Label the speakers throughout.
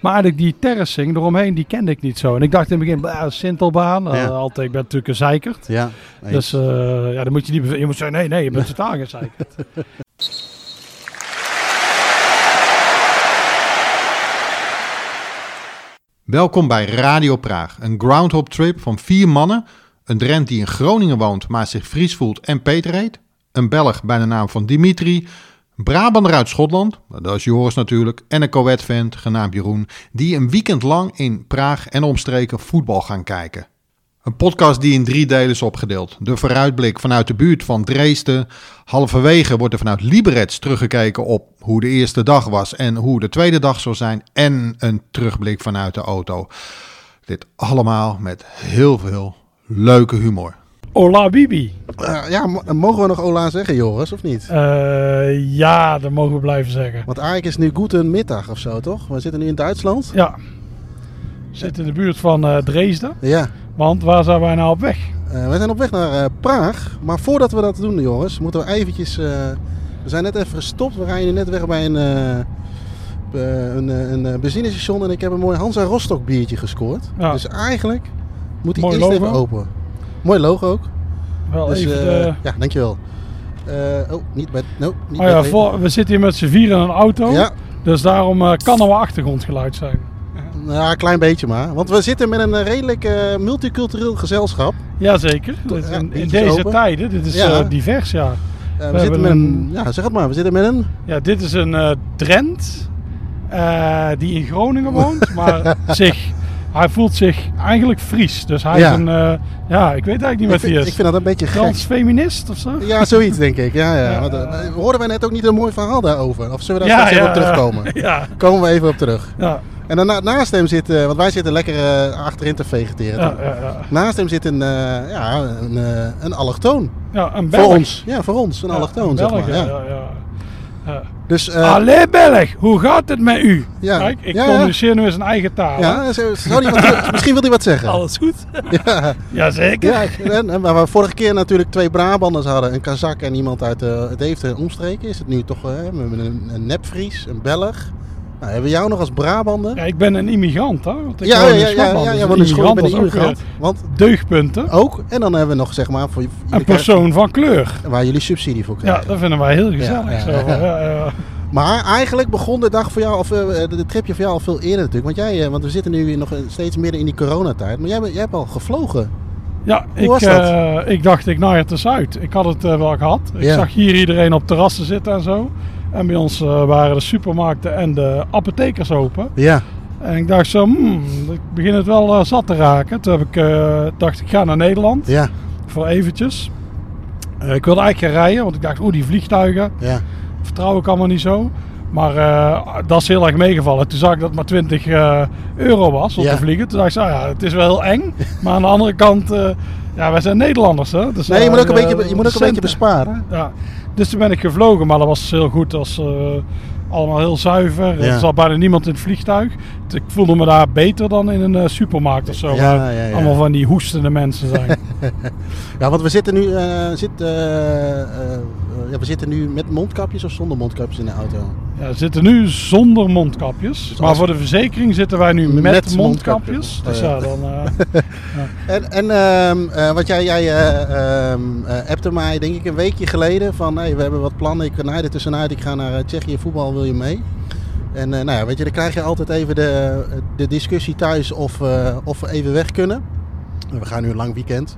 Speaker 1: Maar eigenlijk die terracing eromheen, die kende ik niet zo. En ik dacht in het begin, bah, Sintelbaan. eh,
Speaker 2: Ja.
Speaker 1: altijd, ik ben natuurlijk een zeikert.
Speaker 2: Ja, eens.
Speaker 1: Dus eh, ja, dan moet je niet... beve- Je moet zeggen, nee, nee, je bent totaal geen zeikert.
Speaker 2: Welkom bij Radio Praag, een groundhop trip van vier mannen. Een Drent die in Groningen woont, maar zich Fries voelt en Peter heet. Een Belg bij de naam van Dimitri. Een Brabander uit Schotland, nou, dat is Joris natuurlijk. En een Coët-vent, genaamd Jeroen, die een weekend lang in Praag en omstreken voetbal gaan kijken. Een podcast die in drie delen is opgedeeld. De vooruitblik vanuit de buurt van Dresden. Halverwege wordt er vanuit Liberec teruggekeken op hoe de eerste dag was en hoe de tweede dag zou zijn. En een terugblik vanuit de auto. Dit allemaal met heel veel leuke humor.
Speaker 1: Ola Bibi.
Speaker 3: Eh, ja, mo- mogen we nog Ola zeggen, Joris, of niet?
Speaker 1: Eh, ja, dat mogen we blijven zeggen.
Speaker 3: Want eigenlijk is nu Goeden middag of zo, toch? We zitten nu in Duitsland.
Speaker 1: Ja. Zit in de buurt van eh, Dresden.
Speaker 3: Ja.
Speaker 1: Want waar zijn wij nou op weg?
Speaker 3: Eh, we zijn op weg naar eh, Praag. Maar voordat we dat doen, Joris, moeten we eventjes... eh, we zijn net even gestopt. We rijden net weg bij een, eh, eh, een, eh, een eh, benzinestation. En ik heb een mooi Hansa Rostock biertje gescoord.
Speaker 1: Ja.
Speaker 3: Dus eigenlijk moet die
Speaker 1: Mooi
Speaker 3: eerst even
Speaker 1: logo.
Speaker 3: open. Mooi logo ook.
Speaker 1: Wel
Speaker 3: Dus,
Speaker 1: even
Speaker 3: eh,
Speaker 1: de...
Speaker 3: Ja, dankjewel. Eh, oh, niet bij... No, niet
Speaker 1: Oh ja,
Speaker 3: bij-
Speaker 1: voor- we zitten hier met z'n vier in een auto.
Speaker 3: Ja,
Speaker 1: Dus daarom eh, kan er wel achtergrondgeluid zijn.
Speaker 3: Nou, een klein beetje maar. Want we zitten met een eh, redelijk eh, multicultureel gezelschap. Eh,
Speaker 1: Jazeker. Dit is
Speaker 3: ja,
Speaker 1: in, in
Speaker 3: biertjes
Speaker 1: deze
Speaker 3: open.
Speaker 1: tijden, dit is
Speaker 3: Ja.
Speaker 1: eh, divers, ja.
Speaker 3: Eh, we,
Speaker 1: We
Speaker 3: zitten
Speaker 1: hebben
Speaker 3: met een, ja, zeg het maar, we zitten met een...
Speaker 1: Ja, dit is een eh Drent eh, die in Groningen woont, maar zich, hij voelt zich eigenlijk Fries. Dus hij
Speaker 3: Ja.
Speaker 1: is een, eh, ja, ik weet eigenlijk niet
Speaker 3: Ik
Speaker 1: wat hij
Speaker 3: vind,
Speaker 1: is.
Speaker 3: ik vind dat een beetje gek.
Speaker 1: Transfeminist of zo?
Speaker 3: Ja, zoiets denk ik. Ja, ja.
Speaker 1: Ja.
Speaker 3: Want, eh, hoorden wij net ook niet een mooi verhaal daarover? Of zullen we daar
Speaker 1: Ja,
Speaker 3: straks
Speaker 1: ja,
Speaker 3: even op terugkomen?
Speaker 1: Ja,
Speaker 3: Komen we even op terug.
Speaker 1: ja,
Speaker 3: En daarna, naast hem zit, eh, want wij zitten lekker eh, achterin te vegeteren.
Speaker 1: ja, ja, ja.
Speaker 3: Naast hem zit een, eh, ja, een, eh, een allochtoon.
Speaker 1: Ja, een Belg.
Speaker 3: Voor ons. Ja, voor ons. Een
Speaker 1: Ja,
Speaker 3: allochtoon,
Speaker 1: een
Speaker 3: zeg
Speaker 1: Belg,
Speaker 3: maar.
Speaker 1: ja, Ah,
Speaker 3: Ja.
Speaker 1: ja, ja. Ja.
Speaker 3: Dus, eh,
Speaker 1: Allee Belg, hoe gaat het met u?
Speaker 3: Ja,
Speaker 1: Kijk, ik
Speaker 3: ja, ja.
Speaker 1: communiceer nu eens een eigen taal. hè?
Speaker 3: ja, zou- zou die wat, eh, misschien wil hij wat zeggen.
Speaker 1: Alles goed?
Speaker 3: Ja.
Speaker 1: Jazeker.
Speaker 3: Ja, en, en waar we vorige keer natuurlijk twee Brabanders hadden, een Kazak en iemand uit eh het Eefde en omstreken, is het nu toch eh, we hebben een, een nepvries, een Belg. Nou, hebben we jou nog als Brabander?
Speaker 1: Ja, ik ben een immigrant, hè? Want ik
Speaker 3: ja,
Speaker 1: woon in
Speaker 3: ja, ja,
Speaker 1: Schotland,
Speaker 3: ja,
Speaker 1: dus
Speaker 3: ja, want een school
Speaker 1: immigrant
Speaker 3: bij de
Speaker 1: was ook
Speaker 3: immigrant. Want
Speaker 1: weer Deugdpunten.
Speaker 3: ook, en dan hebben we nog zeg maar voor je-
Speaker 1: Een
Speaker 3: jullie
Speaker 1: persoon van kleur.
Speaker 3: krijgen- waar jullie subsidie voor
Speaker 1: Ja,
Speaker 3: krijgen.
Speaker 1: dat vinden wij heel gezellig.
Speaker 3: ja,
Speaker 1: zo.
Speaker 3: ja.
Speaker 1: Ja, ja.
Speaker 3: Maar eigenlijk begon de dag voor jou, of eh, de, de tripje voor jou al veel eerder natuurlijk. Want, jij, eh, want we zitten nu nog steeds midden in die coronatijd, maar jij, bent- jij hebt al gevlogen.
Speaker 1: Ja,
Speaker 3: Hoe
Speaker 1: ik,
Speaker 3: was dat?
Speaker 1: eh, ik dacht, ik naai het eens uit. Ik had het eh, wel gehad. Ik
Speaker 3: Ja.
Speaker 1: zag hier iedereen op terrassen zitten en zo. En bij ons eh, waren de supermarkten en de apothekers open.
Speaker 3: Ja.
Speaker 1: En ik dacht zo, hmm, ik begin het wel eh, zat te raken. Toen heb ik, eh, dacht ik, ga naar Nederland
Speaker 3: Ja,
Speaker 1: voor eventjes. Eh, ik wilde eigenlijk gaan rijden, want ik dacht, oeh, die vliegtuigen,
Speaker 3: ja.
Speaker 1: vertrouw ik allemaal niet zo. Maar eh, dat is heel erg meegevallen. Toen zag ik dat het maar 20 eh, euro was om
Speaker 3: Ja.
Speaker 1: te vliegen. Toen dacht ik, nou ja, het is wel heel eng. Maar aan de andere kant, eh, ja, wij zijn Nederlanders. Hè? Dus,
Speaker 3: Nee, je moet ook een
Speaker 1: eh,
Speaker 3: beetje, je moet ook een beetje
Speaker 1: centen.
Speaker 3: besparen.
Speaker 1: Ja. Dus toen ben ik gevlogen, maar dat was heel goed. Dat was eh, allemaal heel zuiver.
Speaker 3: Ja.
Speaker 1: Er zat bijna niemand in het vliegtuig. Dus Ik voelde me daar beter dan in een eh, supermarkt of zo.
Speaker 3: Ja,
Speaker 1: waar
Speaker 3: ja, ja.
Speaker 1: Allemaal van die hoestende mensen zijn.
Speaker 3: Ja, want we zitten nu, eh, zit, eh, eh, eh, ja, we zitten nu met mondkapjes of zonder mondkapjes in de auto.
Speaker 1: ja, we zitten nu zonder mondkapjes. maar
Speaker 3: Dus als-
Speaker 1: voor de verzekering zitten wij nu met, mondkapjes.
Speaker 3: Met mondkapjes.
Speaker 1: Dus
Speaker 3: Oh,
Speaker 1: ja,
Speaker 3: ja.
Speaker 1: dan... eh,
Speaker 3: En, en ehm, eh, wat jij, jij eh, ehm, eh, appte mij denk ik een weekje geleden van hey, we hebben wat plannen, ik naai er tussenuit, ik ga naar eh, Tsjechië voetbal, wil je mee? En eh, nou ja, weet je, dan krijg je altijd even de, de discussie thuis of, eh, of we even weg kunnen. We gaan nu een lang weekend.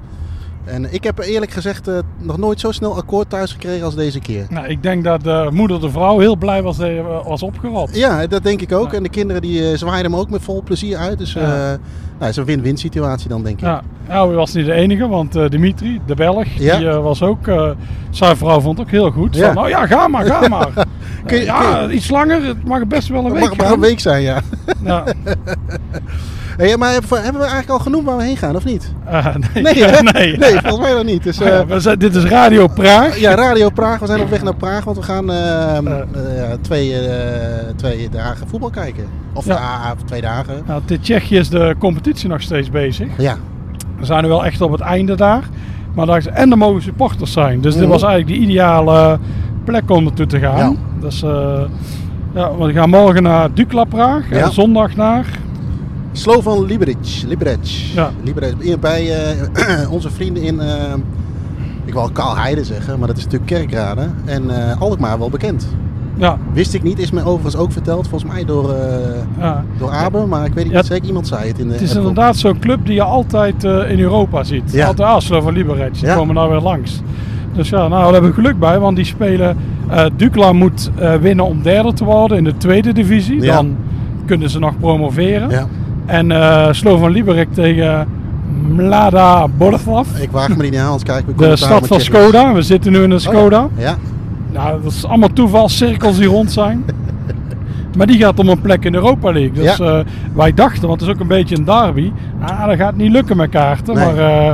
Speaker 3: En ik heb eerlijk gezegd eh, nog nooit zo snel akkoord thuis gekregen als deze keer.
Speaker 1: Nou, ik denk dat de moeder de vrouw heel blij was dat hij eh, was opgerold.
Speaker 3: Ja, dat denk ik ook.
Speaker 1: Ja.
Speaker 3: En de kinderen die eh, zwaaien hem ook met vol plezier uit. Dus eh
Speaker 1: Ja.
Speaker 3: nou, het is een win-win situatie dan, denk ik.
Speaker 1: Ja, nou, hij was niet de enige, want eh, Dimitri, de Belg,
Speaker 3: Ja.
Speaker 1: die eh, was ook, eh, zijn vrouw vond het ook heel goed.
Speaker 3: Ja.
Speaker 1: Van, nou ja, ga maar, ga maar. Eh,
Speaker 3: Kun je-
Speaker 1: ja, iets langer, het mag best wel een
Speaker 3: Het
Speaker 1: week
Speaker 3: mag maar een
Speaker 1: gaan.
Speaker 3: week zijn, ja.
Speaker 1: Ja,
Speaker 3: Hey, maar hebben we hebben we eigenlijk al genoemd waar we heen gaan, of niet?
Speaker 1: Eh, nee,
Speaker 3: Nee,
Speaker 1: nee.
Speaker 3: hè? nee volgens mij nog niet. Dus,
Speaker 1: Maar ja,
Speaker 3: eh,
Speaker 1: we zijn- dit is Radio Praag.
Speaker 3: ja, Radio Praag. We zijn op weg naar Praag, want we gaan ehm,
Speaker 1: Ja.
Speaker 3: eh, ja, twee, eh, twee dagen voetbal kijken. Of
Speaker 1: Ja.
Speaker 3: ah, twee dagen.
Speaker 1: Nou, in Tsjechië is de competitie nog steeds bezig.
Speaker 3: Ja,
Speaker 1: We zijn nu wel echt op het einde daar. Maar daar is, en er mogen
Speaker 3: Mhm.
Speaker 1: supporters zijn. Dus dit was eigenlijk de ideale plek om naartoe te gaan. Dus eh, Ja, we gaan morgen naar Dukla Praag
Speaker 3: Ja.
Speaker 1: en zondag naar...
Speaker 3: Slovan Liberec. Liberec.
Speaker 1: Ja.
Speaker 3: Liberec. Hier Bij eh, onze vrienden in, eh, ik wil Kaalheide zeggen, maar dat is natuurlijk Kerkrade. En eh Alkmaar wel bekend.
Speaker 1: Ja,
Speaker 3: Wist ik niet, is me overigens ook verteld. Volgens mij door, eh
Speaker 1: ja.
Speaker 3: door Abe, maar ik weet het
Speaker 1: Ja.
Speaker 3: niet zeker. Iemand zei het in de
Speaker 1: Het is
Speaker 3: appgroep.
Speaker 1: inderdaad zo'n club die je altijd eh, in Europa ziet.
Speaker 3: Ja.
Speaker 1: Altijd Aslo van Liberec. Die
Speaker 3: Ja.
Speaker 1: komen nou weer langs. Dus ja, nou, daar hebben we geluk bij. Want die spelen... eh Dukla moet eh, winnen om derde te worden in de tweede divisie.
Speaker 3: Ja.
Speaker 1: Dan kunnen ze nog promoveren.
Speaker 3: Ja,
Speaker 1: En eh Slovan Liberec tegen Mlada Boleslav.
Speaker 3: ik waag me er niet aan, anders kijk ik
Speaker 1: De stad van Skoda. We zitten nu in de Skoda.
Speaker 3: Oh Ja,
Speaker 1: Nou, dat is allemaal toeval, cirkels die rond zijn. Maar die gaat om een plek in de Europa League. Dus
Speaker 3: Ja.
Speaker 1: eh, wij dachten, want het is ook een beetje een derby. Ah, dat gaat niet lukken met kaarten.
Speaker 3: Nee.
Speaker 1: Maar eh,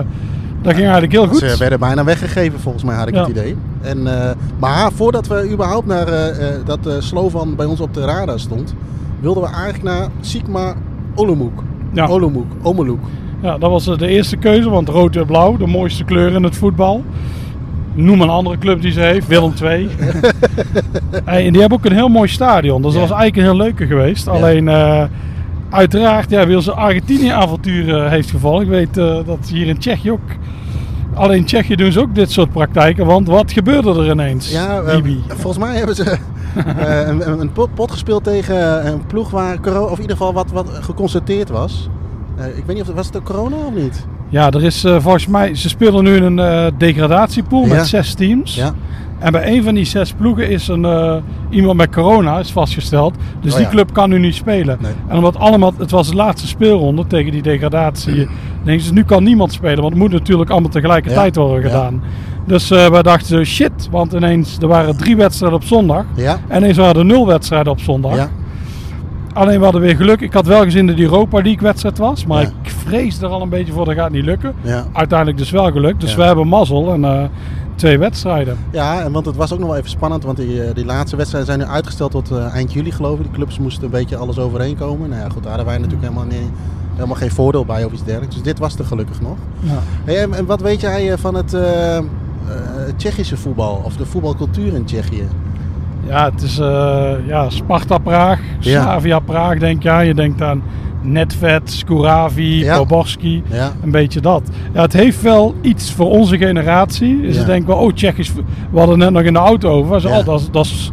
Speaker 1: dat ging eigenlijk heel goed.
Speaker 3: Ze werden bijna weggegeven volgens mij, had ik
Speaker 1: Ja.
Speaker 3: het idee. En, eh, maar voordat we überhaupt naar eh, eh, dat eh, Slovan bij ons op de radar stond, wilden we eigenlijk naar Sigma Olomouc.
Speaker 1: Ja.
Speaker 3: Olomouc, Omelouk.
Speaker 1: Ja, dat was eh, de eerste keuze, want rood en blauw, de mooiste kleur in het voetbal. Noem een andere club die ze heeft, Willem II. Hey, en die hebben ook een heel mooi stadion, dus
Speaker 3: Ja.
Speaker 1: dat was eigenlijk een heel leuke geweest. Alleen, eh, uiteraard, ja, wil zijn Argentinië-avontuur eh, heeft gevallen. Ik weet eh, dat hier in Tsjechië ook... Alleen in Tsjechië doen ze ook dit soort praktijken, want wat gebeurde er ineens,
Speaker 3: Ja, eh,
Speaker 1: Bibi?
Speaker 3: volgens mij hebben ze eh, een, een- een pot, pot gespeeld tegen een ploeg waar corona, of in ieder geval wat, wat geconstateerd was. Eh, ik weet niet of het was het corona of niet.
Speaker 1: Ja, er is eh, volgens mij... Ze spelen nu in een eh, degradatiepool
Speaker 3: Ja.
Speaker 1: met zes teams. En bij een van die zes ploegen is een, eh, iemand met corona is vastgesteld. Dus
Speaker 3: Oh
Speaker 1: die
Speaker 3: ja.
Speaker 1: club kan nu niet spelen.
Speaker 3: Nee.
Speaker 1: En omdat allemaal, het was de laatste speelronde tegen die
Speaker 3: Mm.
Speaker 1: degradatie. Nee, dus nu kan niemand spelen, want het moet natuurlijk allemaal tegelijkertijd
Speaker 3: Ja,
Speaker 1: worden
Speaker 3: ja.
Speaker 1: gedaan. Dus eh, wij dachten zo, shit, want ineens er waren drie wedstrijden op zondag.
Speaker 3: Ja.
Speaker 1: En ineens waren er nul wedstrijden op zondag.
Speaker 3: Ja.
Speaker 1: Alleen we hadden weer geluk. Ik had wel gezien dat die Europa League wedstrijd was. Maar
Speaker 3: Ja.
Speaker 1: ik vrees er al een beetje voor, dat gaat niet lukken.
Speaker 3: Ja.
Speaker 1: Uiteindelijk dus wel gelukt. Dus
Speaker 3: Ja.
Speaker 1: we hebben mazzel en eh, twee wedstrijden.
Speaker 3: Ja, en want het was ook nog wel even spannend, want die, eh, die laatste wedstrijden zijn nu uitgesteld tot eh, eind juli geloof ik. De clubs moesten een beetje alles overeenkomen. Nou ja, goed, daar hadden wij natuurlijk helemaal, niet, helemaal geen voordeel bij of iets dergelijks. Dus dit was er gelukkig nog.
Speaker 1: Ja.
Speaker 3: Hey, en, en wat weet jij eh, van het eh, eh, Tsjechische voetbal of de voetbalcultuur in Tsjechië?
Speaker 1: Ja, het is eh, ja, Sparta-Praag,
Speaker 3: Ja.
Speaker 1: Slavia-Praag, denk je. aan. Je denkt aan Netvet, Skouravi,
Speaker 3: Ja.
Speaker 1: Boborski.
Speaker 3: Ja.
Speaker 1: Een beetje dat. Ja, het heeft wel iets voor onze generatie. Is
Speaker 3: Ja.
Speaker 1: het denk ik wel, oh, Tsjechisch. vo- We hadden net nog in de auto over. Ze,
Speaker 3: Ja.
Speaker 1: oh, dat, is- dat is-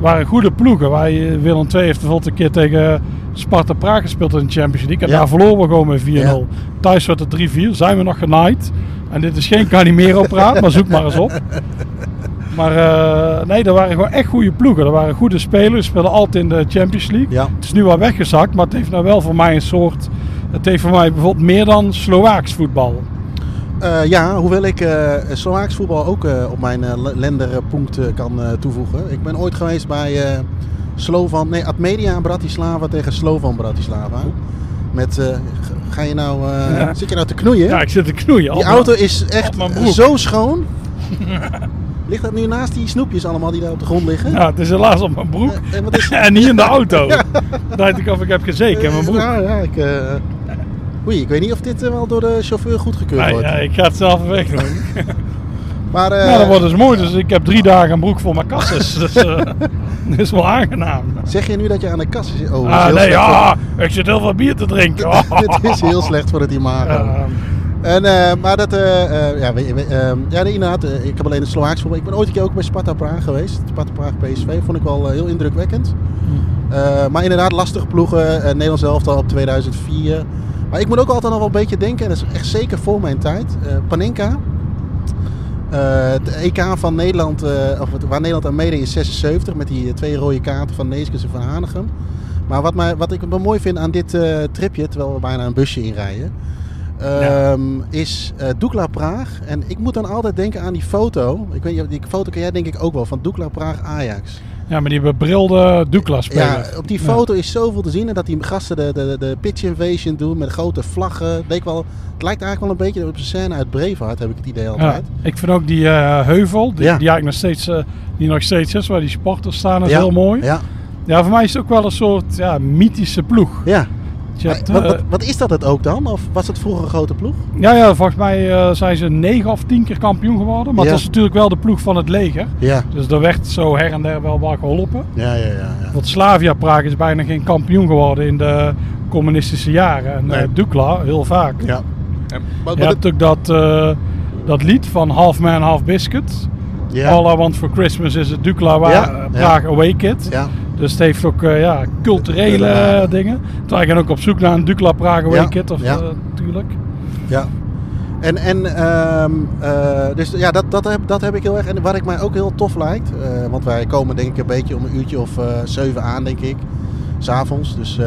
Speaker 1: waren goede ploegen. Wij, eh, Willem II heeft bijvoorbeeld een keer tegen Sparta-Praag gespeeld in de Champions League. En
Speaker 3: Ja.
Speaker 1: daar verloren we gewoon met 4-0. Thuis werd het 3-4. Zijn we nog genaaid. En dit is geen Calimero-praat, maar zoek maar eens op. Maar eh, nee, dat waren gewoon echt goede ploegen. Dat waren goede spelers. Speelden altijd in de Champions League.
Speaker 3: Ja.
Speaker 1: Het is nu wel weggezakt, maar het heeft nou wel voor mij een soort. Het heeft voor mij bijvoorbeeld meer dan Slovaaks voetbal.
Speaker 3: Eh, ja, hoewel ik eh Slovaaks voetbal ook eh, op mijn eh, le- lenderpunt eh, kan eh, toevoegen. Ik ben ooit geweest bij eh Slovan, nee, Admedia Bratislava tegen Slovan Bratislava. Met, eh, g- ga je nou, eh,
Speaker 1: Ja.
Speaker 3: zit je nou te knoeien?
Speaker 1: Ja, ik zit te knoeien.
Speaker 3: die
Speaker 1: Allemaal-
Speaker 3: auto is echt
Speaker 1: op mijn broek.
Speaker 3: zo schoon. Ligt dat nu naast die snoepjes allemaal die daar op de grond liggen?
Speaker 1: Ja, het is helaas op mijn broek.
Speaker 3: Eh, en wat is-
Speaker 1: en niet in de auto. Daar dacht ik of ik heb gezeken in mijn broek.
Speaker 3: Nou ja, ik... eh, Oei, ik weet niet of dit eh, wel door de chauffeur goedgekeurd
Speaker 1: Nee,
Speaker 3: wordt.
Speaker 1: ja, ik ga het zelf weg doen.
Speaker 3: Maar, eh,
Speaker 1: ja, dat wordt dus mooi. Dus ik heb drie dagen een broek voor mijn kasses. Dus eh, dat is wel aangenaam.
Speaker 3: Zeg je nu dat je aan de kassa zit? Oh, dat is
Speaker 1: Ah,
Speaker 3: heel
Speaker 1: nee,
Speaker 3: slecht voor-
Speaker 1: ja, ik zit heel veel bier te drinken.
Speaker 3: Dit is heel slecht voor het imago.
Speaker 1: Ja.
Speaker 3: En, eh, maar dat, eh, eh, ja, we, we- ehm, ja, nee, inderdaad, eh, ik heb alleen de Slovaaks voetbal. Ik ben ooit een keer ook bij Sparta Praag geweest. Sparta Praag PSV vond ik wel eh, heel indrukwekkend. Eh, maar inderdaad, lastige ploegen. eh, Nederlands elftal op 2004. Maar ik moet ook altijd nog wel een beetje denken, en dat is echt zeker voor mijn tijd. eh Panenka. Eh, het EK van Nederland, eh, of het- waar Nederland aan meedeed in 76 met die eh, twee rode kaarten van Neeskens en van Hanegem. Maar wat, mij, wat ik wel mooi vind aan dit eh, tripje, terwijl we bijna een busje inrijden, ehm, is eh Dukla Praag. En ik moet dan altijd denken aan die foto. Ik weet, niet, die foto ken jij denk ik ook wel, van Dukla Praag Ajax.
Speaker 1: ja, maar die bebrilde Douglas-speler.
Speaker 3: Ja, op die
Speaker 1: Ja.
Speaker 3: foto is zoveel te zien. En dat die gasten de, de, de pitch invasion doen met grote vlaggen. Het leek wel, het lijkt eigenlijk wel een beetje op een scène uit Braveheart, heb ik het idee
Speaker 1: Ja,
Speaker 3: altijd.
Speaker 1: ik vind ook die eh, heuvel, die,
Speaker 3: Ja.
Speaker 1: die eigenlijk nog steeds, eh, die nog steeds is, waar die sporters staan, is
Speaker 3: Ja,
Speaker 1: heel mooi. Ja.
Speaker 3: Ja,
Speaker 1: voor mij is het ook wel een soort ja, mythische ploeg.
Speaker 3: ja.
Speaker 1: Je hebt,
Speaker 3: Maar wat,
Speaker 1: eh,
Speaker 3: wat, wat is dat het ook dan? Of was het vroeger een grote ploeg?
Speaker 1: ja, ja, volgens mij eh, zijn ze negen of tien keer kampioen geworden. Maar
Speaker 3: Ja.
Speaker 1: het was natuurlijk wel de ploeg van het leger.
Speaker 3: Ja.
Speaker 1: Dus er werd zo her en der wel wat geholpen.
Speaker 3: Ja, ja, ja. ja.
Speaker 1: Want Slavia Praag is bijna geen kampioen geworden in de communistische jaren. En eh,
Speaker 3: Nee.
Speaker 1: Dukla heel vaak.
Speaker 3: ja.
Speaker 2: Maar,
Speaker 1: Je hebt ook dat, eh, dat lied van Half Man, Half Biscuit.
Speaker 3: ja.
Speaker 1: All I Want For Christmas is het Dukla waar
Speaker 3: Ja,
Speaker 1: eh,
Speaker 3: ja.
Speaker 1: Praag Away Kid.
Speaker 3: ja.
Speaker 1: Dus het heeft ook eh, ja, culturele
Speaker 3: Ja.
Speaker 1: eh, dingen. Terwijl ik ben ook op zoek naar een Dukla Praag Away
Speaker 3: Ja,
Speaker 1: Kid of,
Speaker 3: ja.
Speaker 1: eh, natuurlijk.
Speaker 3: Ja. En, en ehm, eh, dus ja, dat, dat, heb, dat heb ik heel erg. En wat ik mij ook heel tof lijkt, eh, want wij komen denk ik een beetje om een uurtje of eh, zeven aan, denk ik. S'avonds. Dus, eh,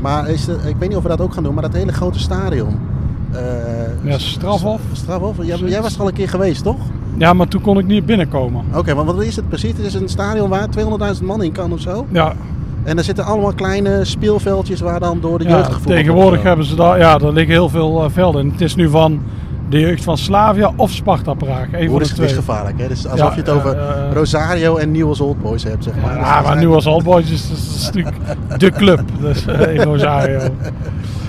Speaker 3: maar is de- ik weet niet of we dat ook gaan doen, maar dat hele grote stadion. Eh,
Speaker 1: Ja, Strafhof.
Speaker 3: Strafhof? Ja, maar jij was er al een keer geweest, toch?
Speaker 1: Ja, maar toen kon ik niet binnenkomen.
Speaker 3: Oké, maar wat is het precies? Het is een stadion waar 200.000 man in kan of zo.
Speaker 1: Ja,
Speaker 3: En er zitten allemaal kleine speelveldjes waar dan door de
Speaker 1: ja,
Speaker 3: jeugd gevoerd wordt.
Speaker 1: tegenwoordig eh, hebben ze daar, ja, er liggen heel veel eh, velden. En het is nu van de jeugd van Slavia of Sparta Praag. Een van
Speaker 3: Oeh,
Speaker 1: de
Speaker 3: dit is, dit is
Speaker 1: twee.
Speaker 3: gevaarlijk, hè? Dit is alsof
Speaker 1: Ja,
Speaker 3: je het over
Speaker 1: eh, eh,
Speaker 3: Rosario en Newell's Old Boys hebt, zeg maar. Dus
Speaker 1: Ja, maar nu als All Boys is het is natuurlijk de club. Dus eh, in Rosario.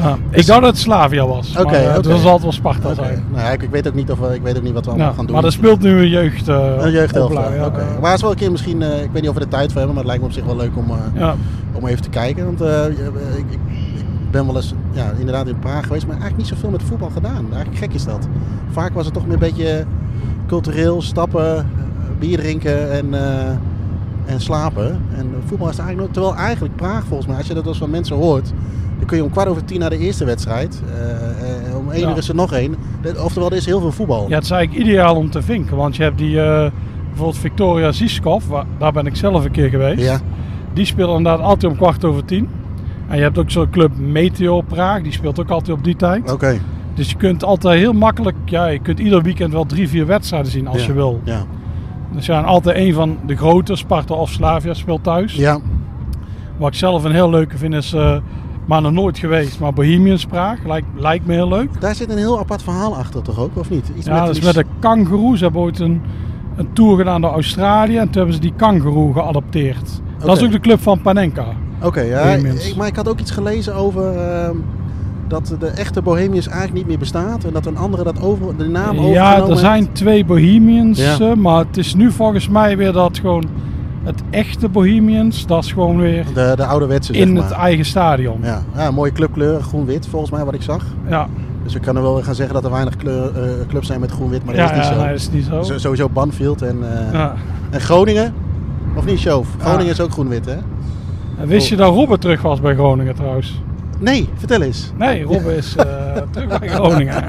Speaker 1: Ja, ik dacht dat het Slavia was.
Speaker 3: Oké,
Speaker 1: maar, eh, Het
Speaker 3: oké.
Speaker 1: was altijd wel Sparta
Speaker 3: Oké.
Speaker 1: zijn.
Speaker 3: Nou, ja, ik, ik weet ook niet of we, ik weet ook niet wat we allemaal
Speaker 1: Ja,
Speaker 3: gaan doen.
Speaker 1: Nou, maar er speelt nu een jeugd. eh,
Speaker 3: een jeugdhelft.
Speaker 1: opleiding, ja.
Speaker 3: oké. Maar het is wel een keer misschien, eh, ik weet niet of we er tijd voor hebben, maar het lijkt me op zich wel leuk om, eh,
Speaker 1: Ja.
Speaker 3: om even te kijken. Want eh, ik, ik, ik ben wel eens ja, inderdaad in Praag geweest, maar eigenlijk niet zoveel met voetbal gedaan. Eigenlijk gek is dat. Vaak was het toch meer een beetje cultureel, stappen, eh, bier drinken en, eh, en slapen. En voetbal is er eigenlijk nooit. Terwijl eigenlijk Praag volgens mij, als je dat als van mensen hoort, dan kun je om kwart over tien naar de eerste wedstrijd. eh, eh, om één
Speaker 1: Ja.
Speaker 3: uur is er nog één. Dit- Oftewel, er is heel veel voetbal.
Speaker 1: Ja, het is eigenlijk ideaal om te vinken. Want je hebt die eh, bijvoorbeeld Victoria Ziskov, waar, daar ben ik zelf een keer geweest.
Speaker 3: Ja.
Speaker 1: Die speelt inderdaad altijd om kwart over tien. En je hebt ook zo'n club Meteo Praag, die speelt ook altijd op die tijd.
Speaker 3: Oké.
Speaker 1: Dus je kunt altijd heel makkelijk, ja, je kunt ieder weekend wel drie, vier wedstrijden zien als
Speaker 3: Ja.
Speaker 1: je wil.
Speaker 3: Ja.
Speaker 1: Dus ja, en altijd een van de grote, Sparta of Slavia speelt thuis.
Speaker 3: ja.
Speaker 1: Wat ik zelf een heel leuke vind is, eh, maar nog nooit geweest, maar Bohemians Praag lijkt, lijkt me heel leuk.
Speaker 3: Daar zit een heel apart verhaal achter, toch ook, of niet? Iets
Speaker 1: Ja, dat is
Speaker 3: die-
Speaker 1: met de kangoeroe. Ze hebben ooit een, een tour gedaan door Australië en toen hebben ze die kangoeroe geadopteerd. Dat
Speaker 3: Oké.
Speaker 1: is ook de club van Panenka.
Speaker 3: Oké, ja,
Speaker 1: Bohemians.
Speaker 3: ik, maar ik had ook iets gelezen over ehm, dat de echte Bohemians eigenlijk niet meer bestaat en dat een andere dat over, de naam overgenomen
Speaker 1: Ja, er
Speaker 3: heeft.
Speaker 1: zijn twee Bohemians,
Speaker 3: Ja.
Speaker 1: eh, maar het is nu volgens mij weer dat gewoon het echte Bohemians, dat is gewoon weer
Speaker 3: de, de ouderwetse zeg
Speaker 1: in
Speaker 3: maar.
Speaker 1: het eigen stadion. Ja.
Speaker 3: ja. ja, mooie clubkleur, groen-wit volgens mij wat ik zag.
Speaker 1: Ja,
Speaker 3: Dus ik kan er wel gaan zeggen dat er weinig kleur, eh, clubs zijn met groen-wit, maar dat
Speaker 1: ja,
Speaker 3: is niet zo.
Speaker 1: nee, dat is niet zo.
Speaker 3: Zo- Sowieso Banfield en, eh,
Speaker 1: Ja.
Speaker 3: en Groningen. Of niet, Sjoof? Groningen
Speaker 1: Ja.
Speaker 3: is ook groen-wit, hè?
Speaker 1: En Wist
Speaker 3: Oh.
Speaker 1: je dat Robben terug was bij Groningen trouwens?
Speaker 3: Nee, vertel eens.
Speaker 1: Nee, Robben is eh, terug bij Groningen.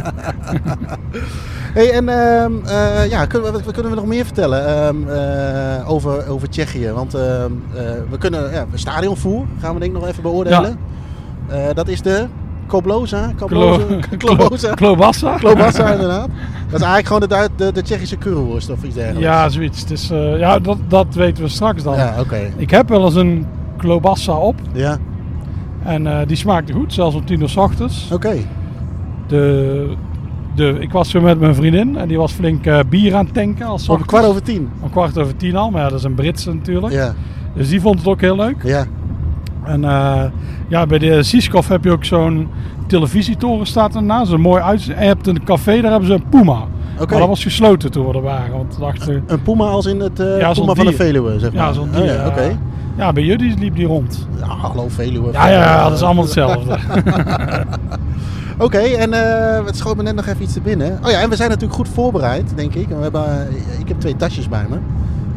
Speaker 3: Hey, en ehm, eh, ja, kunnen we, wat kunnen we nog meer vertellen ehm, eh, over, over Tsjechië? Want ehm, eh, we kunnen ja, stadionvoer gaan we denk ik nog even beoordelen. Eh, dat is de Kobloza. Kobloza. Kloboza.
Speaker 1: Klobassa?
Speaker 3: Klobasa inderdaad. Dat is eigenlijk gewoon de, Duit- de, de Tsjechische kurwurst of iets dergelijks.
Speaker 1: Ja, zoiets. Het is, eh, ja, dat, dat weten we straks dan.
Speaker 3: Ja, oké.
Speaker 1: Ik heb wel eens een klobassa op
Speaker 3: Ja,
Speaker 1: en eh, die smaakte goed, zelfs om tien uur s ochtends.
Speaker 3: oké.
Speaker 1: De, de, ik was zo met mijn vriendin en die was flink eh, bier aan het tanken. Als
Speaker 3: Om kwart over tien.
Speaker 1: Om kwart over tien al, maar ja, dat is een Britse natuurlijk.
Speaker 3: Ja,
Speaker 1: Dus die vond het ook heel leuk.
Speaker 3: ja.
Speaker 1: En eh, ja, bij de Siskov heb je ook zo'n televisietoren staat ernaast. Een mooi uitzicht. En je hebt een café, daar hebben ze een Puma.
Speaker 3: Oké.
Speaker 1: Maar dat was gesloten toen we er waren. Want we dachten,
Speaker 3: Een puma als in het eh,
Speaker 1: Ja, zo'n
Speaker 3: puma van de
Speaker 1: dier.
Speaker 3: Veluwe, zeg maar.
Speaker 1: ja, zo'n dier.
Speaker 3: Oh, ja,
Speaker 1: eh,
Speaker 3: oké.
Speaker 1: ja, bij jullie liep die rond.
Speaker 3: Ja, hallo Veluwe.
Speaker 1: Ja, ja, dat is allemaal hetzelfde.
Speaker 3: Oké, en eh, het schoot me net nog even iets te binnen. Oh ja, en we zijn natuurlijk goed voorbereid, denk ik. En We hebben, eh, ik heb twee tasjes bij me.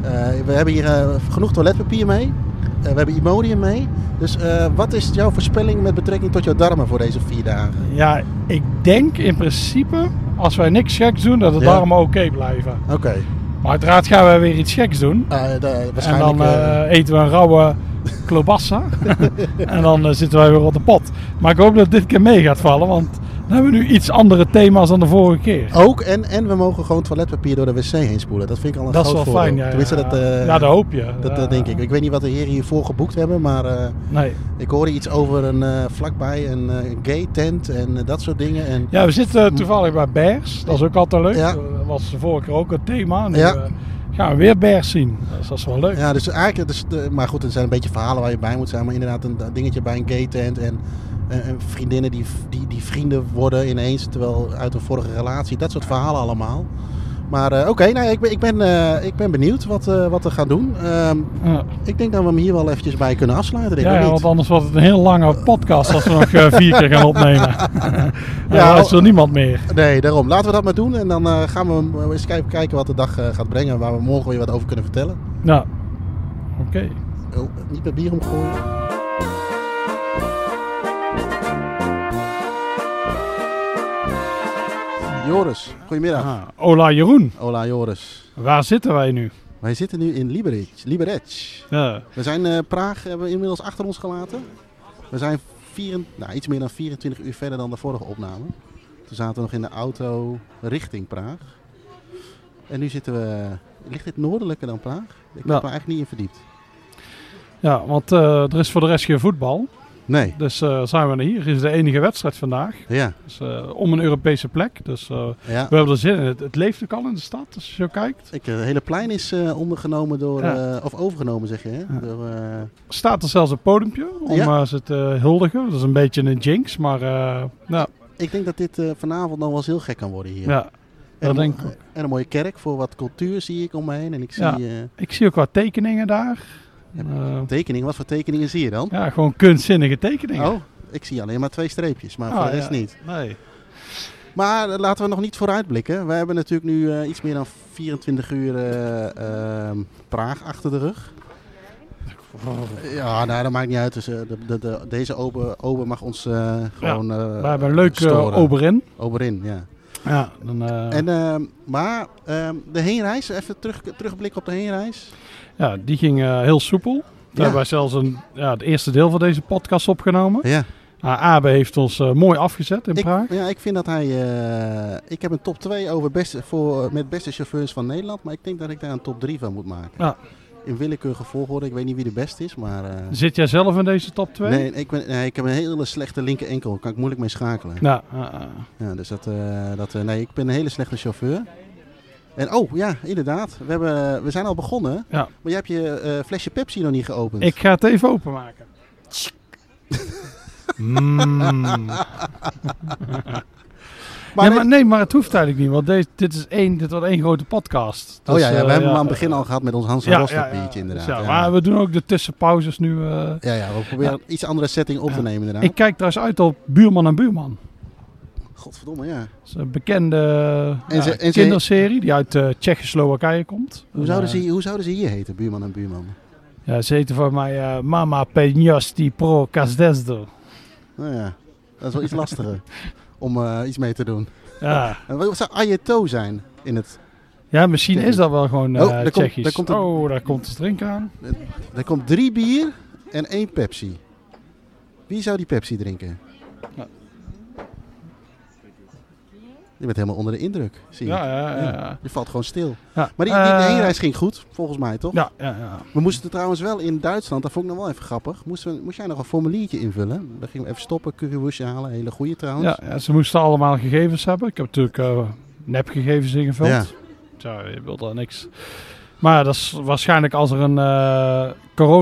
Speaker 3: Eh, we hebben hier eh, genoeg toiletpapier mee. Eh, we hebben Imodium mee. Dus eh, wat is jouw voorspelling met betrekking tot jouw darmen voor deze vier dagen?
Speaker 1: ja, ik denk in principe, als wij niks geks doen, dat het
Speaker 3: Ja.
Speaker 1: daarom oké blijven.
Speaker 3: Oké,
Speaker 1: Maar uiteraard gaan wij weer iets geks doen.
Speaker 3: Eh, da-
Speaker 1: En
Speaker 3: waarschijnlijk...
Speaker 1: dan
Speaker 3: eh,
Speaker 1: eh, eten we een rauwe klobassa. en dan eh, zitten wij weer op de pot. Maar ik hoop dat het dit keer mee gaat vallen, want dan hebben we nu iets andere thema's dan de vorige keer.
Speaker 3: ook, en, en we mogen gewoon toiletpapier door de wc heen spoelen. Dat vind ik al een
Speaker 1: dat is
Speaker 3: groot
Speaker 1: wel
Speaker 3: voordeel.
Speaker 1: fijn. Ja,
Speaker 3: Tenminste,
Speaker 1: ja.
Speaker 3: dat, eh,
Speaker 1: ja, dat hoop je.
Speaker 3: dat, dat
Speaker 1: Ja.
Speaker 3: denk ik. Ik weet niet wat de heren hiervoor geboekt hebben, maar... eh,
Speaker 1: Nee.
Speaker 3: ik hoorde iets over een eh, vlakbij een eh, gay tent en eh, dat soort dingen. En
Speaker 1: Ja, we zitten toevallig bij Bers. Dat is ook altijd leuk.
Speaker 3: Ja.
Speaker 1: Dat was de vorige keer ook een thema. Nu
Speaker 3: Ja.
Speaker 1: eh, gaan we weer Bers zien. Dus dat is wel leuk.
Speaker 3: Ja, dus eigenlijk, dus, de- maar goed, er zijn een beetje verhalen waar je bij moet zijn. Maar inderdaad, een, dat dingetje bij een gay tent en eh, eh, vriendinnen die, v- die, die vrienden worden ineens, terwijl uit een vorige relatie, dat soort verhalen allemaal. Maar eh, oké, nou, ik, ben, ik, ben, eh, ik ben benieuwd wat, eh, wat we gaan doen. Ehm,
Speaker 1: Ja.
Speaker 3: ik denk dat we hem hier wel eventjes bij kunnen afsluiten. Denk ik,
Speaker 1: Ja,
Speaker 3: of
Speaker 1: ja,
Speaker 3: niet?
Speaker 1: want anders wordt het een heel lange podcast als we nog eh, vier keer gaan opnemen.
Speaker 3: Ja,
Speaker 1: ja, dan is er niemand meer.
Speaker 3: Nee, daarom. Laten we dat maar doen. En dan eh, gaan we eh, eens kijken- kijken wat de dag eh, gaat brengen. Waar we morgen weer wat over kunnen vertellen.
Speaker 1: Nou, oké.
Speaker 3: Oh, niet met bier omgooien. Joris, goedemiddag.
Speaker 1: Ah, Ola Jeroen,
Speaker 3: Hola Joris.
Speaker 1: waar zitten wij nu?
Speaker 3: Wij zitten nu in Liberec. Liberec.
Speaker 1: Ja.
Speaker 3: We zijn eh, Praag hebben we inmiddels achter ons gelaten. We zijn vier, nou, iets meer dan 24 uur verder dan de vorige opname. Toen zaten we nog in de auto richting Praag. En nu zitten we... Ligt dit noordelijker dan Praag? Ik
Speaker 1: Ja.
Speaker 3: heb me eigenlijk niet in verdiept.
Speaker 1: Ja, want eh, er is voor de rest geen voetbal.
Speaker 3: Nee.
Speaker 1: Dus eh, zijn we naar hier. Dit is de enige wedstrijd vandaag.
Speaker 3: Ja.
Speaker 1: Dus, eh, om een Europese plek. Dus eh,
Speaker 3: ja.
Speaker 1: we hebben er zin in. Het, het leeft ook al in de stad, als je zo kijkt.
Speaker 3: Ik, het hele plein is eh, ondergenomen door...
Speaker 1: Ja.
Speaker 3: eh, of overgenomen zeg je, hè?
Speaker 1: Ja.
Speaker 3: Door, eh,
Speaker 1: Staat er zelfs een podiumpje om
Speaker 3: Ja.
Speaker 1: eh, ze te huldigen. Dat is een beetje een jinx, maar eh, nou,
Speaker 3: ik denk dat dit eh, vanavond nog wel eens heel gek kan worden hier.
Speaker 1: ja.
Speaker 3: en,
Speaker 1: dat
Speaker 3: een
Speaker 1: denk
Speaker 3: mo- eh,
Speaker 1: ik
Speaker 3: en een mooie kerk voor wat cultuur zie ik om me heen. En ik zie
Speaker 1: Ja.
Speaker 3: eh,
Speaker 1: Ik zie ook wat tekeningen daar. Eh,
Speaker 3: tekeningen. Wat voor tekeningen zie je dan?
Speaker 1: ja, gewoon kunstzinnige tekeningen.
Speaker 3: Oh, ik zie alleen maar twee streepjes, maar voor
Speaker 1: Ah,
Speaker 3: de rest
Speaker 1: ja.
Speaker 3: niet.
Speaker 1: Nee.
Speaker 3: Maar eh, laten we nog niet vooruitblikken. We hebben natuurlijk nu eh, iets meer dan 24 uur eh, ehm, Praag achter de rug. Ja, nou, dat maakt niet uit. Dus, eh, de, de, de- deze ober, ober mag ons eh, gewoon eh,
Speaker 1: We hebben een leuke
Speaker 3: storen.
Speaker 1: eh, oberin.
Speaker 3: Oberin, ja.
Speaker 1: Ja, dan, eh,
Speaker 3: En, ehm, maar ehm, de heenreis, even terug, terugblikken op de heenreis.
Speaker 1: ja, die ging eh, heel soepel. Daar hebben wij zelfs een, ja, het eerste deel van deze podcast opgenomen.
Speaker 3: Ja.
Speaker 1: Nou, Abe heeft ons eh, mooi afgezet in
Speaker 3: Ik,
Speaker 1: Praag.
Speaker 3: ja, ik vind dat hij. eh, ik heb een top 2 over beste, voor, met beste chauffeurs van Nederland. Maar ik denk dat ik daar een top 3 van moet maken.
Speaker 1: Ja.
Speaker 3: In willekeurige volgorde. Ik weet niet wie de beste is. Maar. eh,
Speaker 1: Zit jij zelf in deze top 2?
Speaker 3: nee, ik ben, nee, ik heb een hele slechte linker enkel. Daar kan ik moeilijk mee schakelen.
Speaker 1: Nou, eh, eh,
Speaker 3: Ja, dus dat. eh, dat eh, nee, ik ben een hele slechte chauffeur. En oh ja, inderdaad. We, hebben, we zijn al begonnen.
Speaker 1: Ja.
Speaker 3: Maar jij hebt je eh, flesje Pepsi nog niet geopend.
Speaker 1: ik ga het even openmaken. Mm.
Speaker 3: Maar
Speaker 1: ja,
Speaker 3: dit-
Speaker 1: maar, nee, maar het hoeft eigenlijk niet, want deze, dit is één, dit wordt één grote podcast.
Speaker 3: Oh ja, ja, we
Speaker 1: eh,
Speaker 3: hebben hem aan het begin al gehad met ons Hans en
Speaker 1: ja,
Speaker 3: Rostock
Speaker 1: ja, ja.
Speaker 3: biertje inderdaad.
Speaker 1: Dus ja,
Speaker 3: ja.
Speaker 1: Maar we doen ook de tussenpauzes nu. eh.
Speaker 3: Ja, ja, we proberen een iets andere setting op te
Speaker 1: Ja.
Speaker 3: nemen inderdaad.
Speaker 1: Ik kijk trouwens uit op Buurman en Buurman.
Speaker 3: Godverdomme, ja.
Speaker 1: Dat is een bekende eh,
Speaker 3: En ze-
Speaker 1: ja,
Speaker 3: en ze-
Speaker 1: kinderserie die uit eh Tsjechoslowakije komt.
Speaker 3: Hoe zouden,
Speaker 1: Eh,
Speaker 3: ze, hoe zouden ze hier heten, buurman en buurman?
Speaker 1: Ja, ze heten voor mij eh, Mama Peñasti Pro Casdesdo.
Speaker 3: Nou ja, dat is wel iets lastiger om eh, iets mee te doen.
Speaker 1: Ja.
Speaker 3: En wat zou Ayeto zijn in het...
Speaker 1: ja, misschien is dat wel gewoon eh
Speaker 3: Oh, daar komt-
Speaker 1: Tsjechisch.
Speaker 3: daar komt een-
Speaker 1: Oh, daar komt de drink aan.
Speaker 3: Er komt drie bier en één Pepsi. Wie zou die Pepsi drinken?
Speaker 1: Nou.
Speaker 3: Je bent helemaal onder de indruk, zie je.
Speaker 1: Ja, ja, ja. ja.
Speaker 3: Je valt gewoon stil.
Speaker 1: Ja,
Speaker 3: Maar die, die, die
Speaker 1: eh,
Speaker 3: heenreis ging goed, volgens mij, toch?
Speaker 1: Ja, ja, ja.
Speaker 3: We moesten trouwens wel in Duitsland, dat vond ik nog wel even grappig, moesten, we- moest jij nog een formuliertje invullen. Dan gingen we even stoppen, currywoesje halen, hele goede trouwens.
Speaker 1: ja, ja, ze moesten allemaal gegevens hebben. Ik heb natuurlijk eh, nepgegevens ingevuld.
Speaker 3: Ja.
Speaker 1: Ja. je wil daar niks. Maar dat is waarschijnlijk als er een eh,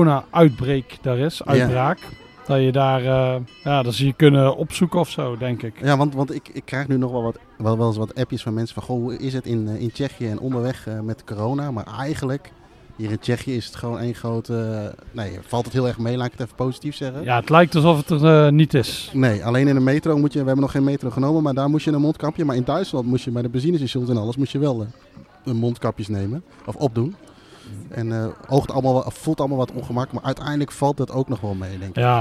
Speaker 1: corona-uitbreek daar is, uitbraak. Dat je daar, eh, ja, dat ze je kunnen opzoeken of zo, denk ik.
Speaker 3: Ja, want, want ik, ik krijg nu nog wel, wat, wel, wel eens wat appjes van mensen van... Goh, hoe is het in, eh, in Tsjechië en onderweg eh, met corona? Maar eigenlijk, hier in Tsjechië is het gewoon één grote... eh, nee, valt het heel erg mee, laat ik het even positief zeggen.
Speaker 1: Ja, het lijkt alsof het er eh, niet is.
Speaker 3: Nee, alleen in de metro moet je... We hebben nog geen metro genomen, maar daar moest je een mondkapje. Maar in Duitsland moest je bij de benzinestations en alles... moest je wel eh, een mondkapjes nemen, of opdoen. En eh, oogt allemaal, wel- voelt allemaal wat ongemak, maar uiteindelijk valt dat ook nog wel mee, denk ik.
Speaker 1: Ja.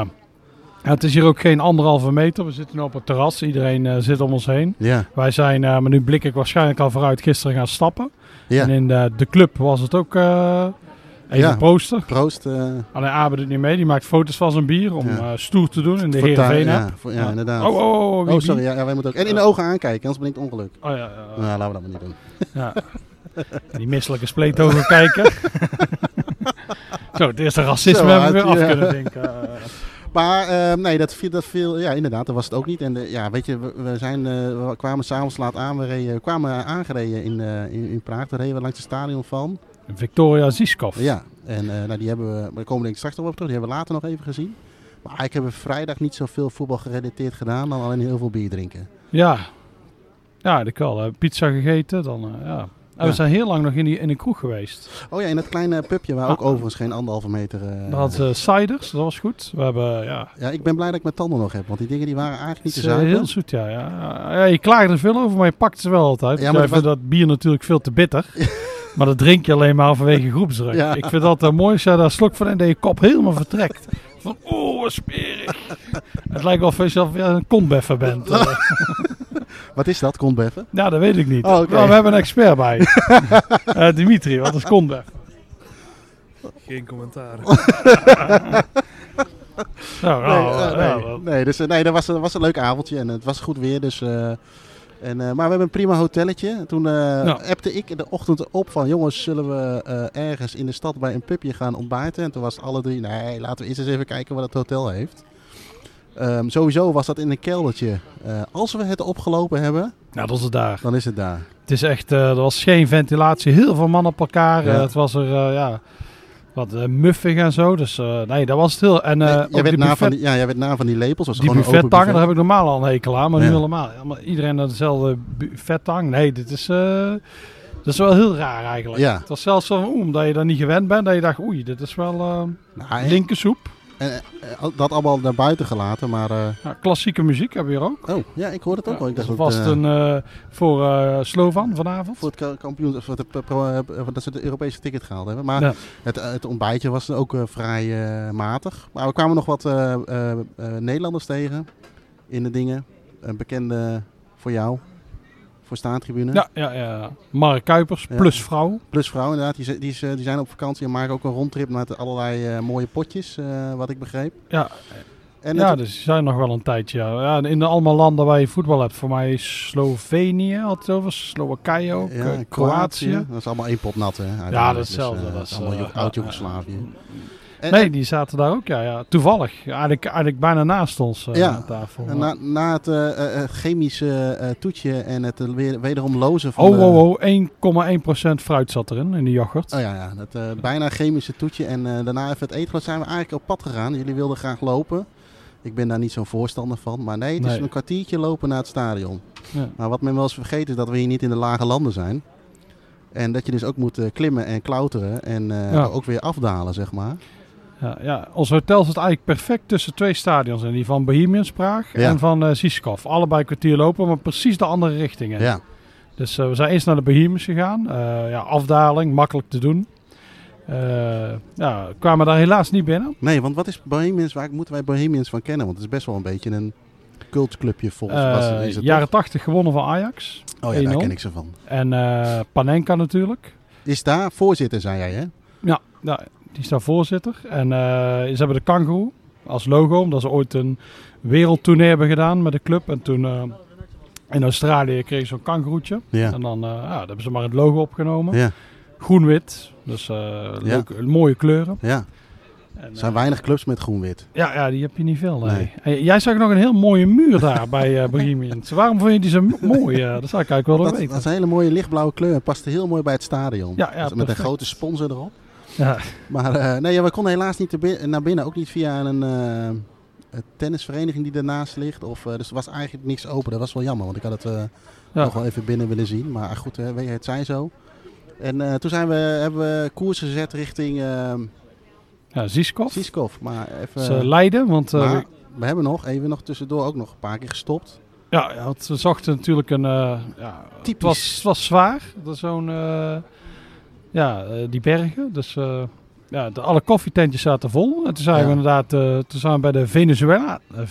Speaker 1: Ja, het is hier ook geen anderhalve meter. We zitten nu op het terras. Iedereen eh, zit om ons heen.
Speaker 3: Ja,
Speaker 1: Wij zijn, eh, maar nu blik ik waarschijnlijk al vooruit, gisteren gaan stappen.
Speaker 3: ja.
Speaker 1: En in eh, de, de club was het ook eh even
Speaker 3: Ja.
Speaker 1: proosten.
Speaker 3: Proost. eh,
Speaker 1: Alleen Abe doet niet mee. Die maakt foto's van zijn bier om
Speaker 3: Ja.
Speaker 1: eh, stoer te doen in de
Speaker 3: voor
Speaker 1: Heerenveen.
Speaker 3: tuin-
Speaker 1: app.
Speaker 3: ja, voor- ja, inderdaad.
Speaker 1: Oh, oh, oh, oh, wie-
Speaker 3: Oh, sorry. Ja, ja, wij moeten ook. En in de ogen aankijken, anders ben ik het ongeluk.
Speaker 1: wie- Oh, ja, ja,
Speaker 3: Nou, laten we dat maar niet doen.
Speaker 1: ja. Die misselijke spleetogen kijken. Zo, het eerste racisme
Speaker 3: Zo,
Speaker 1: hebben we
Speaker 3: uit-
Speaker 1: weer af
Speaker 3: ja.
Speaker 1: kunnen denken. Eh,
Speaker 3: Maar ehm, nee, dat viel, dat viel. Ja, inderdaad, dat was het ook niet. En de, ja, weet je, we, we zijn, eh, we kwamen s'avonds laat aan. We, reden, we kwamen aangereden in, eh, in, in Praag. Daar reden we langs het stadion van.
Speaker 1: Victoria Ziskov.
Speaker 3: Ja, en eh, nou, die hebben we. Daar komen we denk ik straks nog op terug. Die hebben we later nog even gezien. Maar ik heb er vrijdag niet zoveel voetbal gerelateerd gedaan dan alleen heel veel bier drinken.
Speaker 1: Ja, ja ik al. eh, pizza gegeten, dan eh, ja. En
Speaker 3: Ja.
Speaker 1: we zijn heel lang nog in, die, in een kroeg geweest.
Speaker 3: Oh ja, in dat kleine pubje waar ook overigens geen anderhalve meter... eh,
Speaker 1: We hadden eh, ciders, dat was goed. We hebben, ja...
Speaker 3: Ja, ik ben blij dat ik mijn tanden nog heb, want die dingen die waren eigenlijk niet
Speaker 1: het
Speaker 3: te
Speaker 1: is, eh,
Speaker 3: zuipen.
Speaker 1: heel zoet, ja, ja. Ja, Je klaagt er veel over, maar je pakt ze wel altijd.
Speaker 3: Ja,
Speaker 1: Ja,
Speaker 3: maar
Speaker 1: maar ik vind
Speaker 3: dat-
Speaker 1: dat bier natuurlijk veel te bitter. maar dat drink je alleen maar vanwege groepsdruk.
Speaker 3: Ja.
Speaker 1: Ik vind dat altijd mooi als je daar een slok van en dat je kop helemaal vertrekt. Van, oeh, wat smerig. het lijkt wel of je zelf ja, een kontbeffer bent. Eh,
Speaker 3: Wat is dat, kontbeffen?
Speaker 1: Ja, dat weet ik niet.
Speaker 3: Oh, oké.
Speaker 1: Maar we hebben een expert bij. Eh, Dimitri, wat is Conde?
Speaker 4: Geen commentaar.
Speaker 1: Nou,
Speaker 3: nee,
Speaker 1: nou,
Speaker 3: eh,
Speaker 1: nou,
Speaker 3: nee.
Speaker 1: nou,
Speaker 3: Nee, dus, eh, nee, dat was, dat was een leuk avondje en het was goed weer. Dus, eh, en, eh, maar we hebben een prima hotelletje. Toen eh appte ik in de ochtend op van jongens, zullen we eh, ergens in de stad bij een pubje gaan ontbijten? En toen was het alle drie, nee, laten we eerst eens even kijken wat het hotel heeft. Ehm, sowieso was dat in een keldertje. Eh, als we het opgelopen hebben,
Speaker 1: nou, dat is het daar.
Speaker 3: dan is het daar.
Speaker 1: Het is echt, eh, er was geen ventilatie, heel veel mannen op elkaar.
Speaker 3: Ja.
Speaker 1: Eh, het was er, eh, ja, wat eh, muffig en zo. Dus eh, nee, dat was het heel. En eh
Speaker 3: Nee,
Speaker 1: ook
Speaker 3: jij, werd
Speaker 1: die
Speaker 3: na van
Speaker 1: buffet,
Speaker 3: die, ja, jij werd na van die lepels. Was
Speaker 1: die
Speaker 3: gewoon een open
Speaker 1: buffettang,
Speaker 3: buffet.
Speaker 1: daar heb ik normaal al een hekel aan, maar
Speaker 3: Ja.
Speaker 1: nu helemaal. Ja, maar iedereen had dezelfde buffettang. Nee, dit is, eh, dat is wel heel raar eigenlijk.
Speaker 3: Ja.
Speaker 1: Het was zelfs zo, oeh, omdat je daar niet gewend bent, dat je dacht, oei, dit is wel eh
Speaker 3: Nou, en-
Speaker 1: linkersoep.
Speaker 3: en, eh, dat allemaal naar buiten gelaten, maar... eh,
Speaker 1: Ja, klassieke muziek hebben we hier ook.
Speaker 3: Oh, ja, ik hoorde het ook al. Ik dacht
Speaker 1: dat
Speaker 3: dat,
Speaker 1: was
Speaker 3: eh,
Speaker 1: het een eh, voor eh, Slovan vanavond.
Speaker 3: voor het ka- kampioen, voor de, pro- pro- eh, dat ze het Europese ticket gehaald hebben. Maar
Speaker 1: Ja.
Speaker 3: het, eh, het ontbijtje was ook eh, vrij eh, matig. Maar we kwamen nog wat eh, eh, eh, Nederlanders tegen in de dingen. Een bekende voor jou, voor staantribune.
Speaker 1: Ja, ja, ja. Mark Kuipers
Speaker 3: eh, Ja.
Speaker 1: plus vrouw.
Speaker 3: Plus vrouwen inderdaad, die, zi- die, is, eh, die zijn op vakantie en maken ook een rondtrip met allerlei eh, mooie potjes, eh, wat ik begreep.
Speaker 1: Ja,
Speaker 3: En
Speaker 1: ja
Speaker 3: het-
Speaker 1: dus die zijn nog wel een tijdje. Ja. Ja, en in de allemaal landen waar je voetbal hebt. Voor mij is Slovenië had het over, Slowakije ook, eh, Kroatië.
Speaker 3: Dat is allemaal één pot nat, hè? uiteindelijk.
Speaker 1: dat is
Speaker 3: Dus,
Speaker 1: hetzelfde.
Speaker 3: eh,
Speaker 1: Dat
Speaker 3: het
Speaker 1: is,
Speaker 3: allemaal
Speaker 1: eh,
Speaker 3: Jo- oud-Joegoslavië. En-
Speaker 1: Nee, die zaten daar ook, ja. ja. Toevallig. Eigenlijk, eigenlijk bijna naast ons eh,
Speaker 3: Ja.
Speaker 1: aan tafel.
Speaker 3: En Na, na het eh, eh, chemische eh, toetje en het weer- wederom lozen van
Speaker 1: oh,
Speaker 3: de...
Speaker 1: oh, oh, 1,1% fruit zat erin, in de yoghurt.
Speaker 3: Oh ja, ja dat eh, bijna chemische toetje en eh, daarna even het eetglas zijn we eigenlijk op pad gegaan. Jullie wilden graag lopen. Ik ben daar niet zo'n voorstander van, maar nee, het is
Speaker 1: Nee.
Speaker 3: een kwartiertje lopen naar het stadion.
Speaker 1: Ja.
Speaker 3: Maar wat men wel eens vergeet is dat we hier niet in de lage landen zijn. En dat je dus ook moet eh, klimmen en klauteren en eh,
Speaker 1: Ja.
Speaker 3: ook weer afdalen, zeg maar.
Speaker 1: Ja, ja, ons hotel zit eigenlijk perfect tussen twee stadions. En die van Bohemians Praag
Speaker 3: Ja.
Speaker 1: en van eh Ziskov. Allebei kwartier lopen, maar precies de andere richtingen.
Speaker 3: ja.
Speaker 1: Dus eh, we zijn eerst naar de Bohemians gegaan. Eh, ja, afdaling, makkelijk te doen. Eh ja, kwamen daar helaas niet binnen.
Speaker 3: Nee, want wat is Bohemians, waar moeten wij Bohemians van kennen? Want het is best wel een beetje een cultclubje volgens
Speaker 1: Eh,
Speaker 3: was het- is het
Speaker 1: jaren 80 gewonnen van Ajax.
Speaker 3: toch? Oh ja, daar
Speaker 1: 1-0.
Speaker 3: ken ik ze van.
Speaker 1: En eh, Panenka natuurlijk.
Speaker 3: Is daar voorzitter, zei jij hè?
Speaker 1: Ja, ja, die is daar voorzitter. En eh, ze hebben de kangoeroe als logo, omdat ze ooit een wereldtournee hebben gedaan met de club. En toen eh, in Australië kregen ze een kangoeroetje.
Speaker 3: Ja.
Speaker 1: En dan eh, ja, daar hebben ze maar het logo opgenomen.
Speaker 3: Ja,
Speaker 1: Groen-wit, dus eh, leuke- mooie kleuren.
Speaker 3: ja.
Speaker 1: En,
Speaker 3: Er
Speaker 1: eh,
Speaker 3: zijn weinig clubs met groen-wit.
Speaker 1: Ja, ja, die heb je niet veel. Nee.
Speaker 3: Nee.
Speaker 1: Hey, jij zag nog een heel mooie muur daar bij eh Bohemians. Waarom vond je die zo m- mooi? eh? dat zou ik eigenlijk wel
Speaker 3: Dat,
Speaker 1: weten.
Speaker 3: dat is een hele mooie lichtblauwe kleur en past heel mooi bij het stadion.
Speaker 1: Ja, ja,
Speaker 3: Dus met een
Speaker 1: perfect.
Speaker 3: grote sponsor erop.
Speaker 1: Ja,
Speaker 3: Maar eh, nee, ja, we konden helaas niet te bin- naar binnen. Ook niet via een, eh, een tennisvereniging die ernaast ligt. Of, eh, dus er was eigenlijk niks open. Dat was wel jammer, want ik had het eh,
Speaker 1: Ja.
Speaker 3: nog wel even binnen willen zien. Maar ah, goed, hè, weet je, het zijn zo. En eh, toen zijn we, hebben we koers gezet richting eh,
Speaker 1: ja Ziskov.
Speaker 3: Siskov. Maar even,
Speaker 1: Dus, eh, Leiden, want eh,
Speaker 3: maar
Speaker 1: we-
Speaker 3: we hebben nog even nog tussendoor ook nog een paar keer gestopt.
Speaker 1: ja, ja, want we zochten natuurlijk een... eh ja, het,
Speaker 3: Typisch.
Speaker 1: was, het was zwaar, Dat is zo'n... eh, ja, eh, die bergen. Dus eh, ja, de, alle koffietentjes zaten vol. En toen zijn
Speaker 3: Ja.
Speaker 1: we inderdaad eh, toen zijn we bij de Venezuela, eh,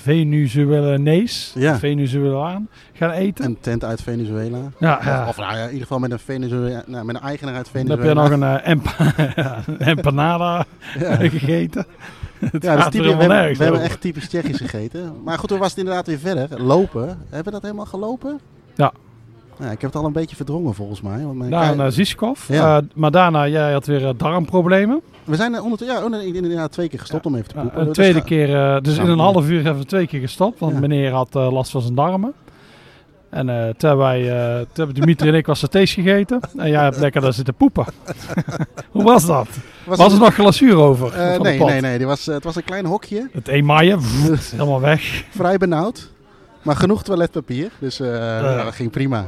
Speaker 1: Venezuelanees,
Speaker 3: Ja.
Speaker 1: Venezuelaan gaan eten.
Speaker 3: Een tent uit Venezuela.
Speaker 1: ja, ja.
Speaker 3: Of, of nou ja, in ieder geval met een, Venezuela, nou, met een eigenaar uit
Speaker 1: Dan heb
Speaker 3: Venezuela.
Speaker 1: je nog een eh, empa- ja, een empanada
Speaker 3: Ja.
Speaker 1: gegeten. Het
Speaker 3: Ja,
Speaker 1: gaat
Speaker 3: dat is
Speaker 1: er
Speaker 3: typisch, we,
Speaker 1: helemaal
Speaker 3: hebben,
Speaker 1: nergens
Speaker 3: we hebben
Speaker 1: over.
Speaker 3: echt typisch Tsjechisch gegeten. Maar goed, toen was het inderdaad weer verder. Lopen. Hebben we dat helemaal gelopen?
Speaker 1: Ja. Nou,
Speaker 3: Nou, ik heb het al een beetje verdrongen volgens mij. Want mijn
Speaker 1: Daarna
Speaker 3: kei-
Speaker 1: naar Ziskov.
Speaker 3: Ja.
Speaker 1: Eh, maar daarna, jij had weer eh, darmproblemen.
Speaker 3: we zijn er ondertussen ja, oh, nee, ik ben inderdaad twee keer gestopt om even te
Speaker 1: Ja,
Speaker 3: poepen.
Speaker 1: een
Speaker 3: Dus
Speaker 1: tweede
Speaker 3: ga-
Speaker 1: keer, eh, dus
Speaker 3: Ja.
Speaker 1: in een half uur hebben we twee keer gestopt. Want
Speaker 3: Ja.
Speaker 1: meneer had eh, last van zijn darmen. En eh, toen hebben wij, eh, toen hebben Dimitri en ik wat satés gegeten. En jij hebt lekker daar zitten poepen. Hoe was dat? Was, er nog glazuur over?
Speaker 3: eh,
Speaker 1: van de
Speaker 3: nee,
Speaker 1: pot?
Speaker 3: nee, nee. Die was, eh, het was een klein hokje.
Speaker 1: Het emaille, vf, helemaal weg.
Speaker 3: Vrij benauwd. Maar genoeg toiletpapier. Dus eh, nou, dat ging prima.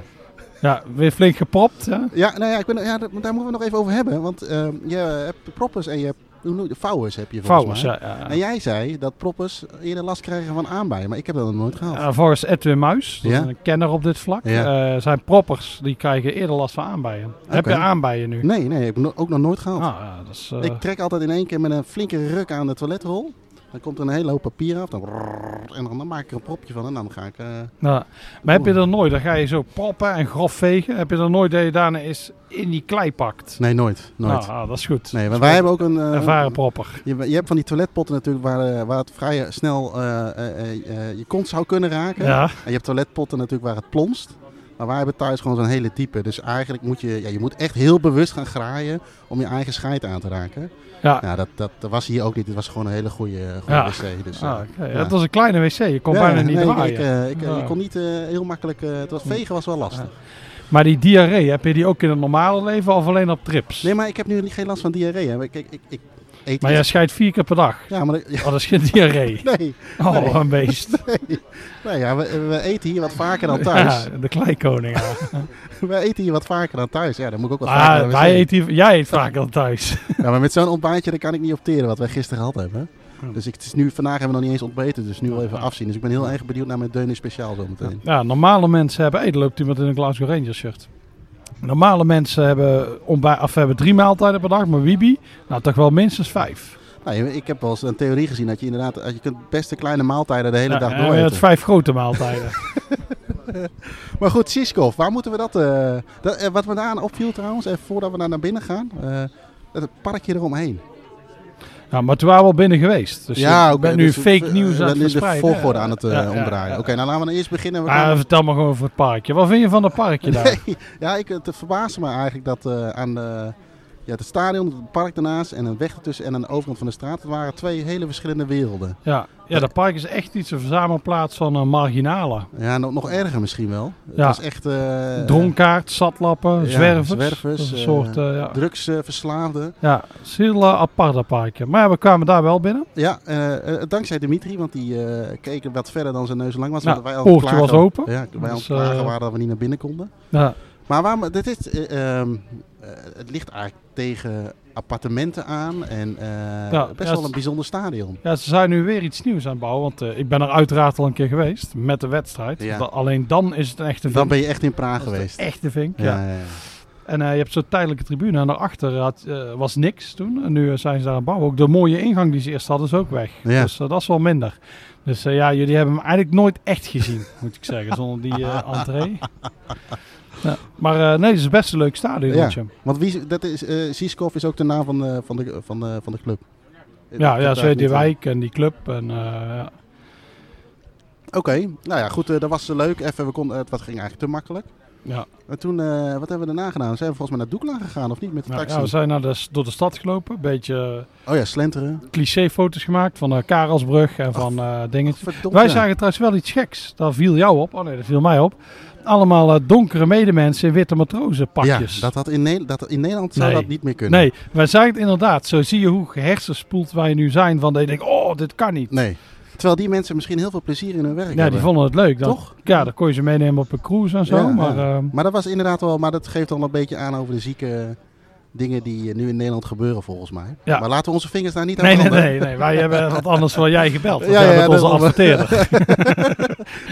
Speaker 1: Ja, weer flink gepropt. Hè?
Speaker 3: Ja, nou ja, ik ben, ja, daar daar moeten we het nog even over hebben. Want eh, je hebt proppers en je hebt hoe noem je- vouwers heb je volgens
Speaker 1: Vouwers,
Speaker 3: mij.
Speaker 1: ja. ja.
Speaker 3: En jij zei dat proppers eerder last krijgen van aanbijen. Maar ik heb dat nog nooit gehad.
Speaker 1: Eh, volgens Edwin Muis, dat is
Speaker 3: Oh. Ja.
Speaker 1: een kenner op dit vlak,
Speaker 3: Ja.
Speaker 1: eh, zijn proppers die krijgen eerder last van aanbijen. Heb je aanbijen nu?
Speaker 3: Nee, nee, ik heb no- ook nog nooit gehad.
Speaker 1: Ah, ja, dat is, eh,
Speaker 3: Oh. Ik trek altijd in één keer met een flinke ruk aan de toiletrol. Dan komt er een hele hoop papier af. Dan brrrr, en dan, dan maak ik er een propje van en dan ga ik... eh,
Speaker 1: nou, maar
Speaker 3: Oh.
Speaker 1: heb je er nooit, dan ga je zo proppen en grof vegen, heb je er nooit dat je daarna eens in die klei pakt?
Speaker 3: Nee, nooit. nooit.
Speaker 1: Nou, ah, dat is goed.
Speaker 3: nee, want wij hebben ook een... eh,
Speaker 1: Ervaren propper.
Speaker 3: je, je hebt van die toiletpotten natuurlijk waar, eh, waar het vrij snel eh, eh, eh, eh, je kont zou kunnen raken.
Speaker 1: Ja,
Speaker 3: En je hebt toiletpotten natuurlijk waar het plonst. Maar wij hebben thuis gewoon zo'n hele diepe. Dus eigenlijk moet je, ja, je moet echt heel bewust gaan graaien om je eigen scheid aan te raken.
Speaker 1: ja.
Speaker 3: Nou, dat, dat, dat was hier ook niet. Het was gewoon een hele goede, goede
Speaker 1: Ja.
Speaker 3: wc. Dus, eh,
Speaker 1: Ah, oké.
Speaker 3: ja.
Speaker 1: Het was een kleine wc, je kon
Speaker 3: ja,
Speaker 1: bijna niet
Speaker 3: nee, ik-
Speaker 1: draaien. Ah. Mm.
Speaker 3: Ik, eh, ik, eh,
Speaker 1: Ja.
Speaker 3: je kon niet eh, heel makkelijk... eh, het was, vegen was wel lastig.
Speaker 1: Maar die diarree, heb je die ook in het normale leven of alleen op trips?
Speaker 3: Nee, maar ik heb nu geen last van diarree. Hè. Ik, ik, ik, ik eet
Speaker 1: maar jij
Speaker 3: iets-
Speaker 1: scheidt vier keer per dag.
Speaker 3: Ja, maar... ik-
Speaker 1: Oh, dat is geen diarree.
Speaker 3: Nee,
Speaker 1: Oh,
Speaker 3: Nee.
Speaker 1: een beest.
Speaker 3: nou ja, we, we eten hier wat vaker dan thuis.
Speaker 1: Ja, de kleikoning. Ja.
Speaker 3: We eten hier wat vaker dan thuis. Ja, dan moet ik ook wat vaker
Speaker 1: Ah,
Speaker 3: naar de wc.
Speaker 1: wij eet die, jij eet vaak al thuis.
Speaker 3: Ja, maar met zo'n ontbijtje daar kan ik niet opteren wat wij gisteren gehad hebben.
Speaker 1: Hmm.
Speaker 3: Dus ik, het is nu, vandaag hebben we nog niet eens ontbeten, dus nu wel even
Speaker 1: Ja.
Speaker 3: afzien. Dus ik ben heel erg benieuwd naar mijn Deunen speciaal zometeen.
Speaker 1: Ja, normale mensen hebben... Hey, er loopt iemand in een Glasgow Rangers shirt. Normale mensen hebben, ontbij, of hebben drie maaltijden per dag, maar Wibi, nou toch wel minstens vijf.
Speaker 3: Nou, ik heb wel eens een theorie gezien dat je inderdaad, dat je kunt best de kleine maaltijden de hele dag
Speaker 1: Ja,
Speaker 3: door
Speaker 1: eh, het
Speaker 3: eten.
Speaker 1: vijf grote maaltijden.
Speaker 3: Maar goed, Siskov, waar moeten we dat, eh, dat eh, Wat me daaraan opviel trouwens, even voordat we daar naar binnen gaan, eh, dat het parkje eromheen.
Speaker 1: nou, maar toen waren we al binnen geweest. Dus ja, ik
Speaker 3: oké,
Speaker 1: ben nu
Speaker 3: dus we-
Speaker 1: fake nieuws
Speaker 3: we
Speaker 1: aan het
Speaker 3: zijn nu de
Speaker 1: verspreiden.
Speaker 3: volgorde aan het eh,
Speaker 1: Ja, ja,
Speaker 3: omdraaien.
Speaker 1: ja.
Speaker 3: Oké, nou laten we dan eerst beginnen. We
Speaker 1: Maar
Speaker 3: gaan-
Speaker 1: vertel maar gewoon over het parkje. Wat vind je van het parkje daar?
Speaker 3: Nee, ja, ik, het verbaasde me eigenlijk dat eh, aan de, ja, het stadion, het park daarnaast en een weg ertussen en aan de overkant van de straat, het waren twee hele verschillende werelden.
Speaker 1: Ja, ja, dat park is echt iets een verzamelplaats van eh, marginalen.
Speaker 3: Ja, nog, nog erger misschien wel.
Speaker 1: Ja.
Speaker 3: Het was echt... eh,
Speaker 1: Dronkaard, zatlappen,
Speaker 3: ja,
Speaker 1: zwervers.
Speaker 3: zwervers,
Speaker 1: Dat is een
Speaker 3: eh,
Speaker 1: soort, eh, ja.
Speaker 3: Drugsverslaafden.
Speaker 1: ja, het is een heel eh, apart dat parkje. Maar ja, we kwamen daar wel binnen.
Speaker 3: Ja, eh, eh, dankzij Dimitri, want die eh, keek wat verder dan zijn neus lang was.
Speaker 1: Nou,
Speaker 3: want wij al
Speaker 1: poortje
Speaker 3: klagen-
Speaker 1: was open.
Speaker 3: Ja, wij al
Speaker 1: Dus,
Speaker 3: klagen
Speaker 1: eh,
Speaker 3: waren dat we niet naar binnen konden.
Speaker 1: Ja,
Speaker 3: Maar waarom, dit is, eh, ehm, eh, het ligt eigenlijk tegen appartementen aan en eh,
Speaker 1: Ja,
Speaker 3: best
Speaker 1: ja,
Speaker 3: wel een
Speaker 1: het-
Speaker 3: bijzonder stadion.
Speaker 1: ja, ze zijn nu weer iets nieuws aan het bouwen. Want eh, ik ben er uiteraard al een keer geweest met de wedstrijd.
Speaker 3: Ja.
Speaker 1: Da- alleen dan is het een echte vink.
Speaker 3: Dan ben je echt in
Speaker 1: Dat
Speaker 3: Praag
Speaker 1: is de
Speaker 3: geweest.
Speaker 1: echte vink, ja.
Speaker 3: Ja, ja, ja.
Speaker 1: En eh, je hebt zo'n tijdelijke tribune. En daarachter had, eh, was niks toen. En nu eh, zijn ze daar aan het bouwen. Ook de mooie ingang die ze eerst hadden is ook weg.
Speaker 3: Ja.
Speaker 1: Dus eh, dat is wel minder. Dus eh, ja, jullie hebben hem eigenlijk nooit echt gezien, moet ik zeggen. Zonder die eh entree. Ja, maar eh, nee, het is best een leuk stadion. Ja,
Speaker 3: Want wie, dat is, eh Siskov is ook de naam van de, van de, van de, van de club.
Speaker 1: ja,
Speaker 3: Ik
Speaker 1: ja zo
Speaker 3: heb daar
Speaker 1: heet die
Speaker 3: niet, eh,
Speaker 1: wijk en die club. En, eh, ja.
Speaker 3: Oké, nou ja, goed, eh, dat was eh, leuk. Even, we konden, het wat ging eigenlijk te makkelijk.
Speaker 1: Ja.
Speaker 3: En toen, eh, wat hebben we daarna gedaan? Zijn we volgens mij naar Doekla gegaan, of niet? Met de
Speaker 1: Nou,
Speaker 3: taxi?
Speaker 1: ja, we zijn naar de, s- door de stad gelopen. Een beetje eh,
Speaker 3: Oh ja, slenteren.
Speaker 1: cliché-foto's gemaakt van eh Karelsbrug en van eh dingetjes.
Speaker 3: Verdomme.
Speaker 1: Wij zagen trouwens wel iets geks. Dat viel jou op. Oh nee, dat viel mij op. Allemaal eh, donkere medemensen in witte matrozenpakjes.
Speaker 3: Ja, dat had in, Ne- dat, in Nederland zou
Speaker 1: Nee.
Speaker 3: dat niet meer kunnen.
Speaker 1: Nee, wij zagen het inderdaad. Zo zie je hoe gehersenspoeld wij nu zijn. Van dat je denkt, oh, dit kan niet.
Speaker 3: Nee. Terwijl die mensen misschien heel veel plezier in hun werk
Speaker 1: ja, die
Speaker 3: hebben.
Speaker 1: vonden het leuk. Dan,
Speaker 3: Toch?
Speaker 1: Ja, dan kon je ze meenemen op een cruise en zo.
Speaker 3: Ja,
Speaker 1: maar
Speaker 3: ja.
Speaker 1: ehm,
Speaker 3: Maar dat was inderdaad wel, maar dat geeft al een beetje aan over de zieke dingen die eh, nu in Nederland gebeuren volgens mij.
Speaker 1: Ja.
Speaker 3: Maar laten we onze vingers daar niet aan
Speaker 1: nee, nee,
Speaker 3: branden.
Speaker 1: nee, nee. Wij hebben wat anders dan jij gebeld. Want
Speaker 3: Ja,
Speaker 1: jij
Speaker 3: ja,
Speaker 1: bent onze
Speaker 3: dat-
Speaker 1: adverteerder.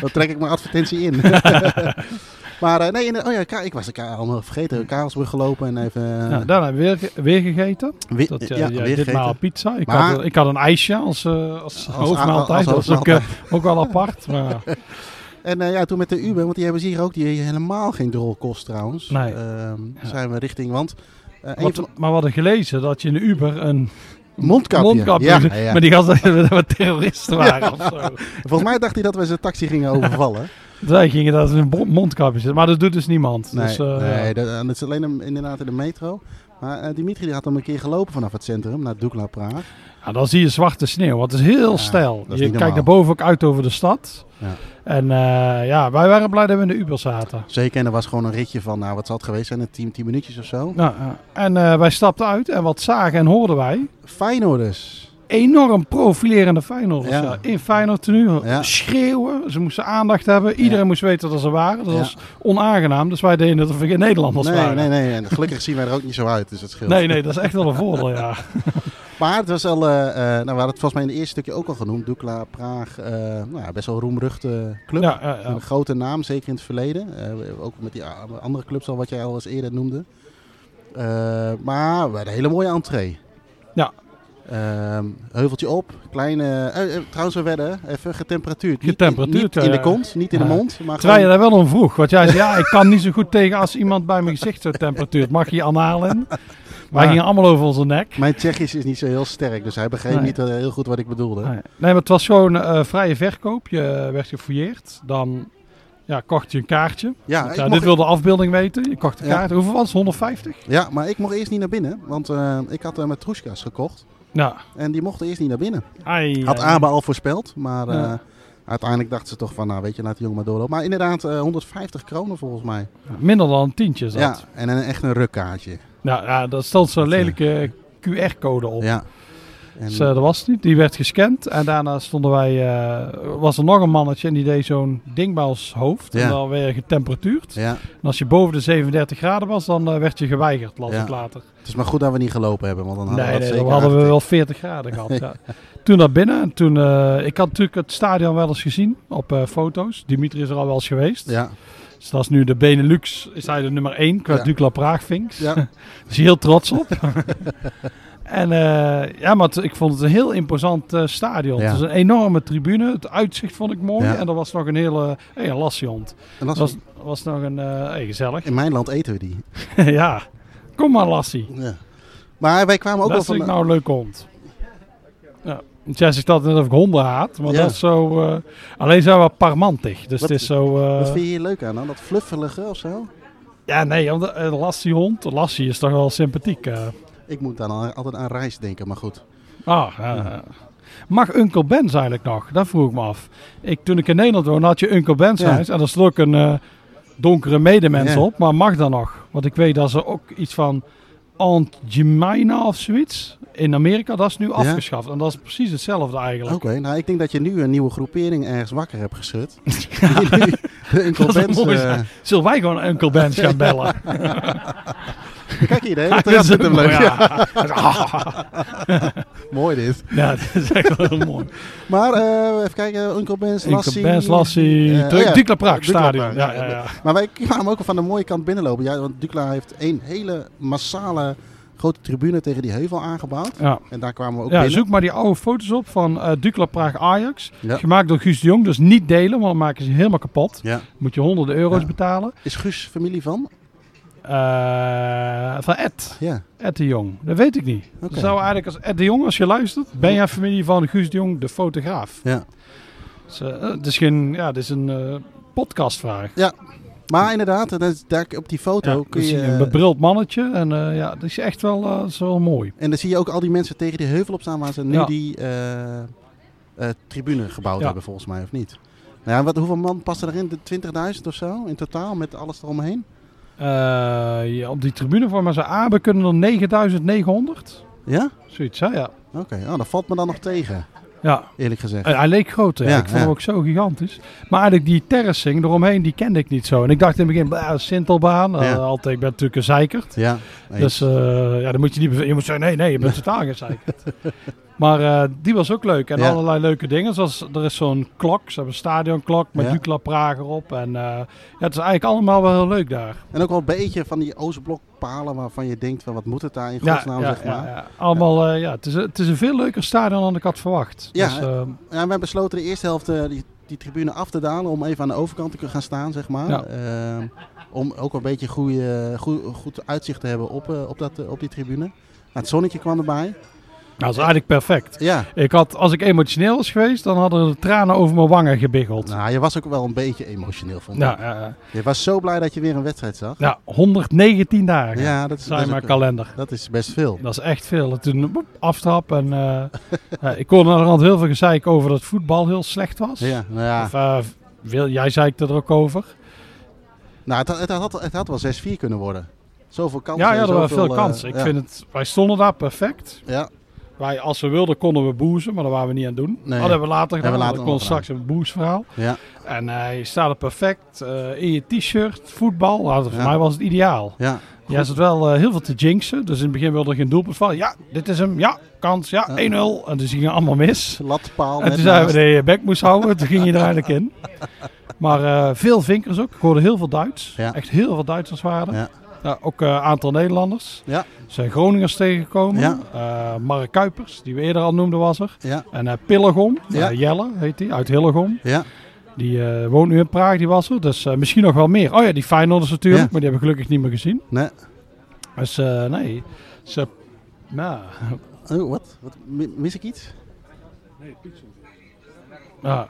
Speaker 3: Dan trek ik mijn advertentie in. maar eh, nee, in- oh ja, Ka- ik was de Ka- allemaal vergeten. Karelsbrug gelopen en even... eh,
Speaker 1: Ja, daarna Nou, hebben we weer, ge- weer gegeten.
Speaker 3: wi-
Speaker 1: Dat,
Speaker 3: ja,
Speaker 1: ja, ja,
Speaker 3: weer
Speaker 1: ditmaal
Speaker 3: gegeten.
Speaker 1: pizza. Ik,
Speaker 3: Maar-
Speaker 1: had, ik had een ijsje als, eh als,
Speaker 3: Als-
Speaker 1: hoofdmaaltijd.
Speaker 3: als
Speaker 1: dat was ook, eh, ook wel apart. Maar,
Speaker 3: En eh, ja, toen met de Uber, want die hebben ze hier ook, die helemaal geen drol kost trouwens.
Speaker 1: Nee.
Speaker 3: Ehm,
Speaker 1: Ja.
Speaker 3: Zijn we richting, want... eh een
Speaker 1: Wat-
Speaker 3: van-
Speaker 1: maar we hadden gelezen dat je in de Uber een
Speaker 3: mondkapje.
Speaker 1: mondkapje...
Speaker 3: Ja, ja.
Speaker 1: Maar die gasten dat we terroristen waren of zo.
Speaker 3: Volgens mij dacht hij dat we zijn taxi gingen overvallen.
Speaker 1: Zij gingen dus dat in een bo- mondkapje zitten. Maar dat doet dus niemand.
Speaker 3: Nee,
Speaker 1: dus, eh,
Speaker 3: nee dat, en dat is alleen een- inderdaad in de metro. Maar eh, Dimitri die had hem een keer gelopen vanaf het centrum naar Dukla Praag.
Speaker 1: Ja, dan zie je zwarte sneeuw. Want het is heel
Speaker 3: Ja,
Speaker 1: stijl.
Speaker 3: dat is
Speaker 1: Je
Speaker 3: niet
Speaker 1: kijkt naar
Speaker 3: normaal.
Speaker 1: boven ook uit over de stad.
Speaker 3: Ja.
Speaker 1: En eh, ja, wij waren blij dat we in de Uber zaten.
Speaker 3: Zeker, en er was gewoon een ritje van, nou wat zal het geweest zijn, een 10, 10 minuutjes of zo.
Speaker 1: Nou, ja. en eh, wij stapten uit en wat zagen en hoorden wij?
Speaker 3: Feyenoorders.
Speaker 1: Enorm profilerende Feyenoorders.
Speaker 3: Ja.
Speaker 1: Ja. In Feyenoord tenue.
Speaker 3: Ja.
Speaker 1: Schreeuwen. Ze moesten aandacht hebben. Iedereen
Speaker 3: Ja.
Speaker 1: moest weten dat ze waren. Dat
Speaker 3: Ja.
Speaker 1: was onaangenaam. Dus wij deden het of we geen Nederlanders
Speaker 3: Nee,
Speaker 1: waren.
Speaker 3: nee, nee. En gelukkig zien wij er ook niet zo uit, dus dat scheelt.
Speaker 1: nee, nee, dat is echt wel een voordeel, ja.
Speaker 3: Maar het was al, eh, eh, nou, we hadden het volgens mij in het eerste stukje ook al genoemd. Dukla, Praag, eh, nou, ja, best wel roemruchte club.
Speaker 1: Ja, ja, ja.
Speaker 3: Een grote naam, zeker in het verleden. Eh, ook met die a- andere clubs al, wat jij al eens eerder noemde. Eh, maar we hadden een hele mooie entree.
Speaker 1: Ja.
Speaker 3: Ehm, heuveltje op, kleine... eh, eh, trouwens, we werden even getemperatuurd. Niet-
Speaker 1: Getemperatuurd,
Speaker 3: Niet, in de
Speaker 1: ja.
Speaker 3: kont, niet in de
Speaker 1: Ja.
Speaker 3: mond. Maar
Speaker 1: Terwijl je
Speaker 3: gewoon-
Speaker 1: daar wel om vroeg. Want jij zei, ja, ik kan niet zo goed tegen als iemand bij mijn gezicht zo temperatuurt. Mag je anaal in? Wij
Speaker 3: Ja.
Speaker 1: gingen allemaal over onze nek.
Speaker 3: Mijn Tsjechisch is niet zo heel sterk, dus hij begreep
Speaker 1: Nee.
Speaker 3: niet eh, heel goed wat ik bedoelde.
Speaker 1: Nee, maar het was gewoon eh, vrije verkoop. Je eh, werd gefouilleerd. Dan ja, kocht je een kaartje.
Speaker 3: Ja, ik
Speaker 1: Ja,
Speaker 3: mocht-
Speaker 1: dit wilde de afbeelding weten. Je kocht een
Speaker 3: Ja.
Speaker 1: kaart. Hoeveel was het? 150?
Speaker 3: Ja, maar ik mocht eerst niet naar binnen, want eh, ik had uh, matroeskas gekocht.
Speaker 1: Ja.
Speaker 3: En die mochten eerst niet naar binnen.
Speaker 1: Ai,
Speaker 3: Had
Speaker 1: ai.
Speaker 3: Abe al voorspeld, maar eh,
Speaker 1: Ja.
Speaker 3: uiteindelijk dachten ze toch van, nou weet je, laat die jongen maar doorlopen. Maar inderdaad, eh, 150 kronen volgens mij.
Speaker 1: Minder dan een tientje is dat.
Speaker 3: Ja,
Speaker 1: Ja.
Speaker 3: en een, echt een rukkaartje.
Speaker 1: Nou, ja, daar stond zo'n
Speaker 3: Dat, eh,
Speaker 1: lelijke QR-code op.
Speaker 3: Ja. En,
Speaker 1: Dus, eh, dat was het niet. Die werd gescand. En daarna stonden wij, eh, was er nog een mannetje en die deed zo'n ding bij ons hoofd.
Speaker 3: Ja.
Speaker 1: En dan weer getemperatuurd.
Speaker 3: ja,
Speaker 1: En als je boven de 37 graden was, dan eh, werd je geweigerd, las
Speaker 3: Ja.
Speaker 1: ik later.
Speaker 3: het is maar goed dat we niet gelopen hebben, want dan hadden
Speaker 1: Nee,
Speaker 3: we
Speaker 1: nee
Speaker 3: dat
Speaker 1: dan
Speaker 3: zeker
Speaker 1: hadden we
Speaker 3: aangetikt.
Speaker 1: wel 40 graden gehad. ja. Toen naar binnen. En toen, eh, ik had natuurlijk het stadion wel eens gezien op eh, foto's. Dimitri is er al wel eens geweest.
Speaker 3: Ja,
Speaker 1: Dus dat is nu de Benelux, is hij de nummer 1 qua
Speaker 3: Ja.
Speaker 1: Dukla Praagvinks.
Speaker 3: Ja.
Speaker 1: Daar is hij heel trots op. en eh, ja, maar het- ik vond het een heel imposant eh, stadion.
Speaker 3: Ja.
Speaker 1: Het is een enorme tribune. Het uitzicht vond ik mooi.
Speaker 3: Ja.
Speaker 1: En er was nog een hele... eh, Hé, een lassiehond.
Speaker 3: en dat
Speaker 1: Er was, was nog een... eh hey, gezellig.
Speaker 3: in mijn land eten we die.
Speaker 1: ja. Kom maar, Lassie.
Speaker 3: Ja. Maar wij kwamen ook
Speaker 1: dat
Speaker 3: wel
Speaker 1: is
Speaker 3: van...
Speaker 1: ik nou een leuke hond. Ja. Want jij zegt dat net of ik honden haat, maar
Speaker 3: Ja.
Speaker 1: dat is zo... eh, alleen zijn we parmantig, dus
Speaker 3: Wat-
Speaker 1: het is zo... eh,
Speaker 3: Wat vind je hier leuk aan dan? Dat fluffelige of zo?
Speaker 1: Ja, nee, omdat- een lassie hond, een lassie is toch wel sympathiek. eh.
Speaker 3: Ik moet dan al- altijd aan rijst denken, maar goed.
Speaker 1: Ah, ja, ja. Mag Uncle Ben's eigenlijk nog? Dat vroeg ik me af. Ik, toen ik in Nederland woonde had je Uncle Ben's
Speaker 3: Ja.
Speaker 1: huis en daar sloeg een eh, donkere medemens
Speaker 3: Ja.
Speaker 1: op, maar mag dat nog? Want ik weet dat ze ook iets van Aunt Jemima of zoiets in Amerika, dat is nu afgeschaft. En dat is precies hetzelfde
Speaker 3: Oké,
Speaker 1: eigenlijk.
Speaker 3: nou ik denk dat je nu een nieuwe groepering ergens wakker hebt geschud. Die nu de Uncle
Speaker 1: Dat zou
Speaker 3: Ben's,
Speaker 1: mooi
Speaker 3: eh,
Speaker 1: zijn. Zullen wij gewoon Uncle Ben's gaan bellen?
Speaker 3: Kijk hier, hè,
Speaker 1: Ja,
Speaker 3: dat is
Speaker 1: ook
Speaker 3: hem
Speaker 1: mooi,
Speaker 3: leuk. Ja,
Speaker 1: ja.
Speaker 3: mooi dit.
Speaker 1: Ja, dat is echt wel heel mooi.
Speaker 3: Maar eh, even kijken, Uncle Ben's,
Speaker 1: Uncle
Speaker 3: Lassie.
Speaker 1: Ben's, Lassie,
Speaker 3: Eh,
Speaker 1: uh,
Speaker 3: oh ja,
Speaker 1: Dukla Praag
Speaker 3: Dukla
Speaker 1: Stadion.
Speaker 3: Praag,
Speaker 1: Ja, ja, ja.
Speaker 3: Maar wij kwamen ook al van de mooie kant binnenlopen. Ja, want Dukla heeft een hele massale grote tribune tegen die heuvel aangebouwd.
Speaker 1: ja.
Speaker 3: En daar kwamen we ook
Speaker 1: Ja,
Speaker 3: binnen.
Speaker 1: zoek maar die oude foto's op van eh Dukla Praag Ajax.
Speaker 3: Ja.
Speaker 1: Gemaakt door Guus de Jong. Dus niet delen, want dan maken ze helemaal kapot.
Speaker 3: Ja.
Speaker 1: Moet je honderden euro's
Speaker 3: Ja.
Speaker 1: betalen.
Speaker 3: Is Guus familie van?
Speaker 1: Eh, van Ed.
Speaker 3: Ja.
Speaker 1: Ed de Jong. Dat weet ik niet.
Speaker 3: Oké.
Speaker 1: Zou eigenlijk als Ed de Jong, als je luistert, ben jij familie van Guus de Jong, de fotograaf.
Speaker 3: ja.
Speaker 1: Dus, eh, het is geen, ja, het is een eh, podcastvraag.
Speaker 3: Maar inderdaad, dat is daar, op die foto
Speaker 1: Ja,
Speaker 3: kun
Speaker 1: dan zie
Speaker 3: je...
Speaker 1: je een bebruld mannetje. En eh, ja, dat is echt wel, eh, dat is wel mooi.
Speaker 3: En dan zie je ook al die mensen tegen die heuvel op staan waar ze nu
Speaker 1: Ja.
Speaker 3: die eh, eh, tribune gebouwd
Speaker 1: Ja.
Speaker 3: hebben, volgens mij, of niet? Nou ja, wat, hoeveel man passen erin? De 20.000 of zo in totaal, met alles eromheen?
Speaker 1: Eh, ja, op die tribune voor maar ze Abe kunnen er 9900.
Speaker 3: Ja?
Speaker 1: Zoiets, hè? Ja.
Speaker 3: Oké, oh, dat valt me dan nog tegen,
Speaker 1: ja.
Speaker 3: eerlijk gezegd.
Speaker 1: Eh, Hij leek groot, hè.
Speaker 3: Ja,
Speaker 1: ik vond
Speaker 3: ja.
Speaker 1: hem ook zo gigantisch. Maar eigenlijk die terracing eromheen, die kende ik niet zo. En ik dacht in het begin, bah, Sintelbaan, eh,
Speaker 3: Ja.
Speaker 1: altijd, ik ben natuurlijk een zeikert.
Speaker 3: Ja, eens.
Speaker 1: Dus eh, ja, dan moet je niet, beve- je moet zeggen, nee, nee, je bent totaal geen zeikert. Maar eh, die was ook leuk en
Speaker 3: Ja.
Speaker 1: allerlei leuke dingen. Zoals er is zo'n klok, ze hebben een stadionklok met
Speaker 3: Ja.
Speaker 1: Dukla Praag erop. En eh, ja, het is eigenlijk allemaal wel heel leuk daar.
Speaker 3: en ook wel een beetje van die Oostblokpalen waarvan je denkt, van, wat moet het daar in
Speaker 1: Ja,
Speaker 3: godsnaam,
Speaker 1: ja,
Speaker 3: zeg
Speaker 1: ja,
Speaker 3: maar. Ja,
Speaker 1: ja. Allemaal, eh, ja, het is, het is een veel leuker stadion dan ik had verwacht.
Speaker 3: Ja,
Speaker 1: Dus, eh,
Speaker 3: en wij besloten de eerste helft eh, die, die tribune af te dalen om even aan de overkant te kunnen gaan staan, zeg maar.
Speaker 1: Ja.
Speaker 3: Ehm, om ook een beetje goede, goed, goed uitzicht te hebben op, eh, op, dat, eh, op die tribune. Nou, het zonnetje kwam erbij.
Speaker 1: Nou, dat is eigenlijk perfect.
Speaker 3: Ja.
Speaker 1: Ik had, als ik emotioneel was geweest, dan hadden de tranen over mijn wangen gebiggeld.
Speaker 3: Nou, je was ook wel een beetje emotioneel, vond ik.
Speaker 1: Nou, ja, ja.
Speaker 3: Je was zo blij dat je weer een wedstrijd zag.
Speaker 1: ja, 119 dagen.
Speaker 3: Ja, dat is- dat
Speaker 1: zijn
Speaker 3: is
Speaker 1: mijn
Speaker 3: ook-
Speaker 1: kalender.
Speaker 3: Dat is best veel.
Speaker 1: Dat is echt veel. En Toen boep, aftrap en eh, ja, ik kon er hand heel veel gezeik over dat voetbal heel slecht was.
Speaker 3: Ja, nou ja.
Speaker 1: Of, eh, wil, jij zei het er ook over.
Speaker 3: Nou, het, het, had, het had wel 6-4 kunnen worden. Zoveel kansen.
Speaker 1: ja, ja, er waren
Speaker 3: zoveel,
Speaker 1: veel
Speaker 3: eh,
Speaker 1: kansen. Ik
Speaker 3: ja.
Speaker 1: vind het, wij stonden daar perfect.
Speaker 3: Ja,
Speaker 1: Wij, als we wilden, konden we boezen, maar dat waren we niet aan het doen.
Speaker 3: Nee.
Speaker 1: Dat hebben we later gedaan.
Speaker 3: Hebben we later
Speaker 1: dat
Speaker 3: nog
Speaker 1: kon straks een boesverhaal.
Speaker 3: ja.
Speaker 1: En eh, je staat er perfect eh, in je t-shirt, voetbal. Nou, voor
Speaker 3: Ja.
Speaker 1: mij was het ideaal.
Speaker 3: ja.
Speaker 1: Jij zat wel eh, heel veel te jinxen. Dus in het begin wilde er geen doelpunt vallen. Ja, dit is hem. Ja, kans. Ja,
Speaker 3: Ja.
Speaker 1: 1-0. En dus gingen allemaal mis.
Speaker 3: Latpaal.
Speaker 1: En
Speaker 3: net
Speaker 1: toen zeiden we
Speaker 3: naast.
Speaker 1: dat je je bek moest houden. Toen ging je er eigenlijk in. Maar eh, veel vinkers ook. Ik hoorde heel veel Duits.
Speaker 3: Ja.
Speaker 1: Echt heel veel Duitsers waren er.
Speaker 3: Ja.
Speaker 1: Ja, ook een aantal Nederlanders.
Speaker 3: Ja.
Speaker 1: Er zijn Groningers tegengekomen.
Speaker 3: Ja.
Speaker 1: Eh, Mark Kuipers, die we eerder al noemden, was er.
Speaker 3: Ja,
Speaker 1: En eh Pillegom,
Speaker 3: Ja.
Speaker 1: eh, Jelle heet die, uit Hillegom.
Speaker 3: ja.
Speaker 1: Die eh, woont nu in Praag, die was er. Dus eh, misschien nog wel meer. Oh ja, die Feyenoorders natuurlijk,
Speaker 3: Ja.
Speaker 1: maar die hebben we gelukkig niet meer gezien.
Speaker 3: Nee.
Speaker 1: Dus eh, nee, ze... Nou,
Speaker 3: Oh, wat? wat? Mi- Mis ik iets?
Speaker 1: ja,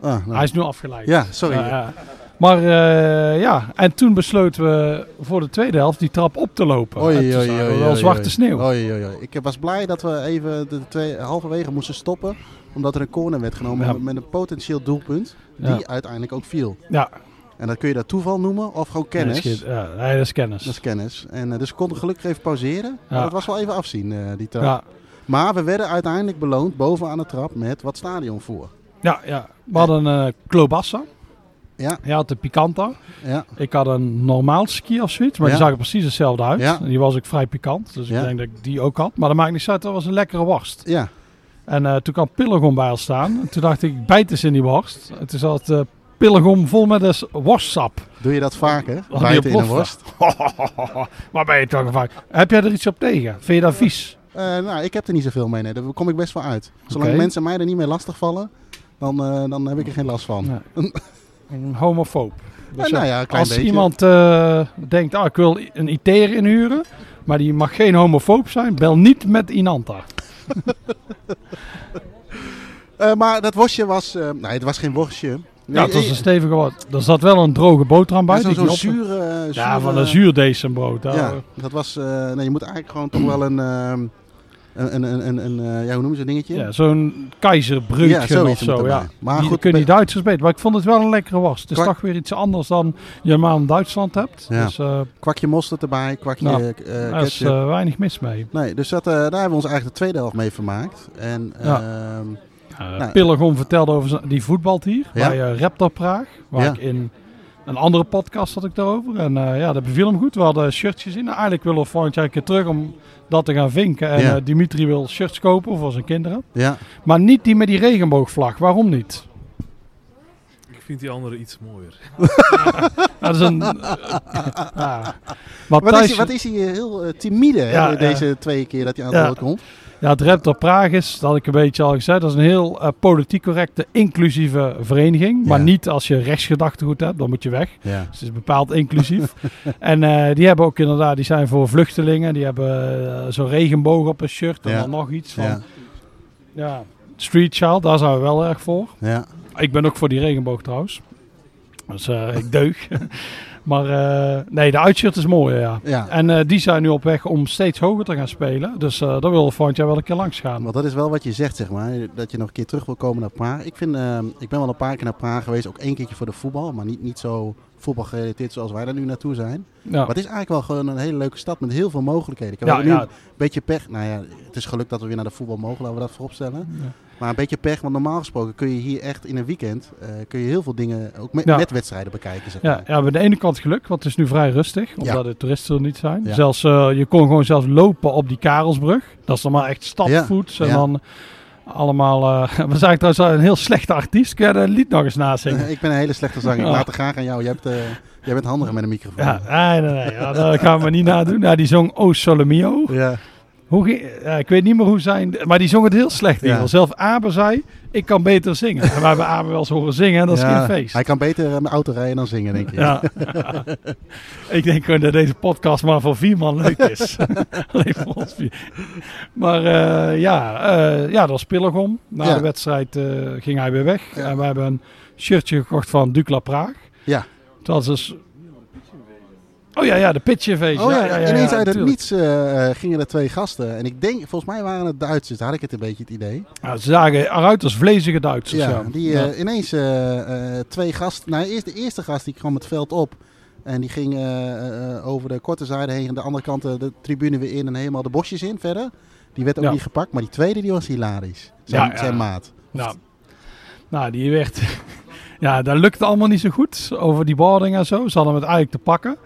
Speaker 3: Ah, nou.
Speaker 1: hij is nu afgeleid.
Speaker 3: Ja, sorry.
Speaker 1: Ja, ja. Maar eh, ja, en toen besloten we voor de tweede helft die trap op te lopen.
Speaker 3: Oei,
Speaker 1: en toen
Speaker 3: oei,
Speaker 1: zagen we
Speaker 3: oei,
Speaker 1: wel
Speaker 3: oei,
Speaker 1: zwarte
Speaker 3: oei. Oh,
Speaker 1: sneeuw.
Speaker 3: Oei, oei, oei. Ik was blij dat we even de twee, halverwege moesten stoppen. Omdat er een corner werd genomen
Speaker 1: Ja.
Speaker 3: met een potentieel doelpunt. Die
Speaker 1: Ja.
Speaker 3: uiteindelijk ook viel.
Speaker 1: Ja,
Speaker 3: En dat kun je dat toeval noemen of gewoon kennis.
Speaker 1: Nee, dat is, geen- ja, nee, dat is kennis.
Speaker 3: dat is kennis. En, eh, dus we konden gelukkig even pauzeren.
Speaker 1: Ja.
Speaker 3: Maar dat was wel even afzien, eh, die trap.
Speaker 1: ja,
Speaker 3: Maar we werden uiteindelijk beloond bovenaan de trap met wat stadion voor.
Speaker 1: ja, ja. We hadden een eh, klobassa.
Speaker 3: Ja.
Speaker 1: Jij had de pikanta.
Speaker 3: Ja,
Speaker 1: Ik had een normaal ski of zoiets. Maar
Speaker 3: Ja.
Speaker 1: die zag er precies hetzelfde uit.
Speaker 3: Ja.
Speaker 1: En Die was ook vrij pikant. Dus
Speaker 3: Ja.
Speaker 1: ik denk dat ik die ook had. Maar dat maakt niet uit. Dat was een lekkere worst.
Speaker 3: ja.
Speaker 1: En eh, toen kwam Pillegom bij ons staan. En toen dacht ik, ik bijt eens in die worst. En toen zat eh Pillegom vol met een s- worstsap.
Speaker 3: Doe je dat vaker?
Speaker 1: Oh,
Speaker 3: Bijten
Speaker 1: die
Speaker 3: in een
Speaker 1: ontploft
Speaker 3: worst?
Speaker 1: Waar ben je toch gevaar? Heb jij er iets op tegen? Vind je dat vies?
Speaker 3: Eh, nou, ik heb er niet zoveel mee. Nee. Daar kom ik best wel uit. Zolang
Speaker 1: Oké.
Speaker 3: mensen mij er niet mee lastigvallen, dan, eh, dan heb ik er geen last van.
Speaker 1: Een homofoob. Dus,
Speaker 3: Eh, nou ja, een klein
Speaker 1: als
Speaker 3: beetje.
Speaker 1: iemand eh, denkt, ah, ik wil i- een IT'er inhuren, maar die mag geen homofoob zijn, bel niet met Inanta.
Speaker 3: Eh, maar dat worstje was... eh, nee, het was geen worstje. eh,
Speaker 1: Ja, het was een stevige wat. Er zat wel een droge boterham bij.
Speaker 3: Zo'n
Speaker 1: die
Speaker 3: zo
Speaker 1: ik niet op-
Speaker 3: zure, eh, zure...
Speaker 1: Ja, van een zuurdesembrood. daar-
Speaker 3: Ja, dat was... eh, nee, je moet eigenlijk gewoon toch wel een... ehm, een, een, een, een, een, eh, ja, hoe noem je zo'n dingetje?
Speaker 1: Ja, zo'n keizerbreuken
Speaker 3: zoiets
Speaker 1: of
Speaker 3: moet
Speaker 1: zo.
Speaker 3: erbij.
Speaker 1: Ja.
Speaker 3: Maar
Speaker 1: die
Speaker 3: goed, eh,
Speaker 1: kunnen
Speaker 3: pe-
Speaker 1: die Duitsers beter. Maar ik vond het wel een lekkere was. Het is
Speaker 3: Kwak-
Speaker 1: toch weer iets anders dan je normaal in Duitsland hebt.
Speaker 3: Ja.
Speaker 1: Dus eh
Speaker 3: Kwakje mosterd erbij, kwakje
Speaker 1: Nou,
Speaker 3: eh, k- eh,
Speaker 1: daar is
Speaker 3: ketchup.
Speaker 1: eh, weinig mis mee.
Speaker 3: Nee, dus dat, eh, daar hebben we ons eigenlijk de tweede helft mee vermaakt. En ehm,
Speaker 1: Eh
Speaker 3: Nou,
Speaker 1: Pillegom vertelde over zijn- die voetbalt hier
Speaker 3: Ja.
Speaker 1: bij eh, Raptor Praag. Waar
Speaker 3: Ja.
Speaker 1: ik in een andere podcast had ik daarover. En eh, ja, dat beviel hem goed. We hadden shirtjes in. Eigenlijk willen we volgend jaar een keer terug om dat te gaan vinken. En
Speaker 3: Ja.
Speaker 1: eh, Dimitri wil shirts kopen voor zijn kinderen.
Speaker 3: ja,
Speaker 1: Maar niet die met die regenboogvlag. Waarom niet?
Speaker 4: Ik vind die andere iets mooier.
Speaker 1: Nou, Dat is een... ja. Maar
Speaker 3: Wat is,
Speaker 1: Thijs,
Speaker 3: hij- wat is hij eh, heel eh, timide hè,
Speaker 1: Ja,
Speaker 3: deze twee keer dat hij aan het
Speaker 1: Ja.
Speaker 3: woord komt.
Speaker 1: ja, het Raptor Praag is, dat had ik een beetje al gezegd, dat is een heel eh, politiek correcte, inclusieve vereniging. Maar
Speaker 3: Ja.
Speaker 1: niet als je rechtsgedachtegoed hebt, dan moet je weg.
Speaker 3: Ja.
Speaker 1: Dus het is bepaald inclusief. en eh, die hebben ook inderdaad, die zijn voor vluchtelingen. Die hebben eh, zo'n regenboog op een shirt en
Speaker 3: Ja.
Speaker 1: dan nog iets van.
Speaker 3: Ja,
Speaker 1: Ja. Street Child, daar zijn we wel erg voor.
Speaker 3: ja,
Speaker 1: Ik ben ook voor die regenboog trouwens. Dus eh, ik deug. maar eh, nee, de uitshirt is mooi, ja.
Speaker 3: ja.
Speaker 1: En eh, die zijn nu op weg om steeds hoger te gaan spelen. Dus eh daar wil volgend jaar wel een keer langs gaan.
Speaker 3: Want dat is wel wat je zegt, zeg maar. Dat je nog een keer terug wil komen naar Praag. Ik, vind, ehm, ik ben wel een paar keer naar Praag geweest. Ook één keertje voor de voetbal. Maar niet, niet zo voetbalgerelateerd zoals wij daar nu naartoe zijn.
Speaker 1: Ja.
Speaker 3: Maar het is eigenlijk wel gewoon een hele leuke stad met heel veel mogelijkheden. Ik heb
Speaker 1: Ja,
Speaker 3: ook nu
Speaker 1: ja.
Speaker 3: een beetje pech. Nou ja, het is geluk dat we weer naar de voetbal mogen. Laten we dat voorop stellen.
Speaker 1: Ja.
Speaker 3: Maar een beetje pech. Want normaal gesproken kun je hier echt in een weekend... eh, kun je heel veel dingen, ook met,
Speaker 1: Ja.
Speaker 3: met wedstrijden bekijken, zeg maar.
Speaker 1: Ja, ja, aan de ene kant geluk, want het is nu vrij rustig, omdat de toeristen er niet zijn.
Speaker 3: Ja.
Speaker 1: Zelfs, eh, je kon gewoon zelfs lopen op die Karelsbrug. Dat is dan maar echt stadvoets.
Speaker 3: Ja,
Speaker 1: En
Speaker 3: ja.
Speaker 1: dan allemaal... eh, we zijn trouwens al een heel slechte artiest. Kun je dat lied nog eens nazingen?
Speaker 3: Ik ben een hele slechte zanger. Ik
Speaker 1: Ja.
Speaker 3: laat het graag aan jou. Jij, hebt, eh, jij bent handiger met een microfoon.
Speaker 1: Ja, nee, nee, nee. Ja, dat gaan we niet nadoen. Ja, die zong O Sole Mio.
Speaker 3: ja.
Speaker 1: Hoe ging- eh, ik weet niet meer hoe zijn... Maar die zong het heel slecht in ieder
Speaker 3: Ja.
Speaker 1: geval. Zelf Aber zei, ik kan beter zingen. En we hebben Aber wel eens horen zingen en dat is
Speaker 3: Ja,
Speaker 1: geen feest.
Speaker 3: Hij kan beter eh, met auto rijden dan zingen, denk ik.
Speaker 1: Ja. ik denk gewoon dat deze podcast maar voor vier man leuk is. Alleen voor ons vier. Maar eh, ja, eh, ja, dat was Pillegom. Na
Speaker 3: Ja.
Speaker 1: de wedstrijd eh, ging hij weer weg.
Speaker 3: Ja.
Speaker 1: En we hebben een shirtje gekocht van Ducla Praag.
Speaker 3: Ja.
Speaker 1: Dat was dus... Oh ja, ja, de pitchinvasion.
Speaker 3: Oh ja, ineens uit het
Speaker 1: tuurlijk.
Speaker 3: niets eh, eh, gingen er twee gasten. En ik denk, volgens mij waren het Duitsers, daar had ik het een beetje het idee.
Speaker 1: Ja, Nou, ze zagen eruit als vlezige Duitsers. Ja,
Speaker 3: Ja, die
Speaker 1: Ja.
Speaker 3: eh, ineens eh, eh, twee gasten. Nou, eerst de eerste gast die kwam het veld op. En die ging eh, eh, over de korte zijde heen. En de andere kant eh, de tribune weer in en helemaal de bosjes in verder. Die werd ook
Speaker 1: Ja.
Speaker 3: niet gepakt. Maar die tweede die was hilarisch. Zijn,
Speaker 1: Ja, ja.
Speaker 3: zijn maat.
Speaker 1: Nou, nou, die werd... ja, dat lukte allemaal niet zo goed. Over die boarding en zo. Ze hadden hem eigenlijk te pakken.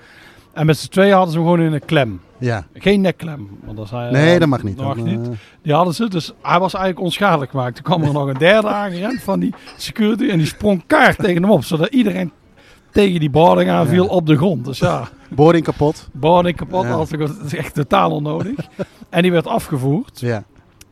Speaker 1: En met z'n tweeën hadden ze hem gewoon in een klem.
Speaker 3: Ja.
Speaker 1: Geen nekklem. Want dat is hij,
Speaker 3: Nee,
Speaker 1: eh,
Speaker 3: dat mag niet.
Speaker 1: Dat mag
Speaker 3: Dan,
Speaker 1: niet.
Speaker 3: eh,
Speaker 1: Die hadden ze. Dus hij was eigenlijk onschadelijk gemaakt. Toen kwam er nog een derde aangerend van die security. En die sprong kaart tegen hem op. Zodat iedereen tegen die boarding aanviel
Speaker 3: Ja.
Speaker 1: op de grond. Dus ja,
Speaker 3: boarding kapot.
Speaker 1: boarding kapot.
Speaker 3: Ja.
Speaker 1: als ik- Dat is echt totaal onnodig. en die werd afgevoerd.
Speaker 3: Ja.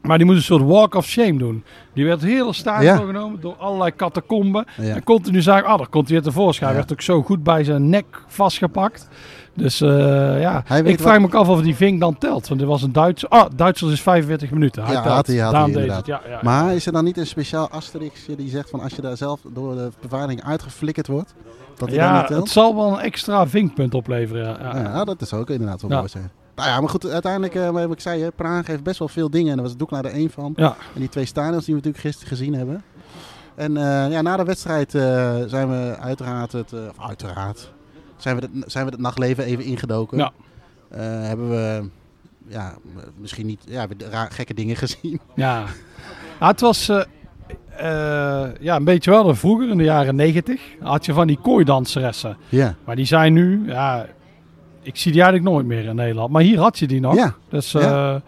Speaker 1: Maar die moest een soort walk of shame doen. Die werd heel staart
Speaker 3: Ja.
Speaker 1: genomen door allerlei catacomben.
Speaker 3: Ja.
Speaker 1: En continu zagen, ah, daar komt hij weer tevoorschijn.
Speaker 3: Ja.
Speaker 1: Hij werd ook zo goed bij zijn nek vastgepakt. Dus eh, ja,
Speaker 3: Hij weet
Speaker 1: ik vraag
Speaker 3: wat-
Speaker 1: me ook af of die vink dan telt. Want dit was een Duitser. Ah, Duitsers is 45 minuten. Hij
Speaker 3: Ja,
Speaker 1: telt.
Speaker 3: had hij- had
Speaker 1: Daarom
Speaker 3: hij
Speaker 1: deed het. Ja, ja.
Speaker 3: Maar is er dan niet een speciaal asterixje die zegt van als je daar zelf door de beveiliging uitgeflikkerd wordt, dat hij dan
Speaker 1: ja,
Speaker 3: niet telt?
Speaker 1: het zal wel een extra vinkpunt opleveren. Ja, ja.
Speaker 3: Ja, dat is ook inderdaad wel
Speaker 1: Ja.
Speaker 3: mooi zijn. Nou ja, maar goed, uiteindelijk, eh, wat ik zei, hè, Praag heeft best wel veel dingen. En daar was Doekla er één van.
Speaker 1: Ja.
Speaker 3: En die twee stadions die we natuurlijk gisteren gezien hebben. En eh, ja, na de wedstrijd eh, zijn we uiteraard, het, eh, of uiteraard, zijn we, het, zijn we het nachtleven even ingedoken.
Speaker 1: Ja.
Speaker 3: Eh, hebben we, ja, misschien niet, ja, we hebben raar- gekke dingen gezien.
Speaker 1: Ja. Ja, het was eh, eh, ja, een beetje wel dan vroeger, in de jaren 90. Had je van die kooidanseressen.
Speaker 3: Ja,
Speaker 1: Maar die zijn nu, ja, ik zie die eigenlijk nooit meer in Nederland. Maar hier had je die nog.
Speaker 3: Ja,
Speaker 1: Dus,
Speaker 3: ja.
Speaker 1: eh,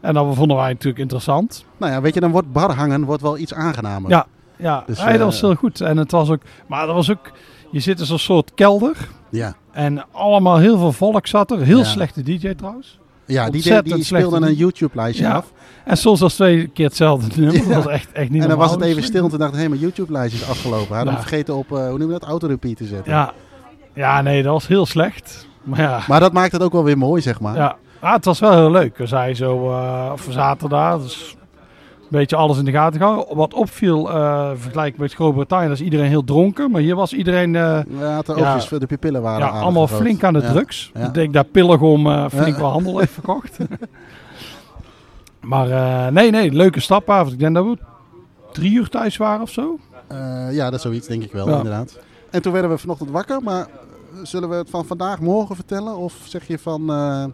Speaker 1: En dat vonden wij natuurlijk interessant.
Speaker 3: nou ja, weet je, dan wordt bar hangen wordt wel iets aangenamer.
Speaker 1: Ja, ja.
Speaker 3: Dus,
Speaker 1: nee,
Speaker 3: eh,
Speaker 1: dat was heel goed. En het was ook, maar dat was ook, je zit in zo'n soort kelder.
Speaker 3: Ja,
Speaker 1: En allemaal heel veel volk zat er. Heel
Speaker 3: Ja.
Speaker 1: slechte DJ trouwens.
Speaker 3: ja die, die,
Speaker 1: Ontzettend
Speaker 3: die
Speaker 1: slecht
Speaker 3: speelden een
Speaker 1: idee.
Speaker 3: YouTube-lijstje
Speaker 1: Ja.
Speaker 3: af.
Speaker 1: En soms was twee keer hetzelfde nummer.
Speaker 3: Ja.
Speaker 1: Dat was echt, echt niet
Speaker 3: En dan was
Speaker 1: normaal.
Speaker 3: het even stil en toen dacht ik, hé, mijn YouTube-lijstje is afgelopen. Hij had hem
Speaker 1: Ja.
Speaker 3: vergeten op, eh, hoe noem je dat, autorepeat te zetten.
Speaker 1: Ja. ja, nee, dat was heel slecht. Maar ja,
Speaker 3: Maar dat maakt het ook wel weer mooi, zeg maar.
Speaker 1: Ja, ah, het was wel heel leuk. We zijn zo, eh of we zaten daar, dus een beetje alles in de gaten gehouden. Wat opviel, eh vergelijk met Groot-Brittannië, dat is iedereen heel dronken. Maar hier was iedereen eh,
Speaker 3: We hadden
Speaker 1: Ja.
Speaker 3: oogjes, de pupillen waren
Speaker 1: ja,
Speaker 3: aardig
Speaker 1: allemaal
Speaker 3: groot.
Speaker 1: flink aan de
Speaker 3: Ja.
Speaker 1: drugs.
Speaker 3: Ja.
Speaker 1: Ik denk dat Pillegom eh flink
Speaker 3: Ja.
Speaker 1: wel handel heeft verkocht. maar eh, nee, nee, leuke stapavond. Ik denk dat we drie uur thuis waren of zo.
Speaker 3: Eh, ja, dat is zoiets, denk ik wel,
Speaker 1: Ja.
Speaker 3: inderdaad. En toen werden we vanochtend wakker, maar eh, zullen we het van vandaag morgen vertellen? Of zeg je van... eh,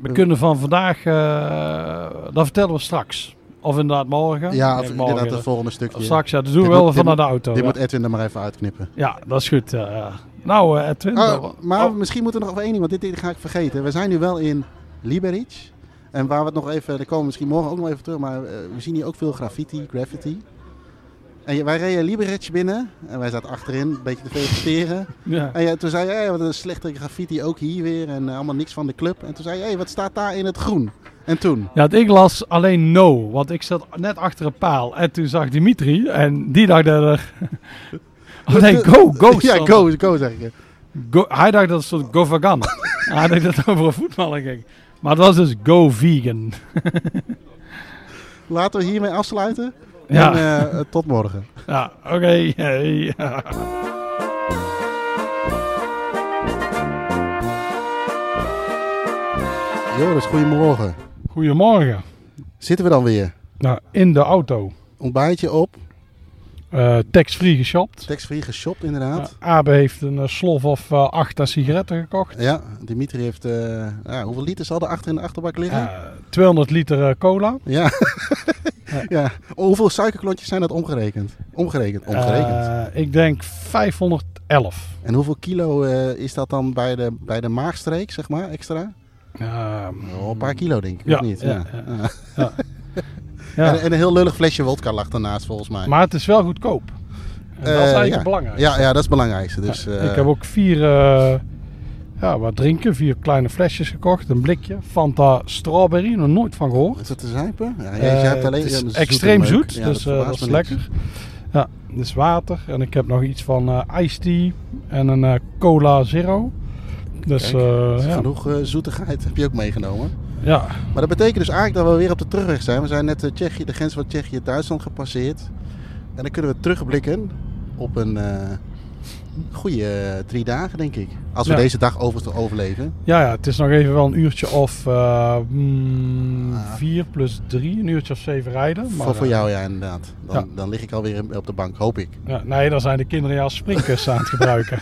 Speaker 1: We kunnen van vandaag, eh, dat vertellen we straks. Of inderdaad morgen.
Speaker 3: ja,
Speaker 1: Nee,
Speaker 3: of
Speaker 1: morgen.
Speaker 3: inderdaad het volgende stukje.
Speaker 1: Of straks, ja, dat doen we
Speaker 3: Dit
Speaker 1: wel
Speaker 3: moet- dit
Speaker 1: vanuit de auto.
Speaker 3: Dit
Speaker 1: ja.
Speaker 3: moet Edwin er maar even uitknippen.
Speaker 1: Ja, dat is goed. eh. nou, eh Edwin.
Speaker 3: Oh,
Speaker 1: dat-
Speaker 3: maar
Speaker 1: oh,
Speaker 3: misschien moeten we nog over één ding, want dit, dit ga ik vergeten. We zijn nu wel in Liberec. En waar we het nog even, daar komen we misschien morgen ook nog even terug, maar eh, we zien hier ook veel graffiti, graffiti. En je- wij reden Liberec binnen en wij zaten achterin, een beetje te feliciteren.
Speaker 1: ja.
Speaker 3: En ja, toen zei je, hey, wat een slechte graffiti ook hier weer en eh, allemaal niks van de club. En toen zei je, hey, wat staat daar in het groen? En toen,
Speaker 1: ja, ik las alleen no, want ik zat net achter een paal en toen zag Dimitri en die dacht dat er... Oh nee, go, go.
Speaker 3: ja,
Speaker 1: stond
Speaker 3: go, go zeg ik.
Speaker 1: er. Go- hij dacht dat het stond go vegan. hij dacht dat het over een voetballer ging. Maar het was dus go vegan.
Speaker 3: Laten we hiermee afsluiten
Speaker 1: Ja,
Speaker 3: en eh, tot morgen.
Speaker 1: ja oké. hey, ja.
Speaker 3: Joris, goedemorgen.
Speaker 1: Goedemorgen.
Speaker 3: Zitten we dan weer?
Speaker 1: Nou, in de auto.
Speaker 3: Ontbijtje op,
Speaker 1: Eh Tax-free geshopt.
Speaker 3: tax-free geshopt inderdaad.
Speaker 1: Eh, Abe heeft een eh, slof of eh, acht aan sigaretten gekocht.
Speaker 3: Ja, Dimitri heeft. eh, ja, hoeveel liter zal er achter in de achterbak liggen? Ja.
Speaker 1: Eh, 200 liter eh, cola.
Speaker 3: Ja. Hoeveel suikerklontjes zijn dat omgerekend? Omgerekend, omgerekend.
Speaker 1: Eh, ik denk 511.
Speaker 3: en hoeveel kilo eh, is dat dan bij de, bij de maagstreek, zeg maar, extra?
Speaker 1: Ehm,
Speaker 3: Wel een paar kilo, denk ik.
Speaker 1: Ja,
Speaker 3: of niet?
Speaker 1: ja, ja. Ja. ja.
Speaker 3: En, eh, en een heel lullig flesje wodka lag daarnaast, volgens mij.
Speaker 1: maar het is wel goedkoop. En dat is
Speaker 3: Eh,
Speaker 1: eigenlijk
Speaker 3: ja.
Speaker 1: belangrijk.
Speaker 3: ja, ja, dat is het belangrijkste. Dus, eh,
Speaker 1: ik heb ook vier eh, Ja, wat drinken. Vier kleine flesjes gekocht. Een blikje. Fanta strawberry. Nog nooit van gehoord.
Speaker 3: Is dat te zuipen? Ja, je,
Speaker 1: Eh,
Speaker 3: je hebt alleen,
Speaker 1: het is
Speaker 3: ja, maar zoet
Speaker 1: extreem
Speaker 3: en leuk.
Speaker 1: zoet,
Speaker 3: Ja,
Speaker 1: dus eh, dat,
Speaker 3: verbaast
Speaker 1: is
Speaker 3: me niks.
Speaker 1: lekker. Ja, dus water. En ik heb nog iets van eh iced tea en een eh, cola zero. Dus
Speaker 3: Kijk,
Speaker 1: eh,
Speaker 3: Dus
Speaker 1: ja.
Speaker 3: Genoeg eh, zoetigheid heb je ook meegenomen.
Speaker 1: ja,
Speaker 3: Maar dat betekent dus eigenlijk dat we weer op de terugweg zijn. We zijn net eh, Tsjechië, de grens van Tsjechië en Duitsland gepasseerd. En dan kunnen we terugblikken op een eh, goede eh, drie dagen, denk ik. Als we
Speaker 1: Ja.
Speaker 3: deze dag over te overleven.
Speaker 1: ja, ja, het is nog even wel een uurtje of eh, mm,
Speaker 3: Ah.
Speaker 1: vier plus drie, een uurtje of zeven rijden. Maar,
Speaker 3: voor, voor
Speaker 1: eh,
Speaker 3: jou, ja, inderdaad. Dan,
Speaker 1: ja.
Speaker 3: dan lig ik alweer op de bank, hoop ik.
Speaker 1: ja, nee, dan zijn de kinderen jou als springkussen aan het gebruiken.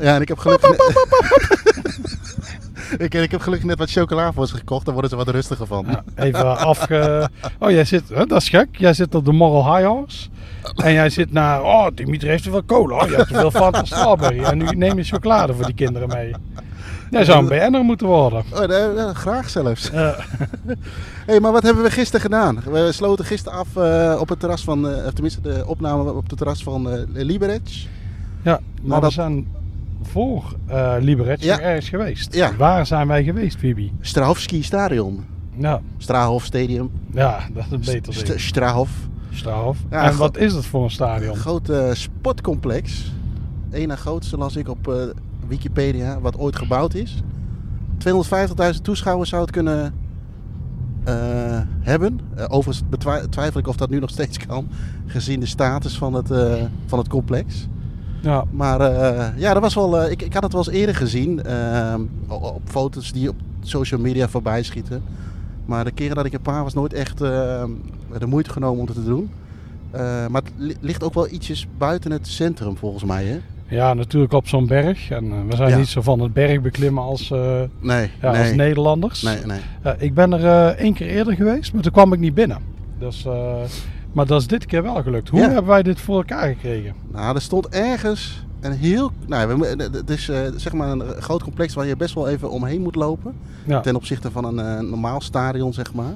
Speaker 3: Ja, en ik heb gelukkig... net- ik, ik heb gelukkig net wat chocola voor ze gekocht. Daar worden ze wat rustiger van.
Speaker 1: Ja, Nou, even afge... Oh, jij zit... Hè, dat is gek. Jij zit op de Moral High Horse. En jij zit naar... Oh, Dimitri heeft te veel cola. Oh, je hebt te veel Fanta Strawberry. En nu neem je chocolade voor die kinderen mee. Jij zou een BN'er moeten worden.
Speaker 3: Oh, nee, eh, graag zelfs.
Speaker 1: Eh,
Speaker 3: Hé, maar wat hebben we gisteren gedaan? We sloten gisteren af eh, op het terras van, eh, of tenminste de opname op het terras van eh Liberec.
Speaker 1: ja, maar we
Speaker 3: dat-
Speaker 1: zijn voor eh Liberec
Speaker 3: Ja.
Speaker 1: nog ergens geweest.
Speaker 3: Ja.
Speaker 1: Waar zijn wij geweest, Bibi?
Speaker 3: Strahovski Stadion.
Speaker 1: Ja,
Speaker 3: Strahof Stadium.
Speaker 1: ja dat is een beter
Speaker 3: St-
Speaker 1: ding.
Speaker 3: Strahof.
Speaker 1: Straf.
Speaker 3: Ja,
Speaker 1: en
Speaker 3: goed.
Speaker 1: wat is het voor een stadion?
Speaker 3: Groot eh, sportcomplex. Eén na grootste las ik op eh, Wikipedia, wat ooit gebouwd is. 250.000 toeschouwers zou het kunnen eh, hebben. Eh, overigens betwi- twijfel ik of dat nu nog steeds kan, gezien de status van het, eh, van het complex.
Speaker 1: Ja,
Speaker 3: Maar eh, ja, dat was wel. eh, ik, ik had het wel eens eerder gezien. ehm, o- o- op foto's die op social media voorbij schieten. Maar de keren dat ik een paar was nooit echt ehm, de moeite genomen om dat te doen. Eh, maar het li- ligt ook wel ietsjes buiten het centrum volgens mij. Hè?
Speaker 1: ja natuurlijk op zo'n berg. En eh, we zijn
Speaker 3: Ja.
Speaker 1: niet zo van het berg beklimmen als, eh,
Speaker 3: Nee,
Speaker 1: ja, als
Speaker 3: nee, nee.
Speaker 1: Nederlanders.
Speaker 3: Nee, nee.
Speaker 1: Ja, ik ben er eh, één keer eerder geweest, maar toen kwam ik niet binnen. Dus, eh, maar dat is dit keer wel gelukt. Hoe
Speaker 3: Ja.
Speaker 1: hebben wij dit voor elkaar gekregen?
Speaker 3: Nou, er stond ergens een heel. Nou, we, mo- eh, het is eh, zeg maar een groot complex waar je best wel even omheen moet lopen.
Speaker 1: Ja,
Speaker 3: Ten opzichte van een eh, normaal stadion, zeg maar.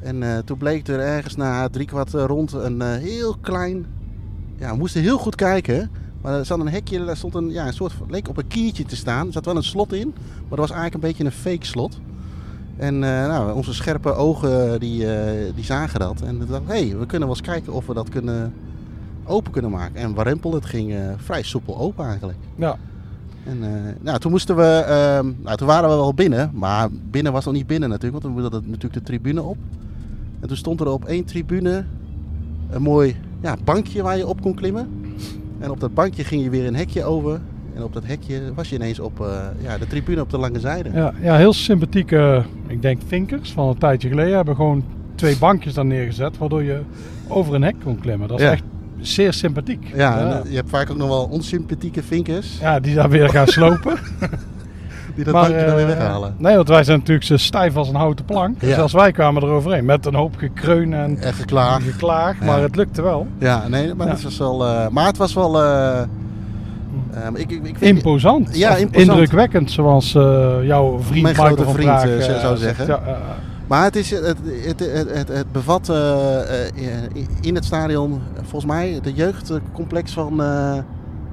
Speaker 3: En eh, toen bleek er ergens na drie kwart eh, rond een eh, heel klein... Ja, we moesten heel goed kijken. Maar er zat een hekje, daar stond een, ja, een soort... van- leek op een kiertje te staan. Er zat wel een slot in, maar dat was eigenlijk een beetje een fake slot. En eh, nou, onze scherpe ogen eh, die, eh, die zagen dat. En we dachten, hé, hey, we kunnen wel eens kijken of we dat kunnen open kunnen maken. En warempel, het ging eh, vrij soepel open eigenlijk.
Speaker 1: ja.
Speaker 3: En eh, nou, toen moesten we, ehm, nou, toen waren we wel binnen, maar binnen was nog niet binnen natuurlijk, want we moesten dat- natuurlijk de tribune op. En toen stond er op één tribune een mooi ja, bankje waar je op kon klimmen. En op dat bankje ging je weer een hekje over. En op dat hekje was je ineens op eh, ja, de tribune op de lange zijde.
Speaker 1: Ja, ja, heel sympathieke, ik denk, vinkers van een tijdje geleden hebben gewoon twee bankjes daar neergezet, waardoor je over een hek kon klimmen. Dat is
Speaker 3: Ja.
Speaker 1: echt zeer sympathiek.
Speaker 3: Ja, en,
Speaker 1: ja.
Speaker 3: eh, je hebt vaak ook nog wel onsympathieke vinkers
Speaker 1: Ja, die daar weer gaan slopen.
Speaker 3: die dat
Speaker 1: Maar,
Speaker 3: bankje dan weer
Speaker 1: eh,
Speaker 3: weghalen.
Speaker 1: Nee, want wij zijn natuurlijk zo stijf als een houten plank. Dus
Speaker 3: Ja.
Speaker 1: als wij kwamen eroverheen met een hoop gekreun en
Speaker 3: En geklaagd.
Speaker 1: geklaag, maar
Speaker 3: Ja.
Speaker 1: het lukte wel.
Speaker 3: Ja, nee, maar,
Speaker 1: Ja.
Speaker 3: Het was wel, eh, maar het was wel... eh,
Speaker 1: Hm.
Speaker 3: ehm, ik, ik, ik vind-
Speaker 1: Imposant.
Speaker 3: Ja,
Speaker 1: Of
Speaker 3: imposant.
Speaker 1: Indrukwekkend, zoals eh, jouw vriend
Speaker 3: Mijn
Speaker 1: Michael
Speaker 3: grote
Speaker 1: van
Speaker 3: vriend,
Speaker 1: Praag,
Speaker 3: eh,
Speaker 1: eh,
Speaker 3: zou- zou
Speaker 1: zegt.
Speaker 3: zeggen.
Speaker 1: Ja, eh, eh,
Speaker 3: Maar het, is, het, het, het, het, het bevat eh, eh, in het stadion, eh, volgens mij, de jeugdcomplex van eh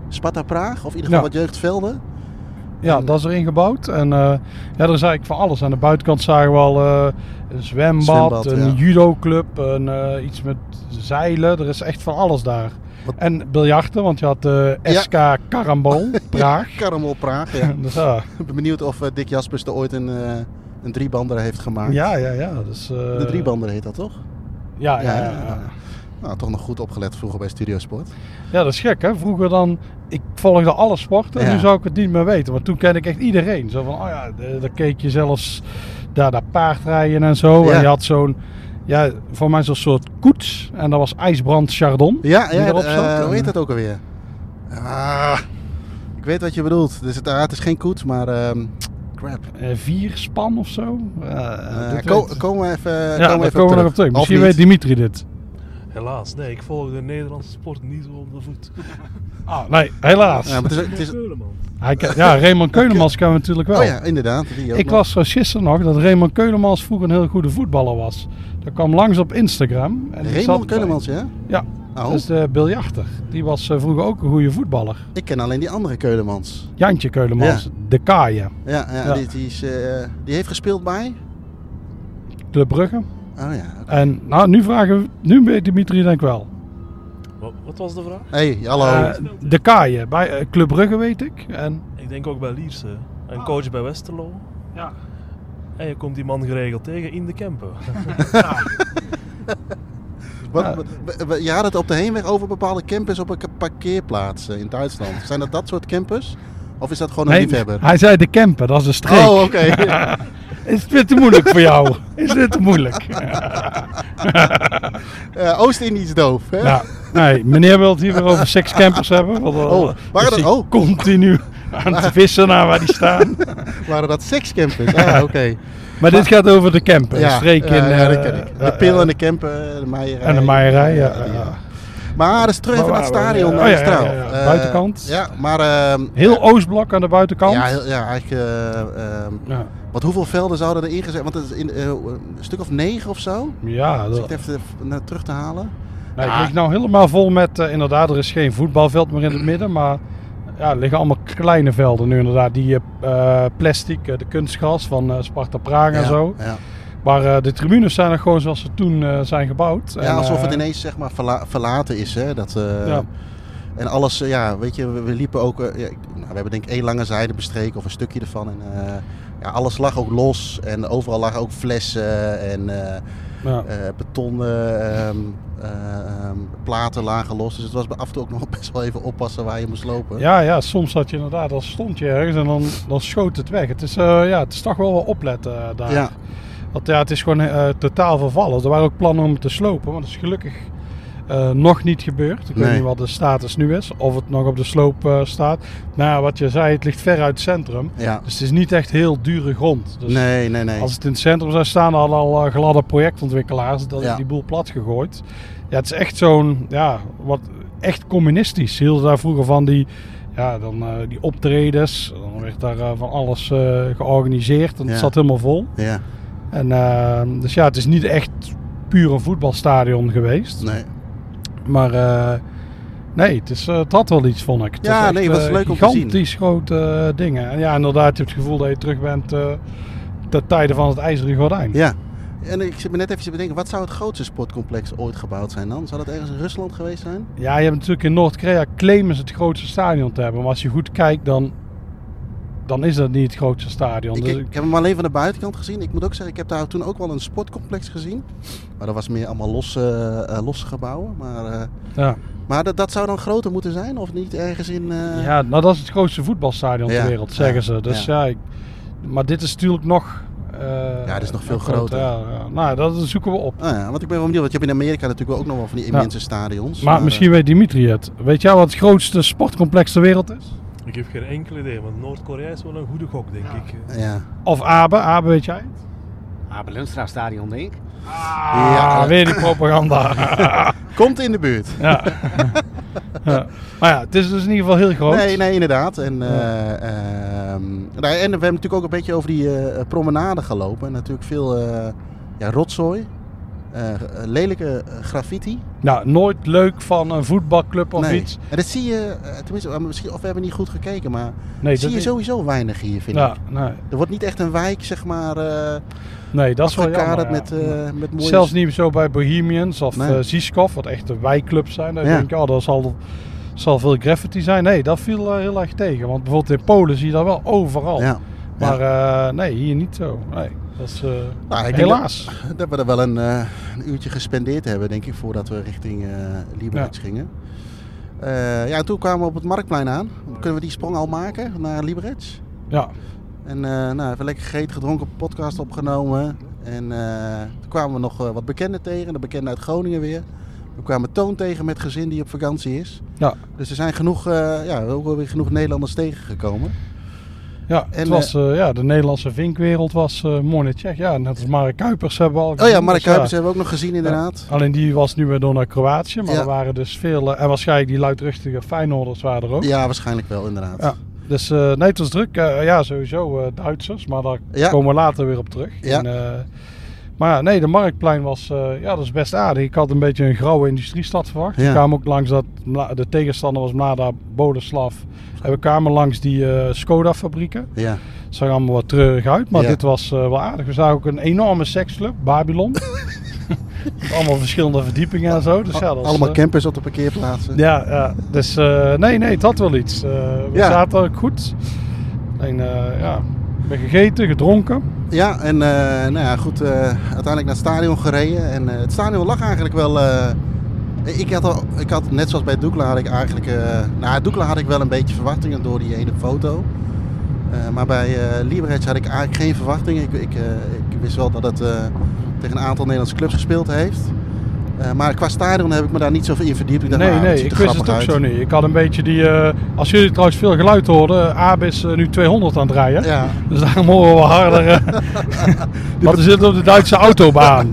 Speaker 3: Sparta Praag. Of in ieder geval
Speaker 1: Ja.
Speaker 3: wat jeugdvelden.
Speaker 1: ja,
Speaker 3: En-
Speaker 1: dat is erin gebouwd. En eh, ja, er is eigenlijk van alles. Aan de buitenkant zagen we al eh, een zwembad,
Speaker 3: Zwembad,
Speaker 1: een
Speaker 3: ja.
Speaker 1: judoclub, een, eh, iets met zeilen. Er is echt van alles daar.
Speaker 3: Wat-
Speaker 1: En biljarten, want je had eh,
Speaker 3: Ja.
Speaker 1: SK Karambol, Praag.
Speaker 3: Karamel Praag, ja.
Speaker 1: Dus, ja.
Speaker 3: Ik ben benieuwd of eh, Dick Jaspers er ooit een, eh een driebander heeft gemaakt.
Speaker 1: ja, ja, ja. Dus, eh,
Speaker 3: De driebander heet dat toch?
Speaker 1: Ja, ja, ja, ja.
Speaker 3: Nou, toch nog goed opgelet vroeger bij Studiosport.
Speaker 1: Ja, dat is gek hè. Vroeger dan, ik volgde alle sporten en
Speaker 3: Ja.
Speaker 1: nu zou ik het niet meer weten. Want toen kende ik echt iedereen. Zo van, oh ja, de- daar keek je zelfs daar, daar paardrijden en zo.
Speaker 3: Ja.
Speaker 1: En je had zo'n, ja, voor mij zo'n soort koets. En dat was IJsbrand Chardon.
Speaker 3: Ja,
Speaker 1: die
Speaker 3: ja
Speaker 1: erop zat.
Speaker 3: eh, hoe heet
Speaker 1: En,
Speaker 3: dat ook alweer? Ah, ik weet wat je bedoelt. Dus het, ah, het is geen koets, maar... ehm crap.
Speaker 1: eh, vier span of zo. Eh,
Speaker 3: Eh,
Speaker 1: dit
Speaker 3: ko-
Speaker 1: weet-
Speaker 3: komen we even,
Speaker 1: ja,
Speaker 3: komen we
Speaker 1: daar
Speaker 3: even
Speaker 1: komen we nog op terug.
Speaker 3: Of
Speaker 1: Misschien
Speaker 3: niet.
Speaker 1: weet Dimitri dit.
Speaker 4: Helaas, nee, ik volg de Nederlandse sport niet zo op de voet.
Speaker 1: Ah, nee, helaas.
Speaker 3: Ja, maar het is, het is,
Speaker 4: Keuleman.
Speaker 1: Hij ke- ja, Raymond Keulemans kennen we natuurlijk wel.
Speaker 3: oh ja, inderdaad. Die ook
Speaker 1: Ik
Speaker 3: nog.
Speaker 1: las zo gisteren nog dat Raymond Keulemans vroeger een heel goede voetballer was. Dat kwam langs op Instagram. En die zat
Speaker 3: Raymond
Speaker 1: bij-
Speaker 3: Keulemans, ja?
Speaker 1: Ja, Dus-
Speaker 3: Oh,
Speaker 1: Dat is de eh, biljarter. Die was eh, vroeger ook een goede voetballer.
Speaker 3: ik ken alleen die andere Keulemans.
Speaker 1: Jantje Keulemans,
Speaker 3: Ja.
Speaker 1: de Kaaien,
Speaker 3: Ja, ja,
Speaker 1: Ja.
Speaker 3: Die, die, is, eh, die heeft gespeeld bij?
Speaker 1: de Brugge.
Speaker 3: Oh ja. oké.
Speaker 1: En nou, nu vragen we, nu weet Dimitri denk ik wel.
Speaker 4: Wat, wat was de vraag?
Speaker 3: Hey, hallo.
Speaker 1: Eh, de Kaaien, bij eh, Club Brugge weet ik. En,
Speaker 4: Ik denk ook bij Lierse. En
Speaker 1: Ah.
Speaker 4: coach bij Westerlo.
Speaker 1: ja.
Speaker 4: En je komt die man geregeld tegen in de Kempen.
Speaker 3: Wat-
Speaker 1: ja.
Speaker 3: w- w- je had het op de heenweg over bepaalde campers op een ka- parkeerplaats eh, in Duitsland. Zijn dat dat soort campers? Of is dat gewoon een
Speaker 1: Nee,
Speaker 3: liefhebber?
Speaker 1: hij zei de Kempen, dat is een streek.
Speaker 3: Oh, oké.
Speaker 1: Is dit te moeilijk voor jou? Is dit te moeilijk?
Speaker 3: Eh, Oost-Indisch doof. Hè?
Speaker 1: Ja, nee, meneer wil het hier weer over seks campers hebben. Want dan
Speaker 3: Oh, waren
Speaker 1: is
Speaker 3: dat-
Speaker 1: hij
Speaker 3: oh.
Speaker 1: continu aan het vissen naar waar die staan.
Speaker 3: Waren dat sekscampers? Ah, oké.
Speaker 1: Maar dit gaat over de camper, een streek in...
Speaker 3: ja, ja, dat
Speaker 1: eh,
Speaker 3: ken ik. De
Speaker 1: eh,
Speaker 3: pil en de camper, de maaierij.
Speaker 1: en de maaierij, ja, ja,
Speaker 3: die,
Speaker 1: ja.
Speaker 3: Maar dus terug
Speaker 1: Maar
Speaker 3: even naar het
Speaker 1: waar waren we?
Speaker 3: stadion
Speaker 1: Oh,
Speaker 3: naar de
Speaker 1: ja, ja,
Speaker 3: straal.
Speaker 1: ja, ja.
Speaker 3: Eh,
Speaker 1: Buitenkant.
Speaker 3: Ja, maar... ehm,
Speaker 1: Heel Oostblok aan de buitenkant.
Speaker 3: Ja, heel- ja, eigenlijk... eh, ehm,
Speaker 1: Ja,
Speaker 3: Want hoeveel velden zouden er ingezet? Want het is in, eh, een stuk of negen of zo?
Speaker 1: ja
Speaker 3: Als ik
Speaker 1: dat,
Speaker 3: het even eh, naar terug te halen.
Speaker 1: nou, ik lig nou helemaal vol met... eh, inderdaad, er is geen voetbalveld meer in het midden, maar... Ja, er liggen allemaal kleine velden nu inderdaad. Die eh, eh, plastic, eh, de kunstgras van eh, Sparta Praag en
Speaker 3: ja,
Speaker 1: zo.
Speaker 3: Ja.
Speaker 1: Maar eh, de tribunes zijn er gewoon zoals ze toen eh, zijn gebouwd.
Speaker 3: ja,
Speaker 1: En,
Speaker 3: alsof het
Speaker 1: eh,
Speaker 3: ineens zeg maar verla- verlaten is. Hè? Dat, eh,
Speaker 1: Ja.
Speaker 3: En alles, eh, ja, weet je, we, we liepen ook... eh, ja, ik- nou, we hebben denk ik één lange zijde bestreken of een stukje ervan. En, eh, ja, alles lag ook los en overal lagen ook flessen en... eh,
Speaker 1: ja.
Speaker 3: eh betonnen ehm, eh, ehm, platen lagen los. Dus het was af en toe ook nog best wel even oppassen waar je moest lopen.
Speaker 1: Ja, ja, soms had je inderdaad, dan stond je ergens en dan, dan schoot het weg. Het is, eh, ja, het is toch wel wel opletten eh, daar.
Speaker 3: Ja.
Speaker 1: Want ja, het is gewoon eh, totaal vervallen. Er waren ook plannen om het te slopen, maar dat is gelukkig eh, nog niet gebeurd. Ik weet
Speaker 3: Nee.
Speaker 1: niet wat de status nu is, of het nog op de sloop eh, staat. Nou, ja, wat je zei, het ligt ver uit het centrum.
Speaker 3: Ja.
Speaker 1: Dus het is niet echt heel dure grond. Dus
Speaker 3: nee, nee, nee.
Speaker 1: Als het in het centrum zou staan, hadden al eh, gladde projectontwikkelaars dat
Speaker 3: Ja.
Speaker 1: die boel plat gegooid. Ja, het is echt zo'n, ja, wat echt communistisch. Ze hielden daar vroeger van die, ja, dan eh, die optredens. Dan werd daar eh, van alles eh, georganiseerd en het
Speaker 3: Ja.
Speaker 1: zat helemaal vol.
Speaker 3: Ja,
Speaker 1: En, eh, dus ja, het is niet echt puur een voetbalstadion geweest.
Speaker 3: nee.
Speaker 1: Maar eh, nee, het, is, eh, het had wel iets, vond ik. Het
Speaker 3: Ja,
Speaker 1: was echt,
Speaker 3: nee, het was
Speaker 1: eh,
Speaker 3: leuk om te zien.
Speaker 1: Gigantisch grote eh, dingen. En ja, inderdaad, je hebt het gevoel dat je terug bent eh ten tijde van het ijzeren gordijn.
Speaker 3: Ja. En ik zit me net even te bedenken, wat zou het grootste sportcomplex ooit gebouwd zijn dan? Zou dat ergens in Rusland geweest zijn?
Speaker 1: Ja, je hebt natuurlijk in Noord-Korea claimen ze het grootste stadion te hebben. Maar als je goed kijkt, dan, dan is dat niet het grootste stadion.
Speaker 3: Ik,
Speaker 1: Dus
Speaker 3: ik heb hem alleen van de buitenkant gezien. Ik moet ook zeggen, ik heb daar toen ook wel een sportcomplex gezien. Maar dat was meer allemaal losse, eh, losse gebouwen. Maar, eh,
Speaker 1: ja.
Speaker 3: maar dat, dat zou dan groter moeten zijn, of niet? Ergens in... eh,
Speaker 1: ja, nou dat is het grootste voetbalstadion ter
Speaker 3: Ja,
Speaker 1: wereld, zeggen
Speaker 3: ja,
Speaker 1: ze. Dus ja, ik- maar dit is natuurlijk nog... eh,
Speaker 3: Ja, dit is nog veel
Speaker 1: groot,
Speaker 3: groter.
Speaker 1: ja, ja. Nou, dat zoeken we op.
Speaker 3: Ah ja, want ik ben wel benieuwd, want je hebt in Amerika natuurlijk ook nog wel van die
Speaker 1: Ja.
Speaker 3: immense stadions. Eh,
Speaker 1: Maar misschien weet Dimitri het. Weet jij wat het grootste sportcomplex ter wereld is?
Speaker 4: ik heb geen enkel idee, want Noord-Korea is wel een goede gok, denk ik.
Speaker 3: eh, Ja.
Speaker 1: Of Abe, Abe weet jij het?
Speaker 5: Abel Lundstra Stadion, denk ik.
Speaker 1: Ah,
Speaker 3: Ja.
Speaker 1: weer die propaganda.
Speaker 3: Komt in de buurt.
Speaker 1: ja. ja. Maar ja, het is dus in ieder geval heel groot.
Speaker 3: Nee, nee, inderdaad. En, eh, ehm, nou, en we hebben natuurlijk ook een beetje over die eh, promenade gelopen. En natuurlijk veel eh, ja, rotzooi. eh, lelijke graffiti.
Speaker 1: Nou, nooit leuk van een voetbalclub of iets.
Speaker 3: En dat zie je, eh, tenminste, eh, misschien, of we hebben niet goed gekeken, maar
Speaker 1: Nee,
Speaker 3: zie
Speaker 1: dat
Speaker 3: je
Speaker 1: is-
Speaker 3: sowieso weinig hier, vind
Speaker 1: Ja,
Speaker 3: ik.
Speaker 1: nee,
Speaker 3: Er wordt niet echt een wijk, zeg maar, eh
Speaker 1: nee, dat is wel jammer.
Speaker 3: afgekaderd
Speaker 1: ja.
Speaker 3: met, eh, met mooie...
Speaker 1: Zelfs niet zo bij Bohemians of
Speaker 3: Nee.
Speaker 1: eh, Ziskov, wat echt de wijkclubs zijn. Dan
Speaker 3: Ja.
Speaker 1: denk je, oh, dat zal, zal veel graffiti zijn. Nee, dat viel eh, heel erg tegen. Want bijvoorbeeld in Polen zie je dat wel overal.
Speaker 3: Ja.
Speaker 1: Maar eh, nee, hier niet zo. Nee, dat is eh,
Speaker 3: Nou, ik denk
Speaker 1: helaas.
Speaker 3: Dat we er wel een, eh, een uurtje gespendeerd hebben, denk ik, voordat we richting eh Liberec gingen. Eh, ja, en toen kwamen we op het Marktplein aan. Kunnen we die sprong al maken naar Liberec?
Speaker 1: Ja,
Speaker 3: En eh nou, even lekker gegeten, gedronken, podcast opgenomen. En eh, toen kwamen we nog eh, wat bekenden tegen, de bekende uit Groningen weer. We kwamen Toon tegen met gezin die op vakantie is.
Speaker 1: ja,
Speaker 3: Dus er zijn genoeg, eh, ja, we hebben ook wel weer genoeg Nederlanders tegengekomen.
Speaker 1: ja. het
Speaker 3: En,
Speaker 1: was, eh, ja, de Nederlandse vinkwereld was eh mooi net check. Ja, net als Mark Kuipers hebben we al
Speaker 3: Oh
Speaker 1: gezien.
Speaker 3: ja, Mark
Speaker 1: Dus
Speaker 3: Kuipers hebben we ook nog gezien inderdaad.
Speaker 1: Ja. Alleen die was nu weer door naar Kroatië. Maar
Speaker 3: Ja.
Speaker 1: er waren dus veel... eh, en waarschijnlijk die luidruchtige Feyenoorders waren er ook.
Speaker 3: Ja, waarschijnlijk wel inderdaad.
Speaker 1: Ja. Dus eh nee, het was druk. Eh, ja, sowieso eh, Duitsers, maar daar
Speaker 3: Ja.
Speaker 1: komen we later weer op terug.
Speaker 3: Ja.
Speaker 1: En, eh, Maar ja, nee, de Marktplein was, eh, ja, dat is best aardig. Ik had een beetje een grauwe industriestad verwacht.
Speaker 3: Ja.
Speaker 1: Ik kwam ook langs dat, Mla- de tegenstander was Mlada Boleslav. En we kwamen langs die eh, Skoda-fabrieken.
Speaker 3: Ja.
Speaker 1: Het zag allemaal wat treurig uit, maar
Speaker 3: Ja.
Speaker 1: dit was eh, wel aardig. We zagen ook een enorme seksclub, Babylon. Met allemaal verschillende verdiepingen en zo. Dus ja, dat was,
Speaker 3: Allemaal
Speaker 1: eh,
Speaker 3: campers op de parkeerplaatsen.
Speaker 1: ja, ja, dus eh, nee, nee, het had wel iets. Eh, we
Speaker 3: Ja.
Speaker 1: zaten ook goed. Alleen, eh, ja, we hebben gegeten, gedronken.
Speaker 3: Ja, en eh, nou ja, goed, eh, uiteindelijk naar het stadion gereden. En eh, het stadion lag eigenlijk wel. eh, ik, had al, ik had net zoals bij Doekla had ik eigenlijk. eh nou, Doekla had ik wel een beetje verwachtingen door die ene foto. Eh, maar bij eh Liberec had ik eigenlijk geen verwachtingen. Ik, ik, eh, ik wist wel dat het eh, tegen een aantal Nederlandse clubs gespeeld heeft. Eh, maar qua stadion heb ik me daar niet zoveel in verdiept. Ik dacht,
Speaker 1: nee,
Speaker 3: nou, het
Speaker 1: nee,
Speaker 3: ziet
Speaker 1: ik
Speaker 3: er
Speaker 1: wist het
Speaker 3: grappig
Speaker 1: ook zo
Speaker 3: uit.
Speaker 1: niet. Ik had een beetje die... eh, als jullie trouwens veel geluid hoorden, eh, Aab is eh, nu 200 aan het rijden.
Speaker 3: Ja.
Speaker 1: Dus daarom horen we wat harder. eh. Want we zitten op de Duitse autobaan.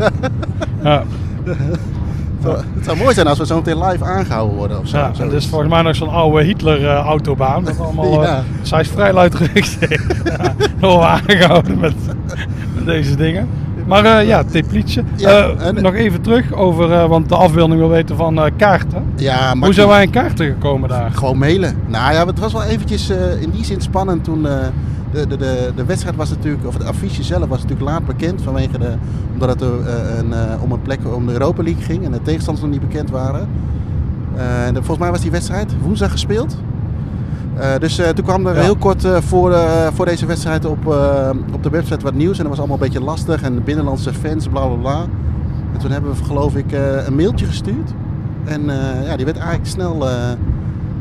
Speaker 1: Ja,
Speaker 3: Het zou- Het zou mooi zijn als we zo meteen live aangehouden worden of zo.
Speaker 1: ja, dus
Speaker 3: Zoiets.
Speaker 1: dit is volgens mij nog zo'n oude Hitler-autobaan. met allemaal, eh,
Speaker 3: Ja.
Speaker 1: Zij is vrij luidruchtig. ja, dan worden we aangehouden met, met deze dingen. Maar eh, ja, teplietje.
Speaker 3: Ja,
Speaker 1: Eh,
Speaker 3: en-
Speaker 1: nog even terug over, eh, want de afbeelding wil weten van eh, kaarten.
Speaker 3: ja, maar
Speaker 1: Hoe zijn wij aan kaarten gekomen daar?
Speaker 3: eh, Gewoon mailen. Nou ja, het was wel eventjes eh, in die zin spannend toen eh, de, de, de, de wedstrijd was natuurlijk, of het affiche zelf was natuurlijk laat bekend vanwege de, omdat het eh, een, eh, om een plek om de Europa League ging en de tegenstanders nog niet bekend waren. Eh, en de- volgens mij was die wedstrijd woensdag gespeeld. Eh, dus eh, toen kwam er
Speaker 1: Ja.
Speaker 3: heel kort eh, voor, eh, voor deze wedstrijd op, eh, op de website wat nieuws. En dat was allemaal een beetje lastig. En de binnenlandse fans, bla bla bla. En toen hebben we geloof ik eh, een mailtje gestuurd. En eh, ja, die werd eigenlijk snel eh,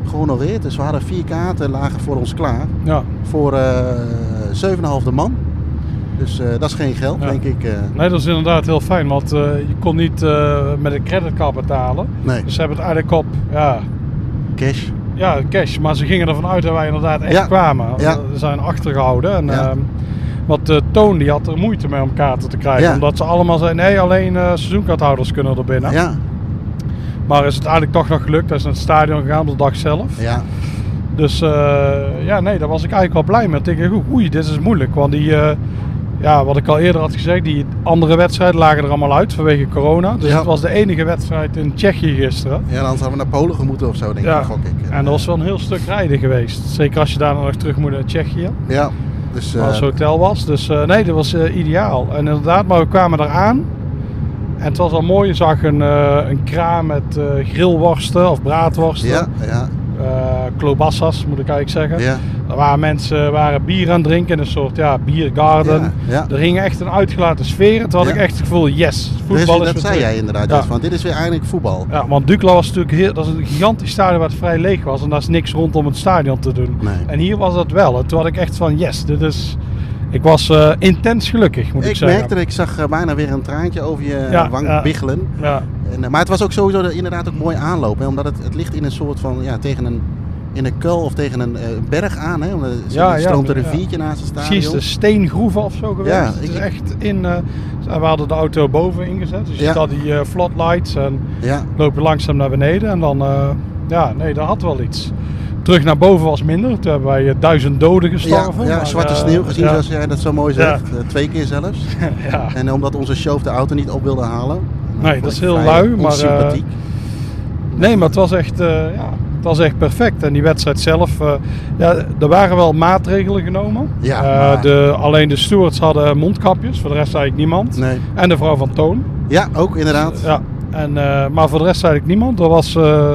Speaker 3: gehonoreerd. Dus we hadden vier kaarten lagen voor ons klaar.
Speaker 1: Ja.
Speaker 3: Voor eh 7,5 de man. Dus eh, dat is geen geld,
Speaker 1: Ja.
Speaker 3: denk ik. eh.
Speaker 1: Nee, dat is inderdaad heel fijn, want eh, je kon niet eh, met een creditcard betalen.
Speaker 3: nee,
Speaker 1: Dus ze hebben het eigenlijk op ja,
Speaker 3: cash.
Speaker 1: ja, cash, maar ze gingen ervan uit dat wij inderdaad echt
Speaker 3: Ja.
Speaker 1: kwamen.
Speaker 3: Ja.
Speaker 1: We zijn achtergehouden. En,
Speaker 3: Ja.
Speaker 1: ehm, want eh, Toon die had er moeite mee om kaarten te krijgen,
Speaker 3: Ja.
Speaker 1: omdat ze allemaal zeiden nee, alleen eh seizoenkaarthouders kunnen er binnen.
Speaker 3: Ja,
Speaker 1: Maar is het eigenlijk toch nog gelukt, hij is naar het stadion gegaan op de dag zelf.
Speaker 3: ja.
Speaker 1: Dus eh, ja, nee, daar was ik eigenlijk wel blij mee. Ik dacht, oeh, oei, dit is moeilijk. Want die, eh, ja, wat ik al eerder had gezegd, die andere wedstrijden lagen er allemaal uit vanwege corona. Dus
Speaker 3: Ja.
Speaker 1: het was de enige wedstrijd in Tsjechië gisteren.
Speaker 3: Ja, anders hadden we naar Polen gemoeten of zo, denk
Speaker 1: Ja.
Speaker 3: ik. Gok ik. eh,
Speaker 1: En dat was wel een heel stuk rijden geweest. Zeker als je daarna nog terug moet naar Tsjechië,
Speaker 3: Ja, dus... eh,
Speaker 1: waar het hotel was. Dus eh, nee, dat was eh, ideaal. En inderdaad, maar we kwamen eraan. En het was al mooi, je zag een, eh, een kraam met eh, grillworsten of braadworsten.
Speaker 3: ja, ja,
Speaker 1: eh, klobassas moet ik eigenlijk zeggen.
Speaker 3: ja.
Speaker 1: Er waren mensen waren bier aan het drinken in een soort ja, biergarden.
Speaker 3: Ja, ja.
Speaker 1: Er ging echt een uitgelaten sfeer. En Toen had
Speaker 3: Ja.
Speaker 1: ik echt het gevoel, yes,
Speaker 3: Dus
Speaker 1: voetbal is
Speaker 3: dat
Speaker 1: weer
Speaker 3: zei
Speaker 1: terug.
Speaker 3: jij inderdaad,
Speaker 1: Ja.
Speaker 3: Jens, want dit is weer eindelijk voetbal.
Speaker 1: Ja, want Dukla was natuurlijk heel, dat is een gigantisch stadion waar het vrij leeg was. En daar is niks rondom het stadion te doen.
Speaker 3: Nee.
Speaker 1: En hier was dat wel. En toen had ik echt van, yes, dit is... Ik was eh, intens gelukkig, moet ik,
Speaker 3: Ik
Speaker 1: zeggen.
Speaker 3: merkte, dat ik zag eh, bijna weer een traantje over je eh,
Speaker 1: Ja,
Speaker 3: wang
Speaker 1: ja.
Speaker 3: biggelen.
Speaker 1: Ja,
Speaker 3: En, eh, maar het was ook sowieso de- inderdaad ook mooi aanloop. Hè, omdat het, het ligt in een soort van, ja, tegen een, in een kuil of tegen een eh, berg aan. Hè, omdat er
Speaker 1: Ja, ja,
Speaker 3: stroomt een
Speaker 1: ja.
Speaker 3: riviertje naast het stadion.
Speaker 1: precies. dus De steengroeven of zo geweest.
Speaker 3: Ja,
Speaker 1: het is
Speaker 3: ik-
Speaker 1: echt in... eh, we hadden de auto boven ingezet. Dus je
Speaker 3: Ja.
Speaker 1: ziet al die eh, floodlights en...
Speaker 3: Ja,
Speaker 1: lopen langzaam naar beneden. En dan, eh, ja, nee, dat had wel iets. Terug naar boven was minder. Toen hebben wij eh, duizend doden
Speaker 3: ja,
Speaker 1: gestorven.
Speaker 3: ja
Speaker 1: maar,
Speaker 3: zwarte
Speaker 1: eh,
Speaker 3: sneeuw gezien,
Speaker 1: ja,
Speaker 3: zoals jij dat zo mooi
Speaker 1: Ja.
Speaker 3: zegt. Eh, twee keer zelfs.
Speaker 1: ja.
Speaker 3: En omdat onze chauffeur de auto niet op wilde halen. Nou,
Speaker 1: Nee,
Speaker 3: vond
Speaker 1: dat is
Speaker 3: ik
Speaker 1: heel
Speaker 3: vrij
Speaker 1: lui, maar, eh,
Speaker 3: onsympathiek.
Speaker 1: Nee, maar het was echt, eh, ja, het was echt perfect. En die wedstrijd zelf, eh, ja, er waren wel maatregelen genomen.
Speaker 3: Ja,
Speaker 1: Eh,
Speaker 3: maar-
Speaker 1: de, alleen de stewards hadden mondkapjes, voor de rest eigenlijk niemand.
Speaker 3: Nee.
Speaker 1: En de vrouw van Toon.
Speaker 3: Ja, ook inderdaad.
Speaker 1: Ja, en, eh, maar voor de rest eigenlijk niemand. Er was eh,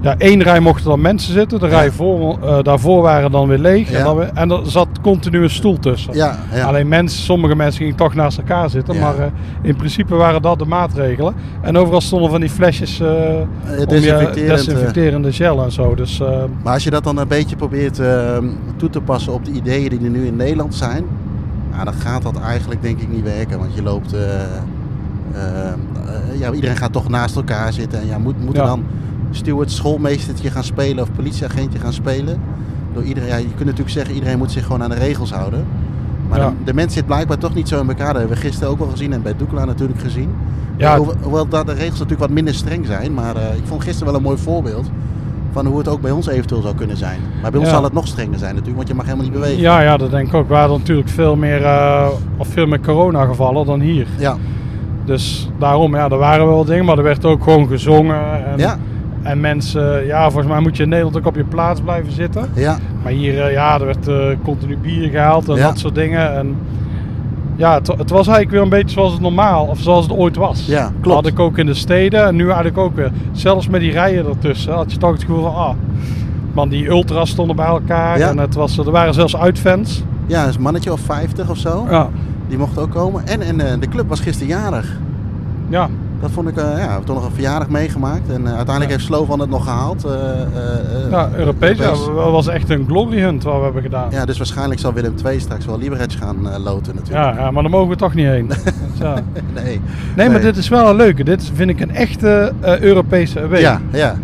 Speaker 1: ja, één rij mochten dan mensen zitten. De rij voor, eh, daarvoor waren dan weer leeg.
Speaker 3: Ja.
Speaker 1: En, dan weer- en er zat continu een stoel tussen.
Speaker 3: Ja, ja.
Speaker 1: Alleen mensen, sommige mensen gingen toch naast elkaar zitten.
Speaker 3: Ja.
Speaker 1: Maar eh, in principe waren dat de maatregelen. En overal stonden van die flesjes eh, om je
Speaker 3: desinfecterend, eh.
Speaker 1: desinfecterende gel en zo. Dus eh,
Speaker 3: Maar als je dat dan een beetje probeert ehm, toe te passen op de ideeën die er nu in Nederland zijn, nou, dan gaat dat eigenlijk denk ik niet werken. Want je loopt. eh, ehm, eh, ja, iedereen gaat toch naast elkaar zitten. En ja, moet, moet er
Speaker 1: Ja.
Speaker 3: dan steward, schoolmeestertje gaan spelen of politieagentje gaan spelen? Door iedereen, ja, je kunt natuurlijk zeggen, iedereen moet zich gewoon aan de regels houden. Maar
Speaker 1: Ja.
Speaker 3: de, de mens zit blijkbaar toch niet zo in elkaar. Dat hebben we gisteren ook wel gezien en bij Doekla natuurlijk gezien.
Speaker 1: Ja.
Speaker 3: Hoewel, hoewel dat de regels natuurlijk wat minder streng zijn. Maar eh, ik vond gisteren wel een mooi voorbeeld van hoe het ook bij ons eventueel zou kunnen zijn. Maar bij ons
Speaker 1: Ja.
Speaker 3: zal het nog strenger zijn natuurlijk, want je mag helemaal niet bewegen.
Speaker 1: ja, ja, dat denk ik ook. We hadden natuurlijk veel meer, eh, of veel meer corona gevallen dan hier.
Speaker 3: Ja,
Speaker 1: Dus daarom, ja, er waren wel dingen, maar er werd ook gewoon gezongen. En,
Speaker 3: Ja.
Speaker 1: en mensen, ja, volgens mij moet je in Nederland ook op je plaats blijven zitten.
Speaker 3: Ja,
Speaker 1: Maar hier, eh, ja, er werd eh, continu bier gehaald en
Speaker 3: Ja.
Speaker 1: dat soort dingen. En ja, het, het was eigenlijk weer een beetje zoals het normaal, of zoals het ooit was.
Speaker 3: Ja, klopt.
Speaker 1: Dat had ik ook in de steden en nu eigenlijk ook weer. Zelfs met die rijen ertussen had je toch het gevoel van, ah, man, die ultras stonden bij elkaar.
Speaker 3: Ja.
Speaker 1: En het was, er waren zelfs uitfans.
Speaker 3: ja dat is een mannetje of 50 of zo.
Speaker 1: Ja,
Speaker 3: Die mocht ook komen. En, en eh, de club was gisteren jarig.
Speaker 1: ja.
Speaker 3: Dat vond ik, eh, ja, we hebben toch nog een verjaardag meegemaakt. En eh, uiteindelijk heeft Slovan het nog gehaald. eh, eh, eh,
Speaker 1: ja Europees. Ja, dat was echt een glory hunt wat we hebben gedaan.
Speaker 3: Ja, dus waarschijnlijk zal Willem II straks wel Liberec gaan eh, loten natuurlijk.
Speaker 1: Ja, ja, maar daar mogen we toch niet heen. Zo.
Speaker 3: Nee.
Speaker 1: Nee, maar dit is wel een leuke. Dit vind ik een echte eh, Europese away.
Speaker 3: Ja, ja.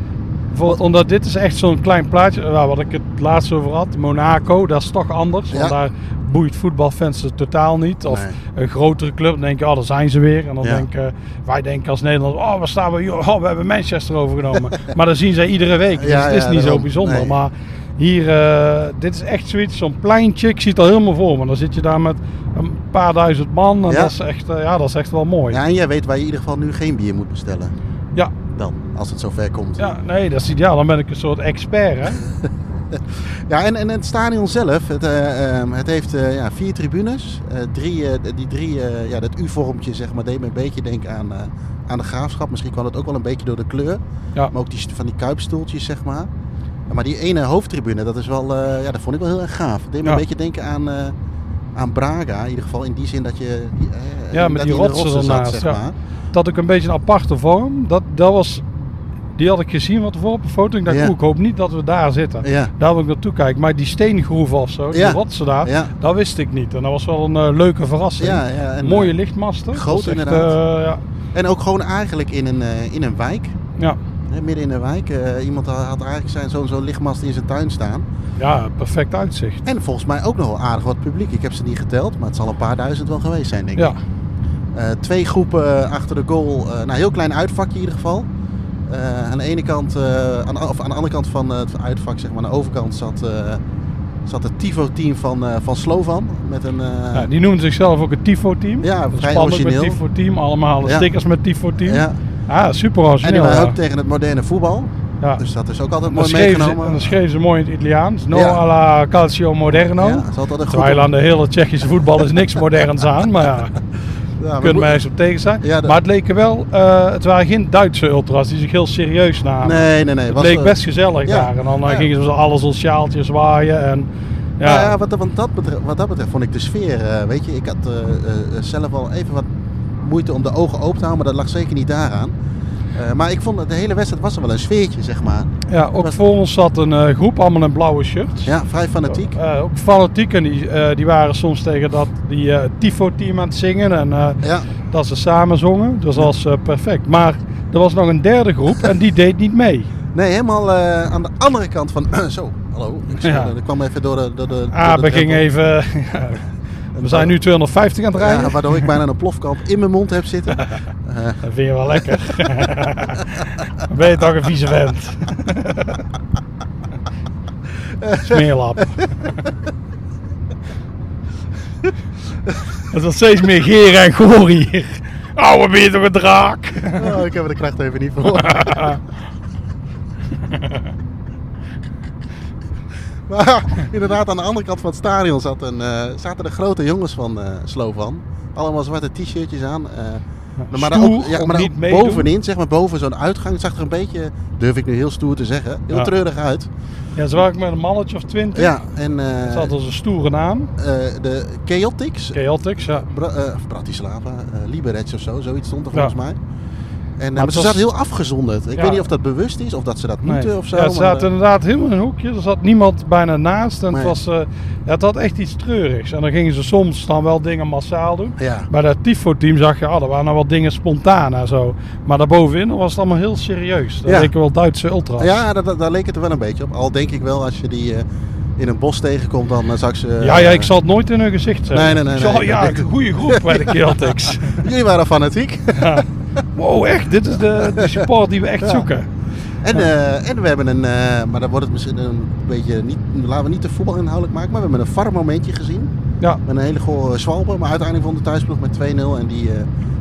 Speaker 1: Bijvoorbeeld, omdat dit is echt zo'n klein plaatje, eh, waar wat ik het laatst over had, Monaco, dat is toch anders. Want
Speaker 3: Ja.
Speaker 1: daar boeit voetbalfans het totaal niet. Of
Speaker 3: Nee.
Speaker 1: een grotere club, dan denk je, oh, daar zijn ze weer. En dan
Speaker 3: Ja.
Speaker 1: denken wij denken als Nederland, oh, waar staan we? hier? Oh, we hebben Manchester overgenomen. maar dat zien zij iedere week. Dus
Speaker 3: Ja,
Speaker 1: het is
Speaker 3: ja,
Speaker 1: niet zo
Speaker 3: daarom.
Speaker 1: bijzonder.
Speaker 3: Nee.
Speaker 1: Maar hier, eh, dit is echt zoiets, zo'n pleintje. Ik zie het al helemaal voor me. Dan zit je daar met een paar duizend man. En
Speaker 3: Ja.
Speaker 1: dat, is echt, eh, ja, dat is echt wel mooi.
Speaker 3: ja, en jij weet waar je in ieder geval nu geen bier moet bestellen.
Speaker 1: Ja.
Speaker 3: Dan, als het zover komt.
Speaker 1: Ja, nee, dat is ideaal. Dan ben ik een soort expert, hè?
Speaker 3: Ja, en, en het stadion zelf, het, eh, ehm, het heeft eh, ja, vier tribunes. Eh, drie, eh, die drie, eh, ja, dat U-vormpje zeg maar, deed me een beetje denken aan, eh, aan de graafschap. Misschien kwam het ook wel een beetje door de kleur.
Speaker 1: Ja.
Speaker 3: Maar ook die, st- van die kuipstoeltjes, zeg maar. Maar die ene hoofdtribune, dat, is wel, eh, ja, dat vond ik wel heel erg gaaf. Het deed me
Speaker 1: Ja.
Speaker 3: een beetje denken aan, eh, aan Braga. In ieder geval in die zin dat je... die, eh,
Speaker 1: Ja, met
Speaker 3: dat
Speaker 1: die
Speaker 3: in de
Speaker 1: rotsen
Speaker 3: zat,
Speaker 1: ernaast,
Speaker 3: zeg
Speaker 1: ja.
Speaker 3: maar.
Speaker 1: Het had ook een beetje een aparte vorm. Dat, dat was, die had ik gezien wat voor op een foto. Ik dacht,
Speaker 3: Ja.
Speaker 1: oeh, ik hoop niet dat we daar zitten.
Speaker 3: Ja.
Speaker 1: Daar wil ik naartoe kijken. Maar die steengroeven of zo, die
Speaker 3: Ja.
Speaker 1: rotsen daar,
Speaker 3: Ja.
Speaker 1: dat wist ik niet. En dat was wel een eh, leuke verrassing.
Speaker 3: Ja, ja, en,
Speaker 1: Mooie
Speaker 3: eh,
Speaker 1: lichtmasten.
Speaker 3: groot
Speaker 1: Dat was echt,
Speaker 3: inderdaad.
Speaker 1: eh, ja.
Speaker 3: En ook gewoon eigenlijk in een, eh, in een wijk.
Speaker 1: Ja.
Speaker 3: Hè, midden in de wijk. Eh, iemand had eigenlijk zijn zo'n zo'n lichtmast in zijn tuin staan.
Speaker 1: ja, perfect uitzicht.
Speaker 3: En volgens mij ook nog wel aardig wat publiek. Ik heb ze niet geteld, maar het zal een paar duizend wel geweest zijn, denk ik.
Speaker 1: Ja,
Speaker 3: Eh, twee groepen eh, achter de goal. eh nou, heel klein uitvakje in ieder geval. Eh, aan de ene kant, eh, aan, of aan de andere kant van eh, het uitvak, zeg maar, aan de overkant zat, eh, zat het Tivo-team van, eh, van Slovan. Met een, eh,
Speaker 1: Ja, die noemen zichzelf ook het Tifo-team.
Speaker 3: Ja,
Speaker 1: Dat is
Speaker 3: vrij
Speaker 1: spannend met
Speaker 3: origineel.
Speaker 1: Tifo-team. Allemaal
Speaker 3: Ja.
Speaker 1: stickers met Tifo-team.
Speaker 3: ja.
Speaker 1: Ah, super
Speaker 3: En die
Speaker 1: origineel.
Speaker 3: waren
Speaker 1: ja.
Speaker 3: ook tegen het moderne voetbal.
Speaker 1: Ja.
Speaker 3: Dus dat is ook altijd
Speaker 1: Dan
Speaker 3: mooi
Speaker 1: schreven, ze,
Speaker 3: meegenomen.
Speaker 1: dan schreven ze mooi in het Italiaans. No
Speaker 3: Ja.
Speaker 1: alla calcio moderno.
Speaker 3: Ja, dat is altijd een goed
Speaker 1: Terwijl aan de hele Tsjechische voetbal is niks moderns aan, maar ja,
Speaker 3: Ja, we
Speaker 1: kunnen
Speaker 3: moet-
Speaker 1: mij eens op tegen zijn.
Speaker 3: Ja, dat-
Speaker 1: Maar het leken wel, eh, het waren geen Duitse ultras die zich heel serieus namen.
Speaker 3: Nee, nee, nee.
Speaker 1: het
Speaker 3: was,
Speaker 1: leek
Speaker 3: eh,
Speaker 1: best gezellig
Speaker 3: ja,
Speaker 1: daar en dan eh,
Speaker 3: ja.
Speaker 1: gingen ze alles als sjaaltjes waaien en ja,
Speaker 3: Nou ja, wat, want dat betreft, wat dat betreft vond ik de sfeer, eh, weet je, ik had eh, eh, eh, zelf al even wat moeite om de ogen open te houden, maar dat lag zeker niet daaraan. Eh, maar ik vond dat de hele wedstrijd was er wel een sfeertje, zeg maar.
Speaker 1: ja, ook
Speaker 3: was-
Speaker 1: voor ons zat een eh, groep, allemaal in blauwe shirts.
Speaker 3: Ja, vrij fanatiek.
Speaker 1: Eh, ook fanatiek en die, eh, die waren soms tegen dat die eh, Tifo-team aan het zingen en eh,
Speaker 3: Ja,
Speaker 1: dat ze samen zongen, dus dat was eh, perfect. Maar er was nog een derde groep en die deed niet mee.
Speaker 3: nee, helemaal eh, aan de andere kant van. zo, hallo. Ik,
Speaker 1: Ja.
Speaker 3: schreeuwde, ik kwam even door de. Door de door
Speaker 1: Ah,
Speaker 3: de
Speaker 1: we gingen
Speaker 3: drempel.
Speaker 1: even, ja, we zijn nu 250 aan het rijden.
Speaker 3: Ja, waardoor ik bijna een plofkamp in mijn mond heb zitten. Eh,
Speaker 1: Dat vind je wel lekker. Dan ben je toch een vieze vent. Smeerlap. Het wordt steeds meer geer en goor hier. Oude ben je toch een draak?
Speaker 3: oh, ik heb er de kracht even niet voor. Maar inderdaad, aan de andere kant van het stadion zat een, eh, zaten de grote jongens van eh, Slovan. Allemaal zwarte t-shirtjes aan. eh, maar daar
Speaker 1: Stoer
Speaker 3: ook-
Speaker 1: om
Speaker 3: maar daar
Speaker 1: niet
Speaker 3: ook
Speaker 1: mee te doen.
Speaker 3: bovenin, zeg maar, boven zo'n uitgang, het zag er een beetje, durf ik nu heel stoer te zeggen, heel
Speaker 1: Ja.
Speaker 3: treurig uit.
Speaker 1: Ja, zo waren ik met een mannetje of twintig.
Speaker 3: Ja, en eh,
Speaker 1: Ze had als een stoere naam.
Speaker 3: eh, de Chaotix,
Speaker 1: Chaotix, ja.
Speaker 3: Bra eh, of Bratislava, eh Liberec of zo, zoiets stond er
Speaker 1: Ja.
Speaker 3: volgens mij. En, eh, maar
Speaker 1: het
Speaker 3: ze
Speaker 1: was-
Speaker 3: zaten heel afgezonderd. Ik
Speaker 1: Ja.
Speaker 3: weet niet of dat bewust is, of dat ze dat moeten
Speaker 1: Nee.
Speaker 3: of zo.
Speaker 1: Ja, het
Speaker 3: maar,
Speaker 1: zaten
Speaker 3: eh,
Speaker 1: inderdaad helemaal in een hoekje. Er zat niemand bijna naast. En het,
Speaker 3: Nee.
Speaker 1: was, eh, ja, het had echt iets treurigs. En dan gingen ze soms dan wel dingen massaal doen.
Speaker 3: Ja.
Speaker 1: Bij dat Tifo-team zag je, ah, er waren nou wat dingen spontaan en zo. Maar daarbovenin was het allemaal heel serieus. Dat
Speaker 3: Ja.
Speaker 1: leken wel Duitse ultras.
Speaker 3: Ja, daar, daar- daar leek het er wel een beetje op. Al denk ik wel, als je die eh, in een bos tegenkomt, dan eh, zou ik ze...
Speaker 1: ja, ja, ik
Speaker 3: eh,
Speaker 1: zal het nooit in hun gezicht zeggen.
Speaker 3: Nee, nee, nee,
Speaker 1: Ik zal,
Speaker 3: nee.
Speaker 1: ja, een goede groep bij de Celtics.
Speaker 3: eh, Jullie waren fanatiek.
Speaker 1: Wow, echt, dit is de, de support die we echt zoeken.
Speaker 3: en, eh, en we hebben een... eh, maar dan wordt het misschien een beetje... Niet, laten we niet te voetbal inhoudelijk maken, maar we hebben een VAR momentje gezien.
Speaker 1: Ja.
Speaker 3: Met een hele gore zwalpen. Maar uiteindelijk won de thuisploeg met 2-0. En die eh,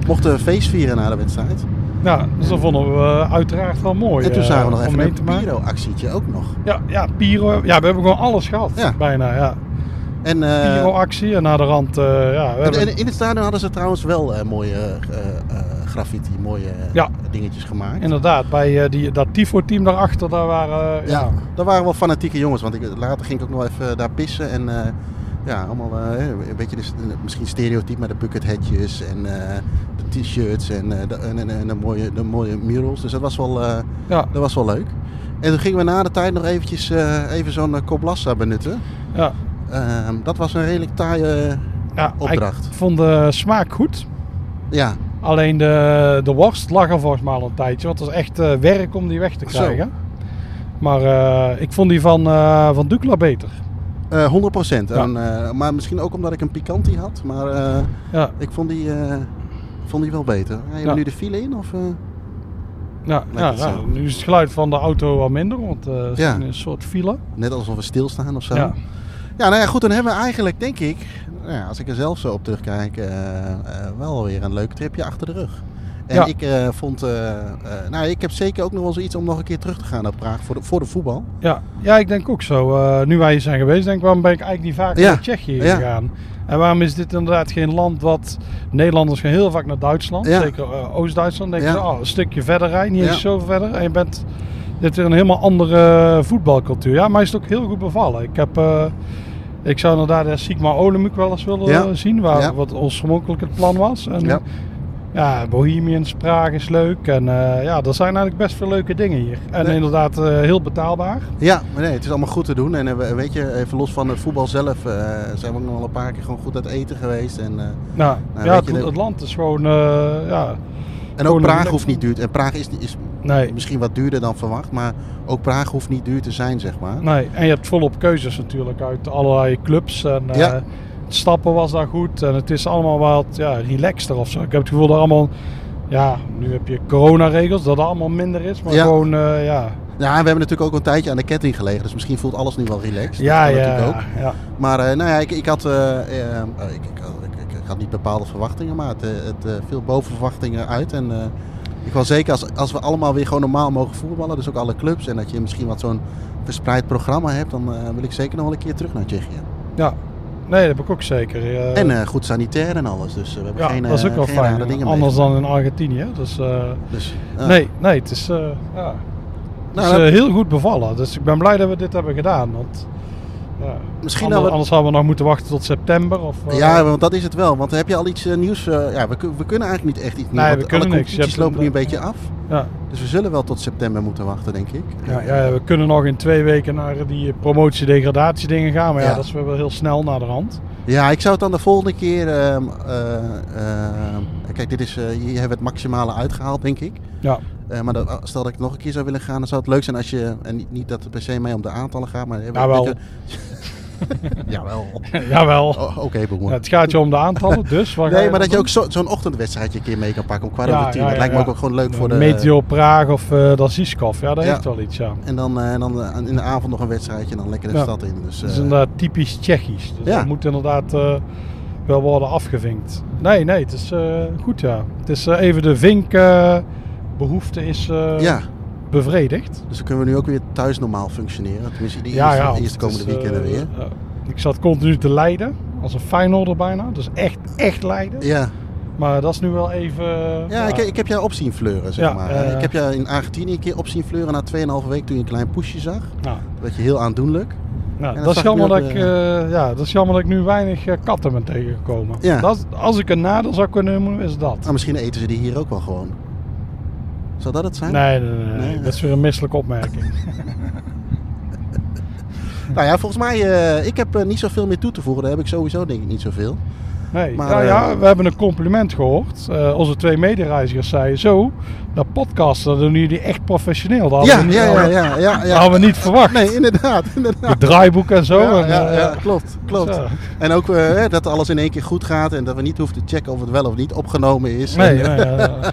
Speaker 3: mochten feest vieren na de wedstrijd.
Speaker 1: Ja, dus dat vonden we eh, uiteraard wel mooi.
Speaker 3: en toen
Speaker 1: eh,
Speaker 3: zagen we nog
Speaker 1: om
Speaker 3: even
Speaker 1: mee
Speaker 3: een
Speaker 1: te maken.
Speaker 3: Piro-actietje ook nog.
Speaker 1: Ja, ja, Piro. Ja, we hebben gewoon alles gehad.
Speaker 3: Ja.
Speaker 1: Bijna, ja.
Speaker 3: En, eh,
Speaker 1: Piro-actie en naar de rand. eh, ja, we
Speaker 3: en-
Speaker 1: hebben-
Speaker 3: en in het stadion hadden ze trouwens wel eh, mooie eh, eh, graffiti, mooie eh,
Speaker 1: Ja.
Speaker 3: dingetjes gemaakt.
Speaker 1: inderdaad, bij eh, die, dat Tifo-team daarachter, daar waren... eh,
Speaker 3: Ja,
Speaker 1: ja.
Speaker 3: daar waren wel fanatieke jongens. Want ik, later ging ik ook nog even daar pissen. En eh, ja, allemaal eh, een beetje de, misschien stereotype, maar de buckethatjes en eh, de t-shirts en, eh, de, en, en- en de, mooie, de mooie murals. Dus dat was, wel, eh,
Speaker 1: Ja.
Speaker 3: dat was wel leuk. En toen gingen we na de tijd nog eventjes eh, even zo'n eh, Koblassa benutten.
Speaker 1: ja.
Speaker 3: Ehm, dat was een redelijk taaie...
Speaker 1: Ja,
Speaker 3: Opdracht.
Speaker 1: Ik vond de smaak goed.
Speaker 3: ja,
Speaker 1: Alleen de, de worst lag er volgens mij al een tijdje. Want het was echt eh, werk om die weg te
Speaker 3: Zo.
Speaker 1: krijgen. Maar eh, ik vond die van, eh van Dukla beter.
Speaker 3: eh, 100 procent. eh,
Speaker 1: Ja.
Speaker 3: maar misschien ook omdat ik een pikantie had. Maar eh,
Speaker 1: Ja,
Speaker 3: ik vond die, eh, vond die wel beter. Rijden
Speaker 1: Ja.
Speaker 3: we nu de file in? Of, eh?
Speaker 1: ja, ja,
Speaker 3: het zo.
Speaker 1: ja. nu is het geluid van de auto wat minder. Want eh, het is
Speaker 3: Ja.
Speaker 1: een soort file.
Speaker 3: Net alsof we stilstaan of zo.
Speaker 1: Ja.
Speaker 3: Ja, nou ja, goed, dan hebben we eigenlijk, denk ik, nou ja, als ik er zelf zo op terugkijk, eh, eh, wel weer een leuk tripje achter de rug. En
Speaker 1: Ja.
Speaker 3: ik eh, vond, eh, eh, nou ik heb zeker ook nog wel zoiets om nog een keer terug te gaan naar Praag voor de, voor de voetbal.
Speaker 1: Ja. ja, ik denk ook zo. Eh, nu wij hier zijn geweest, denk ik, waarom ben ik eigenlijk niet vaker
Speaker 3: Ja.
Speaker 1: naar Tsjechië
Speaker 3: Ja.
Speaker 1: gegaan? En waarom is dit inderdaad geen land wat... Nederlanders gaan heel vaak naar Duitsland.
Speaker 3: Ja.
Speaker 1: Zeker eh, Oost-Duitsland. denken
Speaker 3: Ja.
Speaker 1: ze, oh, een stukje verder rijden. Niet
Speaker 3: Ja.
Speaker 1: eens zo verder. En je bent... Dit is weer een helemaal andere voetbalcultuur. Ja, mij is het ook heel goed bevallen. Ik heb... eh, ik zou inderdaad de Sigma Olemuk wel eens willen
Speaker 3: Ja.
Speaker 1: eh, zien. Waar,
Speaker 3: Ja.
Speaker 1: Wat oorspronkelijk het plan was. En,
Speaker 3: Ja.
Speaker 1: ja. Bohemians, Praag is leuk. En eh, ja, er zijn eigenlijk best veel leuke dingen hier. En
Speaker 3: Ja.
Speaker 1: inderdaad eh, heel betaalbaar.
Speaker 3: Ja, maar nee, het is allemaal goed te doen. En eh, we- weet je, even los van het voetbal zelf, eh, zijn we ook nog wel een paar keer gewoon goed uit eten geweest. En, eh,
Speaker 1: Nou,
Speaker 3: Nou,
Speaker 1: ja,
Speaker 3: weet
Speaker 1: het,
Speaker 3: je, de-
Speaker 1: het land is gewoon, eh, ja,
Speaker 3: en ook
Speaker 1: Gewoon
Speaker 3: Praag
Speaker 1: leuk.
Speaker 3: hoeft niet duur En Praag is, is
Speaker 1: nee,
Speaker 3: misschien wat duurder dan verwacht, maar ook Praag hoeft niet duur te zijn, zeg maar.
Speaker 1: nee. En je hebt volop keuzes natuurlijk uit allerlei clubs. En eh,
Speaker 3: Ja.
Speaker 1: het stappen was daar goed. En het is allemaal wat ja, relaxter of zo. Ik heb het gevoel dat allemaal, ja, nu heb je coronaregels, dat het allemaal minder is. Maar
Speaker 3: Ja.
Speaker 1: gewoon, eh, ja.
Speaker 3: Ja, en we hebben natuurlijk ook een tijdje aan de ketting gelegen, dus misschien voelt alles nu wel relaxed. Dat
Speaker 1: Ja,
Speaker 3: kan
Speaker 1: ja,
Speaker 3: natuurlijk ook.
Speaker 1: ja, ja.
Speaker 3: Maar eh, nou ja, ik, ik had, eh, eh, eh, ik, ik, ik, ik had niet bepaalde verwachtingen, maar het, eh, het eh, viel boven verwachtingen uit. En eh, ik was zeker als, als we allemaal weer gewoon normaal mogen voetballen, dus ook alle clubs, en dat je misschien wat zo'n verspreid programma hebt, dan eh, wil ik zeker nog wel een keer terug naar Tsjechië.
Speaker 1: Ja. Nee, dat heb ik ook zeker. eh,
Speaker 3: en eh, goed sanitair en alles, dus eh, we hebben
Speaker 1: ja,
Speaker 3: geen, eh,
Speaker 1: dat is ook wel
Speaker 3: geen
Speaker 1: fijn.
Speaker 3: rare dingen
Speaker 1: Anders
Speaker 3: mee.
Speaker 1: dan in Argentinië. Dus, eh,
Speaker 3: Dus, eh,
Speaker 1: nee, nee, het is, eh, ja. Het is
Speaker 3: nou,
Speaker 1: eh, heel goed bevallen. Dus ik ben blij dat we dit hebben gedaan. Want, ja,
Speaker 3: Misschien
Speaker 1: anders,
Speaker 3: dat we-
Speaker 1: anders hadden we nog moeten wachten tot september. Of, eh,
Speaker 3: Ja, want dat is het wel. Want heb je al iets eh, nieuws? eh, ja, we, kun- we kunnen eigenlijk niet echt iets nieuws.
Speaker 1: we
Speaker 3: want
Speaker 1: kunnen
Speaker 3: alle
Speaker 1: niks. Je
Speaker 3: competities
Speaker 1: hebt
Speaker 3: lopen nu een
Speaker 1: een- eh,
Speaker 3: beetje af.
Speaker 1: ja,
Speaker 3: Dus we zullen wel tot september moeten wachten, denk ik.
Speaker 1: ja, ja, we kunnen nog in twee weken naar die promotie-degradatie dingen gaan. Maar ja,
Speaker 3: Ja.
Speaker 1: dat is wel heel snel naar de hand.
Speaker 3: Ja, ik zou het dan de volgende keer. ehm, eh, ehm, kijk, dit is, eh, hier hebben we het maximale uitgehaald, denk ik.
Speaker 1: Ja,
Speaker 3: Eh, maar dat, stel dat ik nog een keer zou willen gaan, dan zou het leuk zijn als je. En niet, niet dat het per se mee om de aantallen gaat, maar.
Speaker 1: Jawel.
Speaker 3: Jawel.
Speaker 1: jawel.
Speaker 3: O- Oké, boemer.
Speaker 1: Ja, het gaat je om de aantallen, dus... waar ga
Speaker 3: Oh. Nee, maar
Speaker 1: dan
Speaker 3: dat je
Speaker 1: doen?
Speaker 3: ook zo- zo'n ochtendwedstrijdje een keer mee kan pakken om kwart
Speaker 1: Ja,
Speaker 3: over tien.
Speaker 1: ja,
Speaker 3: dat
Speaker 1: ja,
Speaker 3: lijkt me
Speaker 1: ja.
Speaker 3: ook, gewoon leuk voor de.
Speaker 1: Meteo Praag of eh dan Ziskov. Ja, dat
Speaker 3: Ja.
Speaker 1: heeft wel iets, ja.
Speaker 3: En dan, eh, en dan eh, in de avond nog een wedstrijdje en dan lekker de
Speaker 1: Ja.
Speaker 3: stad in. Dus,
Speaker 1: Het is
Speaker 3: eh,
Speaker 1: inderdaad typisch Tsjechisch. Dus
Speaker 3: Ja.
Speaker 1: dat moet inderdaad eh, wel worden afgevinkt. Nee, nee, het is eh, goed ja. Het is eh, even de vinkbehoefte behoefte is eh,
Speaker 3: ja,
Speaker 1: bevredigd.
Speaker 3: dus dan kunnen we nu ook weer thuis normaal functioneren. Tenminste, die
Speaker 1: ja,
Speaker 3: eerste,
Speaker 1: ja.
Speaker 3: de
Speaker 1: want het
Speaker 3: eerste komende
Speaker 1: is, eh,
Speaker 3: weekenden weer.
Speaker 1: ja. ik zat continu te lijden. Als een Feyenoorder bijna. Dus echt, echt lijden.
Speaker 3: Ja,
Speaker 1: Maar dat is nu wel even... eh,
Speaker 3: ja ik, ik heb jou op zien fleuren, zeg
Speaker 1: Ja,
Speaker 3: maar.
Speaker 1: eh,
Speaker 3: ik heb jou in Argentinië een keer op zien fleuren na 2,5 week toen je een klein poesje zag.
Speaker 1: nou,
Speaker 3: Dat werd je heel aandoenlijk.
Speaker 1: nou,
Speaker 3: dat
Speaker 1: dat, is
Speaker 3: zag ik nu
Speaker 1: jammer dat
Speaker 3: ook,
Speaker 1: ik, eh, ja, dat is jammer dat ik nu weinig eh, katten ben tegengekomen.
Speaker 3: Ja.
Speaker 1: Dat, als ik een nadeel zou kunnen noemen, is dat.
Speaker 3: Ah, misschien eten ze die hier ook wel gewoon. Zou dat het zijn?
Speaker 1: Nee, nee, nee,
Speaker 3: Nee,
Speaker 1: nee, dat is weer een misselijke opmerking.
Speaker 3: Nou ja, volgens mij, eh, ik heb eh, niet zoveel meer toe te voegen. Daar heb ik sowieso denk ik niet zoveel.
Speaker 1: Nee,
Speaker 3: Maar,
Speaker 1: ja,
Speaker 3: eh,
Speaker 1: ja, we hebben een compliment gehoord. Eh, onze twee medereizigers zeiden zo, dat podcasten dat doen jullie echt professioneel. Dat
Speaker 3: Ja,
Speaker 1: hadden, we,
Speaker 3: ja,
Speaker 1: niet-
Speaker 3: ja, ja, ja,
Speaker 1: dat
Speaker 3: ja.
Speaker 1: hadden we niet verwacht.
Speaker 3: Nee, inderdaad, inderdaad.
Speaker 1: Het draaiboek en zo.
Speaker 3: Ja,
Speaker 1: en,
Speaker 3: ja,
Speaker 1: eh,
Speaker 3: ja, klopt, klopt.
Speaker 1: zo.
Speaker 3: En ook eh, dat alles in één keer goed gaat en dat we niet hoeven te checken of het wel of niet opgenomen is.
Speaker 1: Nee,
Speaker 3: En, eh,
Speaker 1: nee, ja,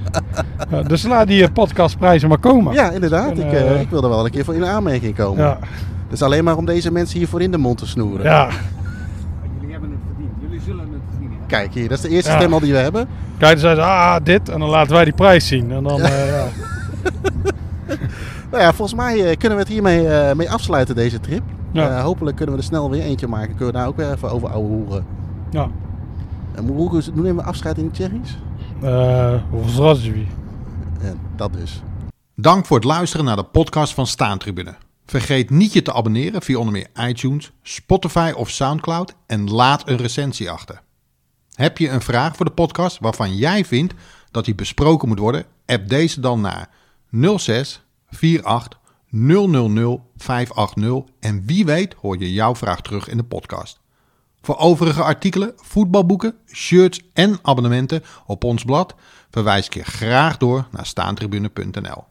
Speaker 1: ja. dus laat die eh, podcastprijzen maar komen.
Speaker 3: ja, inderdaad.
Speaker 1: En,
Speaker 3: ik, eh,
Speaker 1: eh,
Speaker 3: ik wil er wel een keer voor in aanmerking komen.
Speaker 1: ja.
Speaker 3: Dus alleen maar om deze mensen hiervoor in de mond te snoeren.
Speaker 1: ja.
Speaker 5: Jullie hebben het verdiend.
Speaker 3: Kijk hier, dat is de eerste
Speaker 1: Ja.
Speaker 3: stem al die we hebben.
Speaker 1: Kijk, dan zeiden ze, ah, dit. En dan laten wij die prijs zien. En dan, eh, ja.
Speaker 3: Nou ja, volgens mij eh, kunnen we het hiermee eh, mee afsluiten, deze trip.
Speaker 1: Ja.
Speaker 3: Eh, hopelijk kunnen we er snel weer eentje maken. Kunnen we daar ook weer even over ouwe hoeren.
Speaker 1: ja.
Speaker 3: En hoe, hoe hoe nemen we afscheid in het Tsjechisch?
Speaker 1: Eh, rozhodí.
Speaker 3: Eh, dat dus.
Speaker 2: Dank voor het luisteren naar de podcast van Staantribune. Vergeet niet je te abonneren via onder meer iTunes, Spotify of Soundcloud en laat een recensie achter. Heb je een vraag voor de podcast waarvan jij vindt dat die besproken moet worden? App deze dan naar 06 48 000 580 en wie weet hoor je jouw vraag terug in de podcast. Voor overige artikelen, voetbalboeken, shirts en abonnementen op ons blad verwijs ik je graag door naar staantribune.nl.